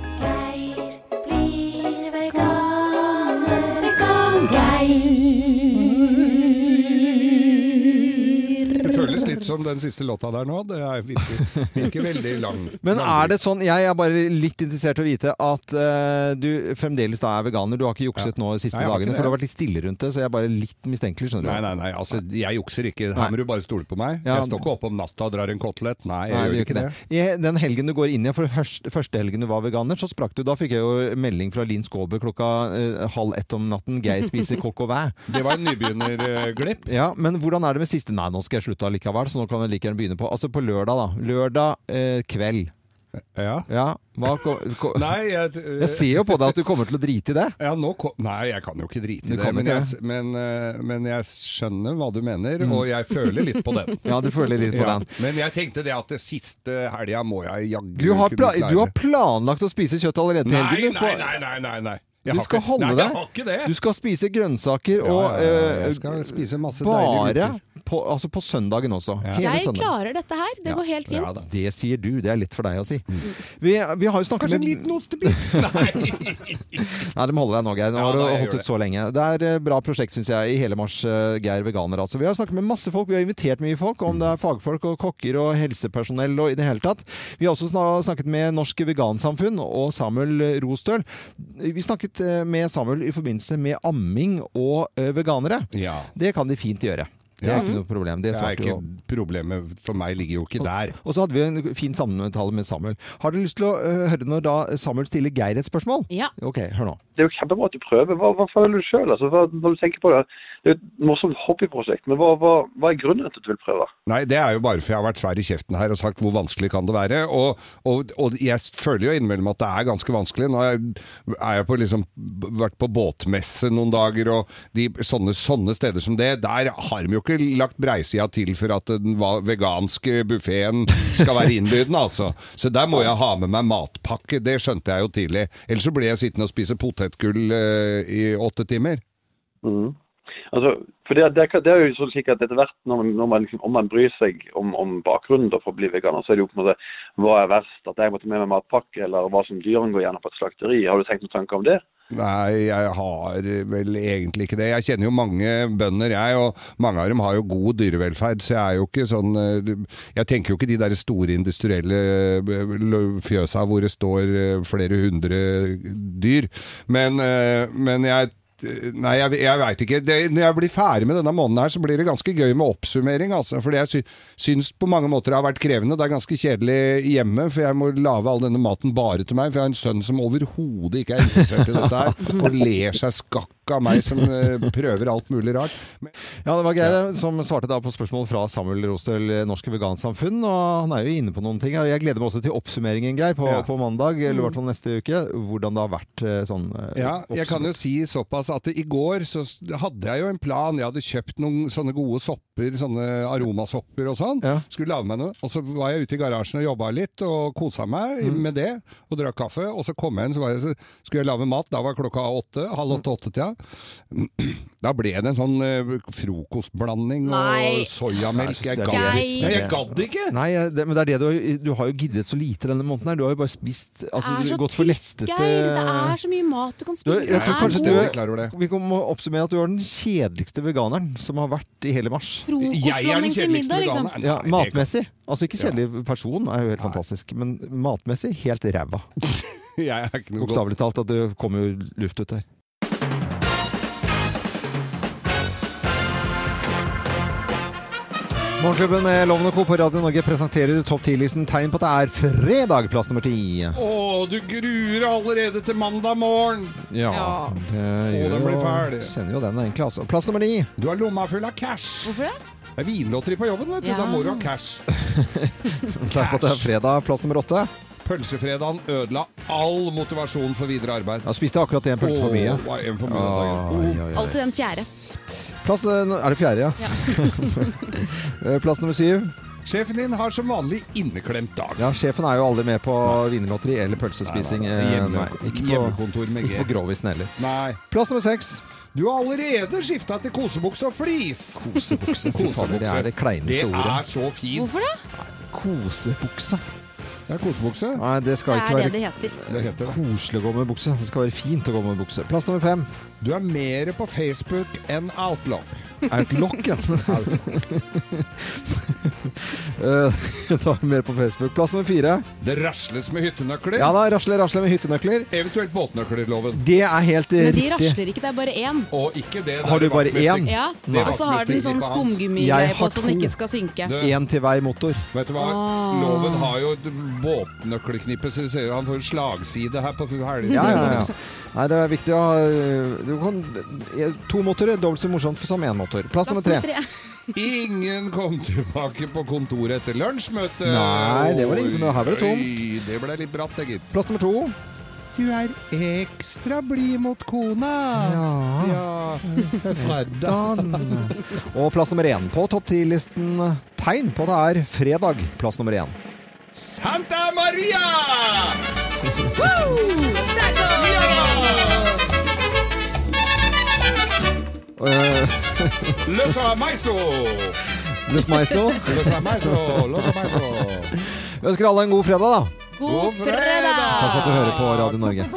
S3: Det føles litt som den siste låta der nå. Det er virker, virker veldig lang.
S1: (laughs) Men er det sånn, jeg er bare litt interessert i å vite at ø, du fremdeles da er veganer. Du har ikke jukset nå de siste
S3: Nei, jeg har ikke
S1: dagene,
S3: det.
S1: for det har vært litt stille rundt det, så jeg er bare litt mistenkelig, skjønner du.
S3: Nei, nei, nei. Altså, jeg jukser ikke.
S1: Nei.
S3: Her må du bare stole på meg.
S1: Ja.
S3: Jeg står ikke opp om natta og drar en kotelett. Nei, jeg
S1: Nei, du
S3: gjør
S1: gjør ikke det. I den helgen du går inn i, for første, første helgen du var veganer, så sprakk du. Da fikk jeg jo melding fra Linn Skåber klokka eh, halv ett om natten. Geir
S3: (laughs)
S1: spiser kokk og væ.
S3: Det var en nybegynnerglipp.
S1: Ja, men hvordan er det med siste? Nei, nå skal jeg slutte allikevel, så nå kan jeg like gjerne begynne på Altså på lørdag, da. Lørdag eh, kveld.
S3: Ja.
S1: Ja, hva ko, ko,
S3: (laughs) Nei, jeg,
S1: (laughs) Jeg ser jo på deg at du kommer til å drite i det.
S3: ja, nå ko Nei, jeg kan jo ikke drite
S1: Du
S3: i det,
S1: kan
S3: men
S1: ikke Mm.
S3: jeg, men, eh, men jeg skjønner hva du mener, og jeg føler litt på den.
S1: (laughs) Ja, du føler litt på
S3: Ja,
S1: den.
S3: Men jeg tenkte det at det siste helga må jeg jaggu
S1: Du har,
S3: kunne
S1: pla
S3: klare.
S1: du har planlagt å spise kjøtt allerede til
S3: Nei,
S1: helgen. du
S3: nei,
S1: får-
S3: nei, nei, nei, nei. Jeg
S1: Du
S3: har
S1: skal
S3: ikke-
S1: holde
S3: Nei, jeg har ikke det.
S1: deg. Du skal spise grønnsaker og
S3: ja, ja, ja,
S1: eh,
S3: jeg skal spise masse
S1: bare
S3: deilige
S1: på, altså på søndagen også. Hele
S2: Jeg
S1: søndagen.
S2: klarer dette her. Det går helt fint. Mm.
S1: det sier du. Det er lett for deg å si. Vi, vi har jo snakket
S3: Kanskje en
S1: med
S3: liten
S1: (laughs)
S3: ostebit? Nei!
S1: Nei, de holder deg nå, Geir. Nå
S3: Ja,
S1: har du
S3: da, jeg
S1: holdt
S3: gjør
S1: ut så lenge. Det er eh, bra prosjekt, syns jeg, i hele mars, eh, Geir Veganer. Altså. Vi har snakket med masse folk, vi har invitert mye folk, om det er fagfolk og kokker og helsepersonell og i det hele tatt. Vi har også sna- snakket med Norsk Vegansamfunn og Samuel Rostøl. Vi snakket eh, med Samuel i forbindelse med amming og eh, veganere.
S3: Ja.
S1: Det kan de fint gjøre. Det er
S3: Ja.
S1: ikke noe problem. Det
S3: Det er
S1: svarte
S3: ikke
S1: jo
S3: problemet for meg ligger jo ikke der.
S1: og så hadde vi en fin samtale med Samuel. Har du lyst til å eh, høre når da Samuel stiller Geir et spørsmål?
S2: Ja.
S1: Ok, hør nå.
S9: Det er jo kjempebra at du prøver. Hva, hva føler du sjøl? Altså, hva- når du tenker på det, det er jo et morsomt hobbyprosjekt, men hva, hva, hva er grunnen til at du vil prøve?
S3: Nei, det er jo bare for jeg har vært svær i kjeften her og sagt hvor vanskelig kan det være. Og, og, og jeg føler jo innimellom at det er ganske vanskelig. Nå har jeg- er jeg på liksom vært på båtmesse noen dager, og de, sånne, sånne steder som det, der har de jo ikke lagt breisida til for at den va- veganske buffeen skal være innbydende, altså. Så der må jeg ha med meg matpakke, det skjønte jeg jo tidlig. Ellers så ble jeg sittende og spise potetgull eh, i åtte timer.
S9: Mhm. Altså, for det, det, kan- det er jo sånn slik at etter hvert, når man, når man, liksom, om man bryr seg om, om bakgrunnen da, for å bli veganer, så er det jo på en måte hva er verst? At jeg måtte med meg matpakke, eller hva som dyrene går gjennom på et slakteri? Har du tenkt noen tanker om det?
S3: Nei, jeg har vel egentlig ikke det. Jeg kjenner jo mange bønder, jeg, og mange av dem har jo god dyrevelferd, så jeg er jo ikke sånn eh, Jeg tenker jo ikke de der store industrielle eh, lø- fjøsa hvor det står eh, flere hundre dyr, men, eh, men jeg Nei, jeg, jeg veit ikke. Det, når jeg blir ferdig med denne måneden her, så blir det ganske gøy med oppsummering, altså. Fordi jeg sy syns på mange måter det har vært krevende. Det er ganske kjedelig hjemme, for jeg må lage all denne maten bare til meg. For jeg har en sønn som overhodet ikke er interessert i dette her, og ler seg skakk av meg som eh, prøver alt mulig rart. Men
S1: Ja, det var Geir som svarte da på spørsmål fra Samuel Rostøl, Norsk Vegansamfunn. Og han er jo inne på noen ting. og Jeg gleder meg også til oppsummeringen,
S13: Mm.
S1: Geir, på, på mandag, eller i hvert fall neste uke. Hvordan det har vært eh, sånn eh,
S3: Ja, jeg
S1: oppsum-
S3: kan jo si såpass såpass at i går så s- hadde jeg jo en plan. Jeg hadde kjøpt noen sånne gode sopper, sånne aromasopper og sånn. Skulle lage meg noe. Og så var jeg ute i garasjen og jobba litt og kosa
S1: Mm.
S3: meg i- med det. Og drakk kaffe. Og så kom jeg inn, så, var jeg, så skulle jeg lage mat. Da var klokka åtte. Halv
S1: Mm.
S3: åtte-åtte-tida. (clears throat) Da ble det en sånn eh, frokostblanding
S1: Nei.
S3: og soyamelk. Jeg
S1: Nei, jeg synes
S3: gadd
S1: det er-
S3: Nei, jeg gadd ikke!
S1: Nei, jeg- det, men det er det du har Du har jo giddet så lite denne måneden her. Du har jo bare spist altså,
S13: Det er så
S1: gått for letteste
S13: Geir, det er så mye mat du kan
S1: du,
S13: spise.
S1: jeg
S13: som
S1: tror
S13: er
S1: kanskje
S13: god.
S1: du Vi må oppsummere at du er den kjedeligste veganeren som har vært i hele mars.
S13: Frokostblanding Jeg er den til kjedeligste middag, liksom. veganeren.
S1: Ja,
S13: Nei, det er
S1: matmessig. Altså ikke kjedelig person, er jo helt fantastisk, men matmessig helt ræva.
S3: (laughs) Jeg er ikke noe godt.
S1: Bokstavelig talt at det kommer jo luft ut der. Morgenklubben med Loven og Co. på Radio Norge presenterer topp 10-listen tegn på at det er fredag, plass nummer ti.
S3: Å, du gruer allerede til mandag morgen!
S1: Ja. Det gjør
S3: den blir
S1: jo-
S3: fæl.
S1: Kjenner jo den egentlig, altså. Plass nummer ni.
S3: Du har lomma full av cash.
S13: Hvorfor det?
S3: Det er vinlotteri på jobben, vet du.
S13: Ja.
S3: Da må du ha cash.
S1: Tegn på at det er fredag, plass nummer åtte.
S3: Pølsefredagen ødela all motivasjon for videre arbeid.
S1: Da spiste jeg akkurat en pølse for mye. Ah,
S3: Åh, hva er en for mye om dagen? Oh,
S1: Oi, oi, oi.
S13: Alltid den fjerde.
S1: Plass eh, Er det fjerde, ja? (laughs) Eh, Plass nummer syv.
S3: Sjefen din har som vanlig inneklemt dag.
S1: Ja, sjefen er jo aldri med på vinlotteri eller pølsespising.
S3: Nei, nei, nei.
S1: Eh,
S3: Hjemme-
S1: ikke
S3: hjemmekontor med G.
S1: Ikke på Grovisen heller.
S3: Nei.
S1: Plass nummer seks.
S3: Du har allerede skifta til kosebukse og flis.
S1: Kosebukse. Fy fader, det er det kleineste
S3: Det
S1: ordet.
S3: er så fint.
S13: Hvorfor det?
S1: Kosebukse.
S3: Det er kosebukse.
S1: Nei, det skal
S13: Det
S1: ikke
S13: er
S1: være
S13: det det heter.
S3: Det heter det.
S1: koselig å gå med bukse. Det skal være fint å gå med bukse. Plass nummer fem.
S3: Du er mer på Facebook enn Outlook.
S1: Er et lokk,
S3: (laughs)
S1: (laughs) ja. Eh, Ta mer på Facebook. Plass nummer fire.
S3: Det rasles med hyttenøkler.
S1: Ja da, rasle, rasle med hyttenøkler.
S3: Eventuelt båtnøkler, loven.
S1: Det er helt eh,
S13: Men de
S1: riktig.
S13: rasler ikke, det er bare én.
S3: Og ikke det. det
S1: Har
S3: er
S1: du bare
S3: vaktmester.
S1: én?
S13: Ja,
S1: Nei.
S13: Og så har den sånn
S1: Jeg
S13: skumgummigreie
S1: har
S13: på så den
S1: to.
S13: ikke skal synke.
S3: Du-
S1: Én til hver motor.
S3: Vet du hva?
S13: Ah.
S3: Loven har jo et båtnøkkelknippe, så du ser jo han får slagside her på helgen.
S1: Ja, ja, ja. Nei, det er viktig å ha eh, du kan, eh, To motorer, dobbelt så morsomt som én motor. Plass nummer tre.
S3: Ingen kom tilbake på kontoret etter lunsjmøte.
S1: Nei, det var det ingen som- her var det tomt.
S3: Oi, Det ble litt bratt, det, gitt.
S1: Plass nummer to.
S3: Du er ekstra blid mot kona. Ja.
S1: Fredan. Og plass nummer én på topp ti-listen. Tegn på at det er fredag. Plass nummer én.
S3: Santa Maria!
S1: Eh,
S3: Løs av maiso!
S1: Løs maiso.
S3: Løs av maiso! Løs av maiso!
S1: Vi ønsker alle en god fredag, da.
S13: God fredag!
S1: Takk for at du hører på Radio Norge.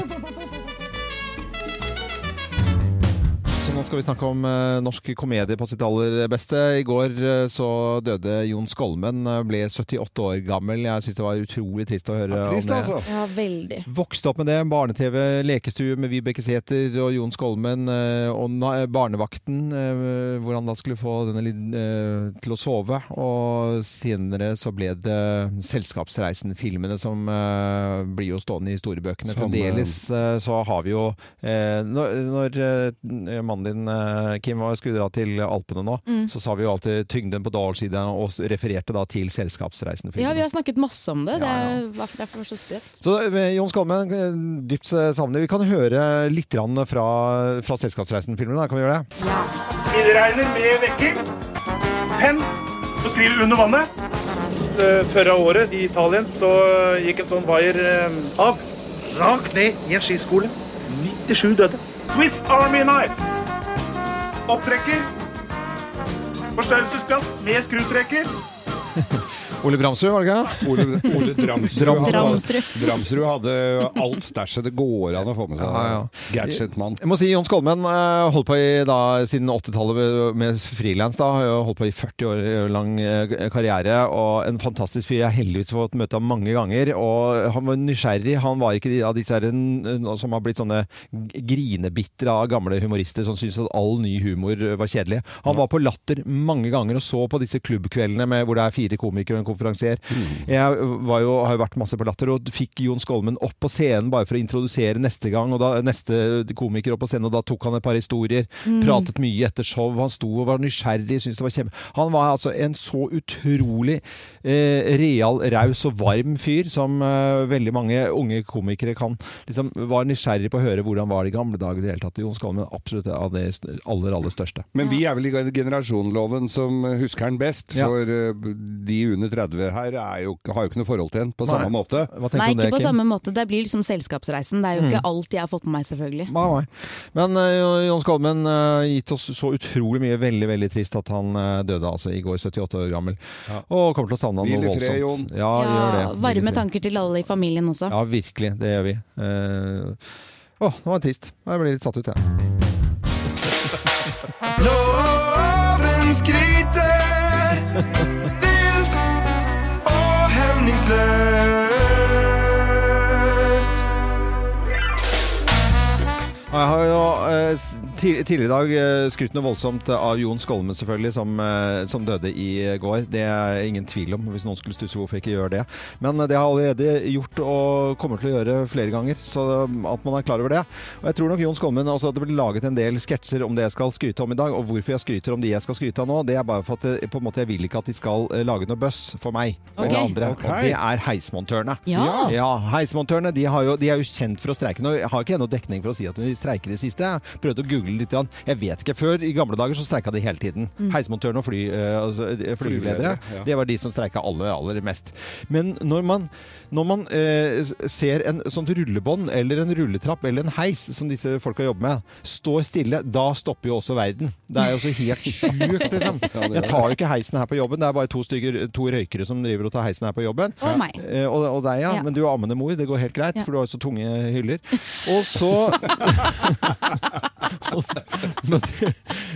S1: Så nå skal vi snakke om eh, norsk komedie på sitt aller beste. I går eh, så døde Jon Skolmen. eh, Ble 78 år gammel. Jeg syns det var utrolig trist å høre om
S3: trist,
S1: det.
S3: altså.
S13: Ja, veldig.
S1: Vokste opp med det. Barne-TV, lekestue med Vibeke Sæther og Jon Skolmen. eh, Og na- Barnevakten, eh, hvor han da skulle få denne lille, eh, til å sove. Og senere så ble det Selskapsreisen-filmene som eh, blir jo stående i historiebøkene
S3: Som,
S1: fremdeles. eh, Så har vi jo eh, Når, når eh, mannen din, eh, Kim, var- skulle dra til Alpene nå,
S13: Mm.
S1: så sa vi jo alltid 'tyngden på dalsiden', og s- refererte da til Selskapsreisen-filmen.
S13: Ja, vi har snakket masse om det. Det
S1: Ja,
S13: er derfor det er så sprøtt.
S1: Så eh, Jon Skalmen, eh, dypt savner. Vi kan høre litt grann fra, fra Selskapsreisen-filmen. da. Kan vi gjøre det?
S18: Ildregner med vekker. Penn. Så skriver du under vannet. Det Førre året i Italien så gikk en sånn vaier eh, av. Rakt ned i en skiskole. 97 døde. Swiss Army Knife. Opptrekker. Forstørrelsesglass med skrutrekker.
S1: Ole Bramsrud, var det ikke?
S3: Ole, Ole Dramsrud.
S1: Dramsrud.
S3: Hadde, Dramsrud hadde alt stæsjet det går an å få med seg. Gadgetmann.
S1: Jeg må si Jon Skolmen eh, holdt på i, da, siden 80-tallet med, med frilans. da. Har jo Holdt på i 40 år lang eh, karriere. og En fantastisk fyr. Jeg har heldigvis fått møte ham mange ganger. og Han var nysgjerrig. Han var ikke de, av disse her, eh, som har blitt sånne grinebitter av gamle humorister som syns at all ny eh, humor var kjedelig. Han var på Latter mange ganger og så på disse klubbkveldene med, hvor det er fire komikere og en konferansier. Jeg var jo, har jo vært masse på Latter og fikk Jon Skolmen opp på scenen bare for å introdusere neste gang, og da, neste komiker opp på scenen, og da tok han et par historier.
S19: Mm.
S1: Pratet mye etter show. Han sto og var nysgjerrig, syntes det var kjempe... Han var altså en så utrolig eh, real, raus og varm fyr som eh, veldig mange unge komikere kan. Liksom var nysgjerrig på å høre hvordan var det i gamle dager i det hele tatt. Jon Skolmen er absolutt av det aller, aller største.
S3: Men vi er vel i generasjonloven som husker den best, for eh, de under 30 her er jo, har jo ikke noe forhold til den på samme måte.
S13: Nei, ikke på samme måte. Det blir liksom selskapsreisen. Det er jo ikke
S1: Mm.
S13: alt jeg har fått med meg, selvfølgelig.
S1: Nei, nei. Men eh, Jon Skolmen har gitt oss så utrolig mye. Veldig veldig trist at han eh, døde altså i går, 78 år gammel. Og kommer til å savne han
S3: Hvil
S1: noe
S3: i fred,
S1: voldsomt.
S3: Jon.
S1: Ja, gjør det. Hvil i
S13: Varme
S1: fred.
S13: tanker til alle i familien også.
S1: Ja, virkelig. Det gjør vi. Eh, Å, det var trist. Jeg ble litt satt ut, jeg.
S5: Loven skryter vilt og hemningsløst.
S1: Ja, Jeg har jo eh, s- ti- tidligere i dag eh, skrytt noe voldsomt av Jon Skolmen, selvfølgelig, som, eh, som døde i går. Det er ingen tvil om, hvis noen skulle stusse hvorfor jeg ikke gjør det. Men eh, det har jeg allerede gjort og kommer til å gjøre flere ganger, så um, at man er klar over det. Og jeg tror nok Jon Skolmen også at det blir laget en del sketsjer om det jeg skal skryte om i dag, og hvorfor jeg skryter om de jeg skal skryte av nå. Det er bare for at eh, på en måte, jeg vil ikke at de skal eh, lage noe bøss for meg
S19: Ok.
S1: eller andre.
S19: Ok.
S1: Og det er heismontørene.
S19: Ja.
S1: ja heismontørene de, har jo, de er jo kjent for å streike. Nå har ikke jeg noe dekning for å si at de streiker i det siste. Jeg prøvde å google litt. grann. Jeg vet ikke. Før i gamle dager så streika de hele tiden.
S19: Mm.
S1: Heismontørene og fly, eh, altså, eh, flyveledere.
S19: Flyveledere, ja.
S1: Det var de som streika aller, aller mest. Men når man, når man eh, ser en sånt rullebånd eller en rulletrapp eller en heis som disse folka jobber med, står stille, da stopper jo også verden. Det er jo så helt sjukt, liksom.
S19: Ja, det er
S1: Jeg tar jo ikke heisen her på jobben. Det er bare to, stykker, to røykere som driver og tar heisen her på jobben.
S19: Og meg.
S1: Eh, og, og deg, ja.
S19: Ja.
S1: Men du er ammende mor. Det går helt greit,
S19: Ja.
S1: for du har jo så tunge hyller. Og så (laughs) Men det-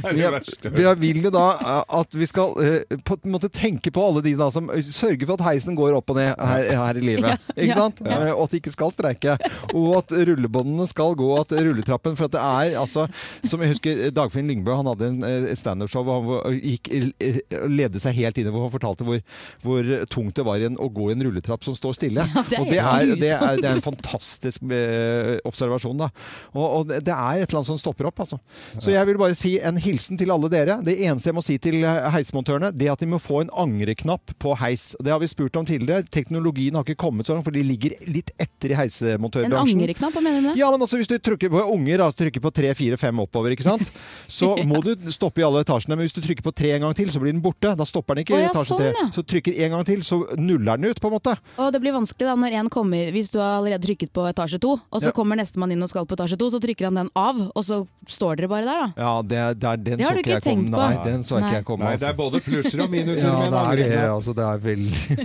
S19: er det verste.
S1: jeg, jeg vil jo da eh, at vi skal eh, på en måte tenke på alle de da som sørger for at heisen går opp og ned her, her i livet.
S19: Ja.
S1: Ikke
S19: Ja.
S1: sant?
S19: Ja.
S1: Eh, Og at de ikke skal streike. Og at rullebåndene skal gå, at rulletrappen For at det er altså Som jeg husker eh, Dagfinn Lyngbø, han hadde en eh, standup-show hvor han var- gikk, eh, levde seg helt inne, hvor han fortalte hvor, hvor tungt det var igjen å gå i en rulletrapp som står stille.
S19: det er
S1: og det er,
S19: helt
S1: det, er, det er en
S19: grusomt.
S1: fantastisk eh, observasjon, da. Og, og det det er et eller annet som stopper opp, altså. Så jeg vil bare si en hilsen til alle dere. Det eneste jeg må si til eh, heismontørene, det er at de må få en angreknapp på heis. Det har vi spurt om tidligere. Teknologien har ikke kommet så langt, for de ligger litt etter i
S13: En
S1: heismontørbransjen.
S13: angreknapp, hva mener du med det?
S1: Ja, men altså hvis du trykker på unger, da, trykker på tre, fire, fem oppover, ikke
S13: (laughs)
S1: sant? Så må du stoppe i alle etasjene. Men hvis du trykker på tre en gang til, så blir den borte. Da stopper den ikke
S13: Å,
S1: i
S13: ja,
S1: etasje
S13: sånn,
S1: tre.
S13: ja.
S1: Så trykker en gang til, så nuller den ut, på en måte.
S13: Og det blir vanskelig da når en kommer Hvis du har allerede trykket på etasje to, og så
S1: Ja.
S13: kommer nestemann inn og skal på etasje to, så trykker han den av, og så står dere bare der, da.
S1: Ja, det, det er den
S13: Det har
S1: så
S13: du
S1: ikke
S13: ikke
S1: jeg kom.
S13: tenkt på.
S1: Nei, den så
S13: Nei.
S1: ikke jeg komme. altså.
S3: Nei, det er både plusser og minuser
S1: ja,
S3: med en
S1: det er det.
S3: angreknapp.
S1: Altså, det er veldig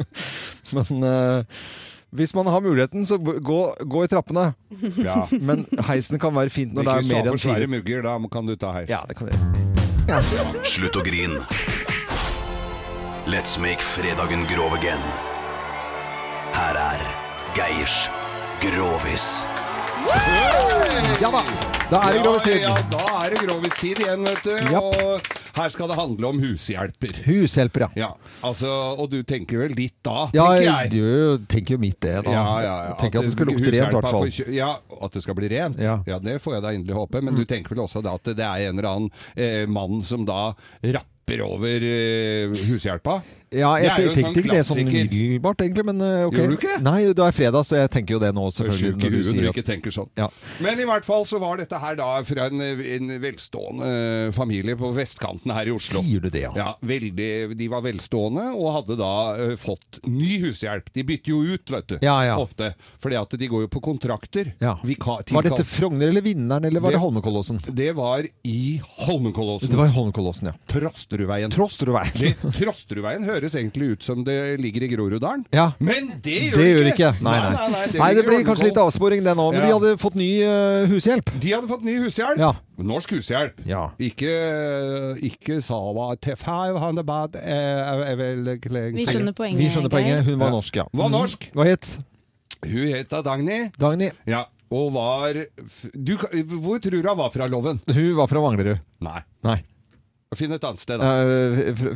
S3: (laughs)
S1: Men eh, hvis man har muligheten, så b- gå, gå i trappene.
S3: Ja.
S1: Men heisen kan være fint når det
S3: Ikke
S1: er mer enn
S3: svære
S1: fire.
S3: mugger, da kan du ta heis.
S1: Ja, det kan du gjøre.
S5: Slutt å grine. Let's make fredagen grov again. Her er Geirs Grovis.
S1: Ja da! Da er det grovistid.
S3: Ja, ja, da er det grovistid igjen, vet du. Og her skal det handle om hushjelper.
S1: Hushjelper, ja.
S3: Ja, altså, og du tenker vel ditt da,
S1: Ja,
S3: tenker
S1: jeg,
S3: jeg.
S1: du tenker jo mitt det, da.
S3: Ja, ja, ja.
S1: Tenker at det skal lukte rent, i
S3: hushjelpa
S1: hvert fall.
S3: får kjø- Ja, at det skal bli rent. Ja. det får jeg da inderlig håpe.
S1: Mm.
S3: Men du tenker vel også da at det er en eller annen eh, mann som da rapper over eh, hushjelpa?
S1: Ja,
S3: Det
S1: jeg
S3: er jo en
S1: tenkte ikke det sånn
S3: klassiker.
S1: umiddelbart, egentlig, men eh, ok.
S3: Gjør du ikke?
S1: Nei, det er fredag, så jeg tenker jo det nå, selvfølgelig.
S3: Sjuk i
S1: når du
S3: huet
S1: sier
S3: når du
S1: at-
S3: ikke tenker sånn.
S1: Ja.
S3: Men i hvert fall så var dette her da fra en, en velstående eh, familie på vestkanten her i Oslo.
S1: Sier du det, ja?
S3: Ja, veldig, de var velstående og hadde da eh, fått ny hushjelp. De bytter jo ut, vet du.
S1: Ja, ja.
S3: Ofte. Fordi at de går jo på kontrakter.
S1: Ja.
S3: Vika-
S1: Var dette
S3: tilkall-
S1: Frogner eller Vinneren, eller var det,
S3: Det-
S1: Holmenkollåsen?
S3: Det var i Holmenkollåsen.
S1: Det var i Holmenkollåsen, ja.
S3: Trosterudveien.
S1: Trosterudveien.
S3: Det, Trosterudveien høres egentlig ut som det ligger i Groruddalen.
S1: Ja.
S3: Men det gjør
S1: det
S3: det
S1: gjør
S3: ikke.
S1: ikke. Nei, nei.
S3: Nei, nei, nei, det
S1: Nei, det
S3: ligger i
S1: blir kanskje litt avsporing det nå, men
S3: Ja.
S1: de hadde fått ny eh, hushjelp.
S3: De hadde fått ny hushjelp.
S1: Ja.
S3: Norsk hushjelp. Ikke, ikke Sava Tefau Hanebad eh,
S13: Vi skjønner poenget,
S1: Vi skjønner poenget. Hun var norsk, ja. Mm.
S3: Var norsk.
S1: Hva het?
S3: Hun het da Dagny.
S1: Dagny.
S3: Ja. Og var f- du, Hvor tror du hun var fra, Loven?
S1: Hun var fra Manglerud.
S3: Nei.
S1: Nei.
S3: Finn et annet sted, da.
S1: Eh, fra,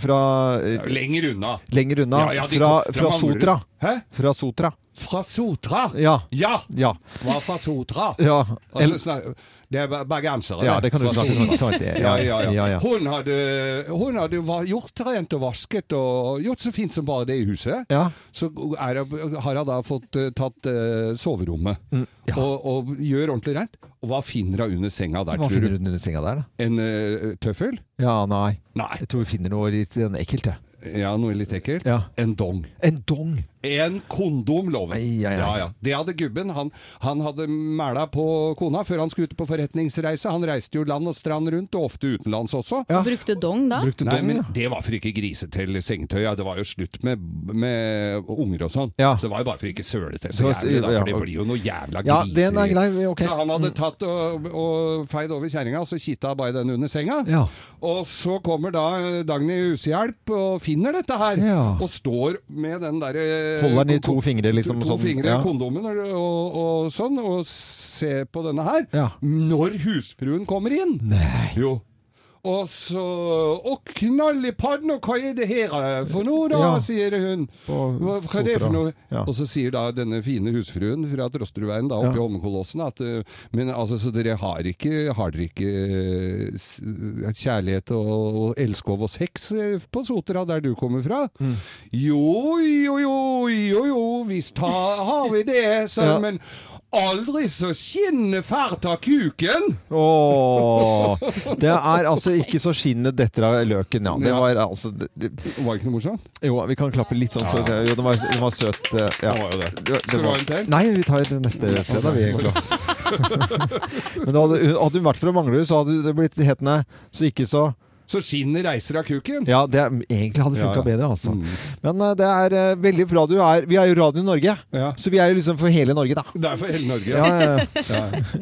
S1: fra
S3: Lenger unna.
S1: Eh, Lenger unna.
S3: Ja, ja, de
S1: fra,
S3: kom-
S1: fra
S3: fra Manglerud.
S1: Sotra.
S3: Hæ?
S1: Fra Sotra.
S3: Fra Sotra?
S1: Ja.
S3: Ja!
S1: Ja.
S3: Hva fra Sotra?
S1: Ja,
S3: Og Altså, så snak- det er ba- bergensere,
S1: Ja, det kan du
S3: Fra
S1: snakke om.
S3: Sotra.
S1: Sant, det.
S3: Ja,
S1: Ja,
S3: ja, ja.
S1: ja, ja.
S3: Hun hadde, hun hadde va- gjort rent og vasket og gjort så fint som bare det i huset. Så er, det- har hun da fått eh, tatt eh, soverommet
S1: Mm.
S3: og, og gjør ordentlig rent. Og hva finner hun under senga der,
S1: Hva
S3: tror
S1: finner
S3: du?
S1: hun under senga der, da?
S3: En eh, tøffel?
S1: Ja, nei. Jeg tror vi finner noe litt eh, ekkelt, jeg.
S3: Ja, noe litt ekkelt. En dong.
S1: En dong!
S3: En kondom, lover
S1: ai, ai.
S3: Ja, ja. Det hadde gubben. Han, han hadde mæla på kona før han skulle ut på forretningsreise. Han reiste jo land og strand rundt, og ofte utenlands også.
S13: Brukte dong da?
S3: Nei, men Det var for ikke grise til sengetøy. Ja. Det var jo slutt med, med unger og sånn. Så det var jo bare for ikke søle til så
S1: Så-
S3: jævlig, da,
S1: ja,
S3: for det
S1: ok.
S3: blir jo noe jævla
S1: Ja,
S3: griser.
S1: den er grei, ok. Mm.
S3: Så han hadde tatt og, og feid over kjerringa, og så kitta bare den under senga. Og så kommer da Dagny Husehjelp og finner dette her, og står med den derre
S1: Holder den i to fingre, liksom,
S3: To, to
S1: sånn,
S3: fingre i
S1: ja.
S3: kondomen og, og, og sånn, og ser på denne her. Når husfruen kommer inn. Nei. Jo. Og så Og knall i padden, og hva er det her eh, for noe, da?
S1: Ja.
S3: sier hun. Hva, hva er
S1: Sotra.
S3: det for noe?
S1: Ja.
S3: Og så sier da denne fine husfruen fra Trosterudveien da oppe i Holmenkollåsen at eh, Men altså, så dere har ikke, har dere ikke eh, s- kjærlighet og, og elskov og sex eh, på Sotra, der du kommer fra?
S1: Mm.
S3: Jo, jo, jo, jo, jo, visst har, har vi det, sa hun.
S1: Ja.
S3: Men aldri så skinner fælt av kuken!
S1: Åh, det er altså ikke så skinnet detter av løken, ja. Det
S3: Ja.
S1: var altså det, det.
S3: Var ikke noe morsomt?
S1: Jo, vi kan klappe litt sånn. Så, jo, den var, den var søt. eh, Ja.
S3: Den var jo det. Skal
S1: den
S3: du ha
S1: var-
S3: en til?
S1: Nei, vi tar den neste fredag, vi, egentlig. (laughs)
S3: (laughs)
S1: Men da hadde, hun- hadde hun vært fra Manglerud, så hadde det blitt hetende så ikke så
S3: Så skinnet reiser av kuken.
S1: Ja, det er, egentlig hadde
S3: Ja, Mm.
S1: funka
S3: ja.
S1: bedre, altså. Men eh, det er eh, veldig bra du er Vi er jo Radio Norge, så vi er jo liksom for hele Norge, da.
S3: Det er for hele Norge.
S1: Ja, ja, ja.
S3: Ja.